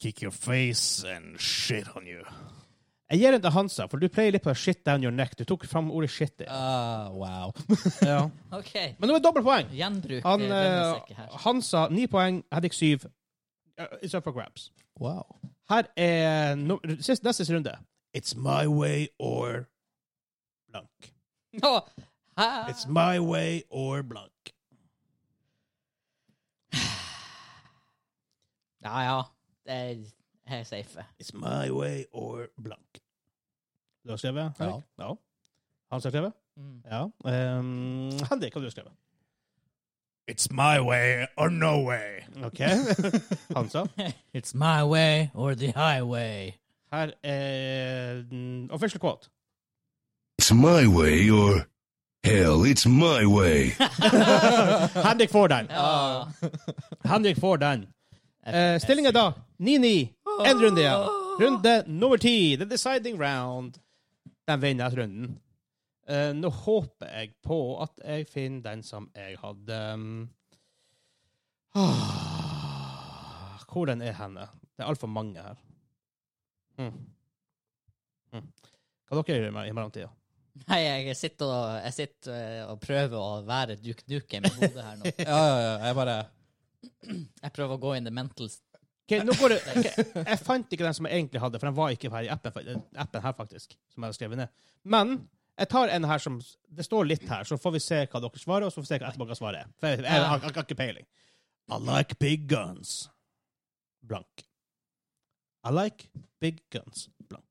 [SPEAKER 4] Kick your face and shit on you.
[SPEAKER 2] Jeg gir den til Hansa, for du pleier litt på shit down your neck. Du tok fram ordet shit. i.
[SPEAKER 4] Ah, wow.
[SPEAKER 2] Ja.
[SPEAKER 3] OK.
[SPEAKER 2] Men nå er det dobbeltpoeng!
[SPEAKER 3] Gjenbruk
[SPEAKER 2] Han,
[SPEAKER 3] eh,
[SPEAKER 2] eh,
[SPEAKER 3] regnestykke her.
[SPEAKER 2] Hansa ni poeng, Henrik syv. Uh, it's up for grabs.
[SPEAKER 4] Wow.
[SPEAKER 2] Her er no, sist, neste runde. It's my way or blank.
[SPEAKER 3] Nå, hæ?
[SPEAKER 2] It's my way or blank.
[SPEAKER 3] Ja, ja. Det er jeg er safe.
[SPEAKER 2] It's my way or blank. Du har skrevet? Henrik? Ja. Hans har skrevet?
[SPEAKER 3] Mm.
[SPEAKER 2] Ja. Um, Henrik, hva har du skrevet?
[SPEAKER 4] It's my way or no way.
[SPEAKER 2] OK. Hansa?
[SPEAKER 3] It's my way or the highway.
[SPEAKER 2] Her er den official quote.
[SPEAKER 1] It's my way or hell, it's my way.
[SPEAKER 2] Henrik får den.
[SPEAKER 3] Ja.
[SPEAKER 2] Henrik får den. Uh, Stillinga da 9-9. Én runde igjen. Runde nummer ti, the deciding round. Den vinner jeg runden. Eh, nå håper jeg på at jeg finner den som jeg hadde um, ah, Hvor den er henne? Det er altfor mange her. Mm. Mm. Hva dere gjør i mellomtida?
[SPEAKER 3] Nei, jeg sitter, og, jeg sitter eh, og prøver å være duk-duke med hodet her nå.
[SPEAKER 4] Ja, ja, ja. Jeg bare
[SPEAKER 3] Jeg prøver å gå in the mental
[SPEAKER 2] Ok, nå går det, ok, jeg fant ikke den som jeg egentlig hadde, for den var ikke her i appen, fa- appen her, faktisk. Som jeg har skrevet ned. Men jeg tar en her som Det står litt her, så får vi se hva dere svarer, og så får vi se hva etterpå dere svarer. For jeg, jeg, jeg, har- jeg har ikke peiling. I like big guns. Blank. I like big guns. Blank.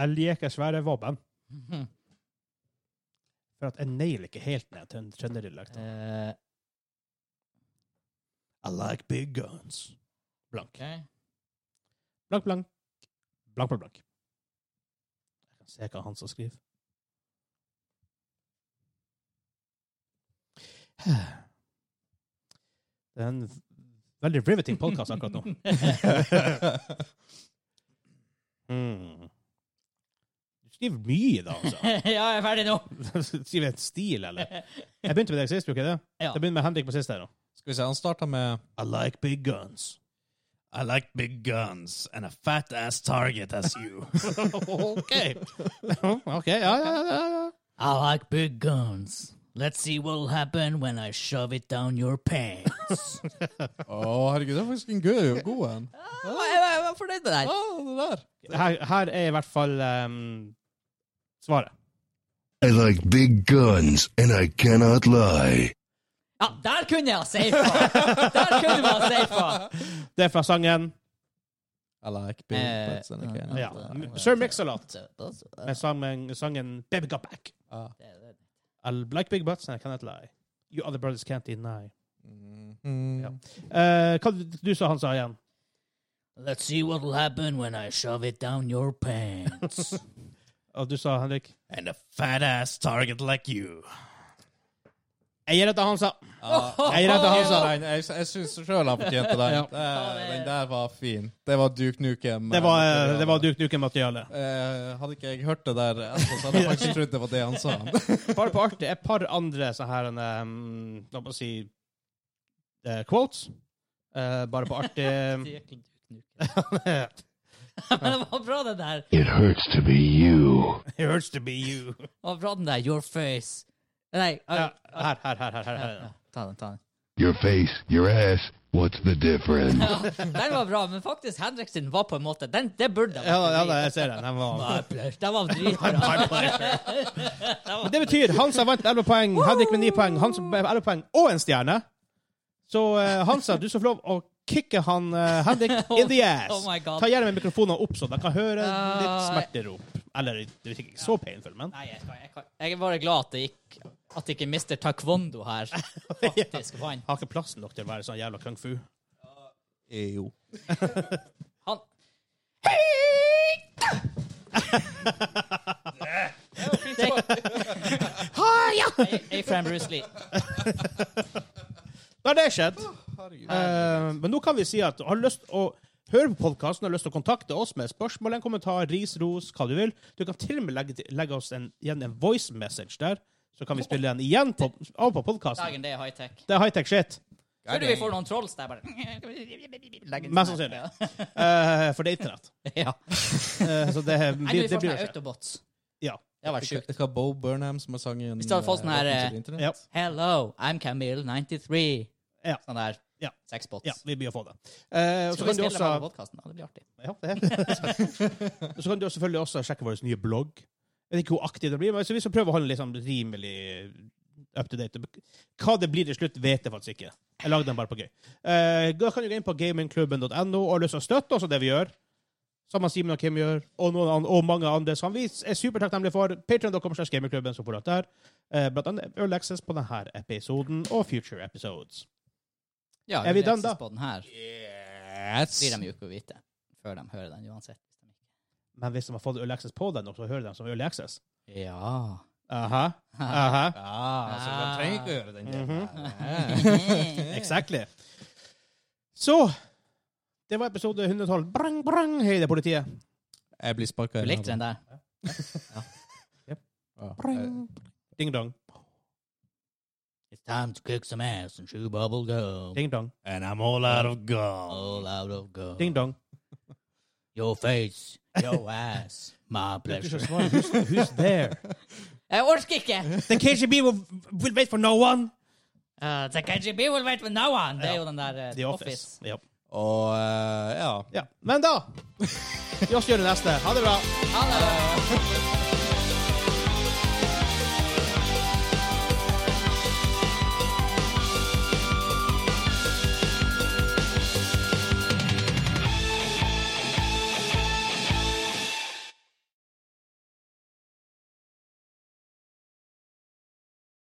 [SPEAKER 2] Jeg liker svære våpen,
[SPEAKER 3] Mhm.
[SPEAKER 2] for at jeg nailer ikke helt ned til en
[SPEAKER 5] Er
[SPEAKER 2] trønderdialekt.
[SPEAKER 3] Eh,
[SPEAKER 2] I like big guns. Blank.
[SPEAKER 3] ok.
[SPEAKER 2] Blank, blank. Blank, blank, blank. Jeg kan se hva han som skriver. Det er en v- veldig riveting podkast akkurat nå. mm. Du skriver mye, da, altså.
[SPEAKER 3] ja, jeg er ferdig nå.
[SPEAKER 2] Du skriver en stil, eller? Jeg begynte med deg sist, gjorde jeg ikke det?
[SPEAKER 3] Ja.
[SPEAKER 2] Jeg begynner med Henrik på sist her nå.
[SPEAKER 4] Skal vi se, han starta med
[SPEAKER 2] I like big guns.
[SPEAKER 4] I like big guns and a fat ass target as you.
[SPEAKER 2] OK. OK, ja, ja, ja, ja. ja.
[SPEAKER 5] I like big guns. Let's see what'll happen when I shove it down your pants.
[SPEAKER 4] Å, herregud, det er faktisk en god, god en.
[SPEAKER 3] Ah, Jeg var- jeg var jeg var fornøyd med det her.
[SPEAKER 4] Ja, det der.
[SPEAKER 2] her, her er i hvert fall ehm, svaret.
[SPEAKER 1] I like big guns, and I cannot lie.
[SPEAKER 3] Ja, der kunne jeg ha safa! Der kunne vi ha safa!
[SPEAKER 2] Det er fra sangen
[SPEAKER 4] I like big
[SPEAKER 3] Eh,
[SPEAKER 4] butts and a can.
[SPEAKER 2] ja. Sir Mix-a-Lot med sangen, sangen Baby Got Back.
[SPEAKER 4] Ah.
[SPEAKER 2] I like big butts and I cannot lie. You other brothers can't deny.
[SPEAKER 4] Mm.
[SPEAKER 2] Ja. Eh, hva du, du sa han sa igjen?
[SPEAKER 5] Let's see what'll happen when I shove it down your pants.
[SPEAKER 2] Og du sa, Henrik?
[SPEAKER 4] And a fat ass target like you.
[SPEAKER 2] Jeg gir det til han sa. Jeg gir det til han sa.
[SPEAKER 4] Jeg, jeg, jeg syns sjøl han fortjente den.
[SPEAKER 2] Ja.
[SPEAKER 4] Det- Den der var fin. Det var Duke Nukem.
[SPEAKER 2] Det var, eh, det var Duke Nukem-materiale.
[SPEAKER 4] Eh, hadde ikke jeg hørt det der, etterpå, så hadde jeg faktisk trodd det var det han sa.
[SPEAKER 2] Bare på artig. Et par andre sånne her ehm, La meg si eh, quotes. Eh, bare på artig.
[SPEAKER 3] Men det var bra, den der.
[SPEAKER 1] It hurts to be you.
[SPEAKER 2] It hurts to be you.
[SPEAKER 3] Det var bra, den der. Your face. Nei, ah,
[SPEAKER 2] Ja, her, her, her. her, her, her.
[SPEAKER 3] ja, ta den, ta den.
[SPEAKER 1] Your face, your ass, what's the difference?
[SPEAKER 3] Den var bra, men faktisk, Henrik sin var på en måte den, Det burde den.
[SPEAKER 2] Ja, ja, nei, jeg ser den. den var...
[SPEAKER 3] Den var dritbra.
[SPEAKER 2] Men det betyr Hansa vant 11 poeng, Henrik med 9 poeng, Hansa med 11 poeng og en stjerne. Så eh, Hansa, du skal få lov å kicke han eh, Henrik in the ass.
[SPEAKER 3] Oh my God.
[SPEAKER 2] Ta gjerne mikrofonen opp, så de kan høre litt
[SPEAKER 3] Ah.
[SPEAKER 2] smerterop. Eller det er ikke så painful, men
[SPEAKER 3] Nei, jeg, kan, jeg, kan. jeg er bare glad at det gikk At ikke Mr. Taekwondo her faktisk vant.
[SPEAKER 2] har ikke plassen nok til å være sånn jævla kung fu.
[SPEAKER 4] Jo.
[SPEAKER 3] Han Det A-Fram Bruce Lee.
[SPEAKER 2] Da har det skjedd. Eh, men nå kan vi si at har du lyst å høre på podkasten, har du lyst til å kontakte oss med spørsmål, en kommentar, ris, ros, hva du vil. Du kan til og med legge, legge oss en, igjen en voice message der, så kan vi spille den igjen på, av på podkasten.
[SPEAKER 3] Dagen det er high-tech.
[SPEAKER 2] Det er high-tech shit.
[SPEAKER 3] Tror du vi får noen trolls der, bare Legger
[SPEAKER 2] Mest sannsynlig. Eh, for det er internett.
[SPEAKER 3] Ja.
[SPEAKER 2] Eh, så det,
[SPEAKER 3] Nei,
[SPEAKER 2] det, det
[SPEAKER 3] vi får sånn
[SPEAKER 2] blir
[SPEAKER 3] sånne
[SPEAKER 2] å skje.
[SPEAKER 3] autobots.
[SPEAKER 2] Ja.
[SPEAKER 3] Det var sjukt.
[SPEAKER 4] Det var Bo Burnham som har sangen
[SPEAKER 3] Hvis du hadde fått sånn her, eh,
[SPEAKER 2] Ja.
[SPEAKER 3] Hello, I'm Camille 93.
[SPEAKER 2] Ja.
[SPEAKER 3] Sånn der
[SPEAKER 2] Ja.
[SPEAKER 3] sexbots.
[SPEAKER 2] ja, vi blir å få det. Eh, og så
[SPEAKER 3] Skal vi
[SPEAKER 2] kan du
[SPEAKER 3] spille
[SPEAKER 2] også
[SPEAKER 3] også... podkasten? Det blir artig.
[SPEAKER 2] Ja, det Og så kan du selvfølgelig også sjekke vår nye blogg. Jeg vet ikke hvor aktiv det blir, men så vi skal prøve å holde den liksom rimelig up to date. Hva det blir til slutt, vet jeg faktisk ikke. Jeg lagde den bare på gøy. Eh, da kan du gå inn på gamingklubben.no og lyst til å støtte oss og det vi gjør. Som han Simen og Kim gjør, og, noen an og mange andre. Som vi er supertakknemlige for. Patreon.com slags gamingklubben, så får du alt der. Eh, blant annet Earl Access på denne episoden og future episodes.
[SPEAKER 3] Ja,
[SPEAKER 2] Er vi done, da?
[SPEAKER 3] På den her.
[SPEAKER 4] Yes.
[SPEAKER 3] blir de jo ikke å vite før de hører den uansett.
[SPEAKER 2] Men hvis de har fått Early Access på den, så hører de som Early Access.
[SPEAKER 3] Ja.
[SPEAKER 2] Aha. Aha.
[SPEAKER 4] Ah, så de trenger ikke å gjøre den delen. her.
[SPEAKER 2] Exactly. Så Det var episode 112. Brang, brang, hei, det er politiet.
[SPEAKER 4] Jeg blir sparka
[SPEAKER 3] Du likte den der?
[SPEAKER 4] Eh,
[SPEAKER 2] Brang. Ding dong.
[SPEAKER 5] It's time to kick some ass and chew bubble gum.
[SPEAKER 2] Ding dong.
[SPEAKER 5] And I'm all out of gum. All out of gum.
[SPEAKER 2] Ding dong.
[SPEAKER 5] Your face, your ass, my
[SPEAKER 2] Du er ikke så
[SPEAKER 5] pleasure.
[SPEAKER 2] smart. Who's, who's there?
[SPEAKER 3] Jeg orker ikke!
[SPEAKER 2] The KGB will, will wait for no one.
[SPEAKER 3] Uh, the KGB will wait for no one! Det er jo den der eh,
[SPEAKER 2] The Office.
[SPEAKER 3] Office.
[SPEAKER 2] Ja.
[SPEAKER 4] Og eh, ja.
[SPEAKER 2] ja. Men da Vi oss gjør det neste. Ha det bra.
[SPEAKER 3] Hallo!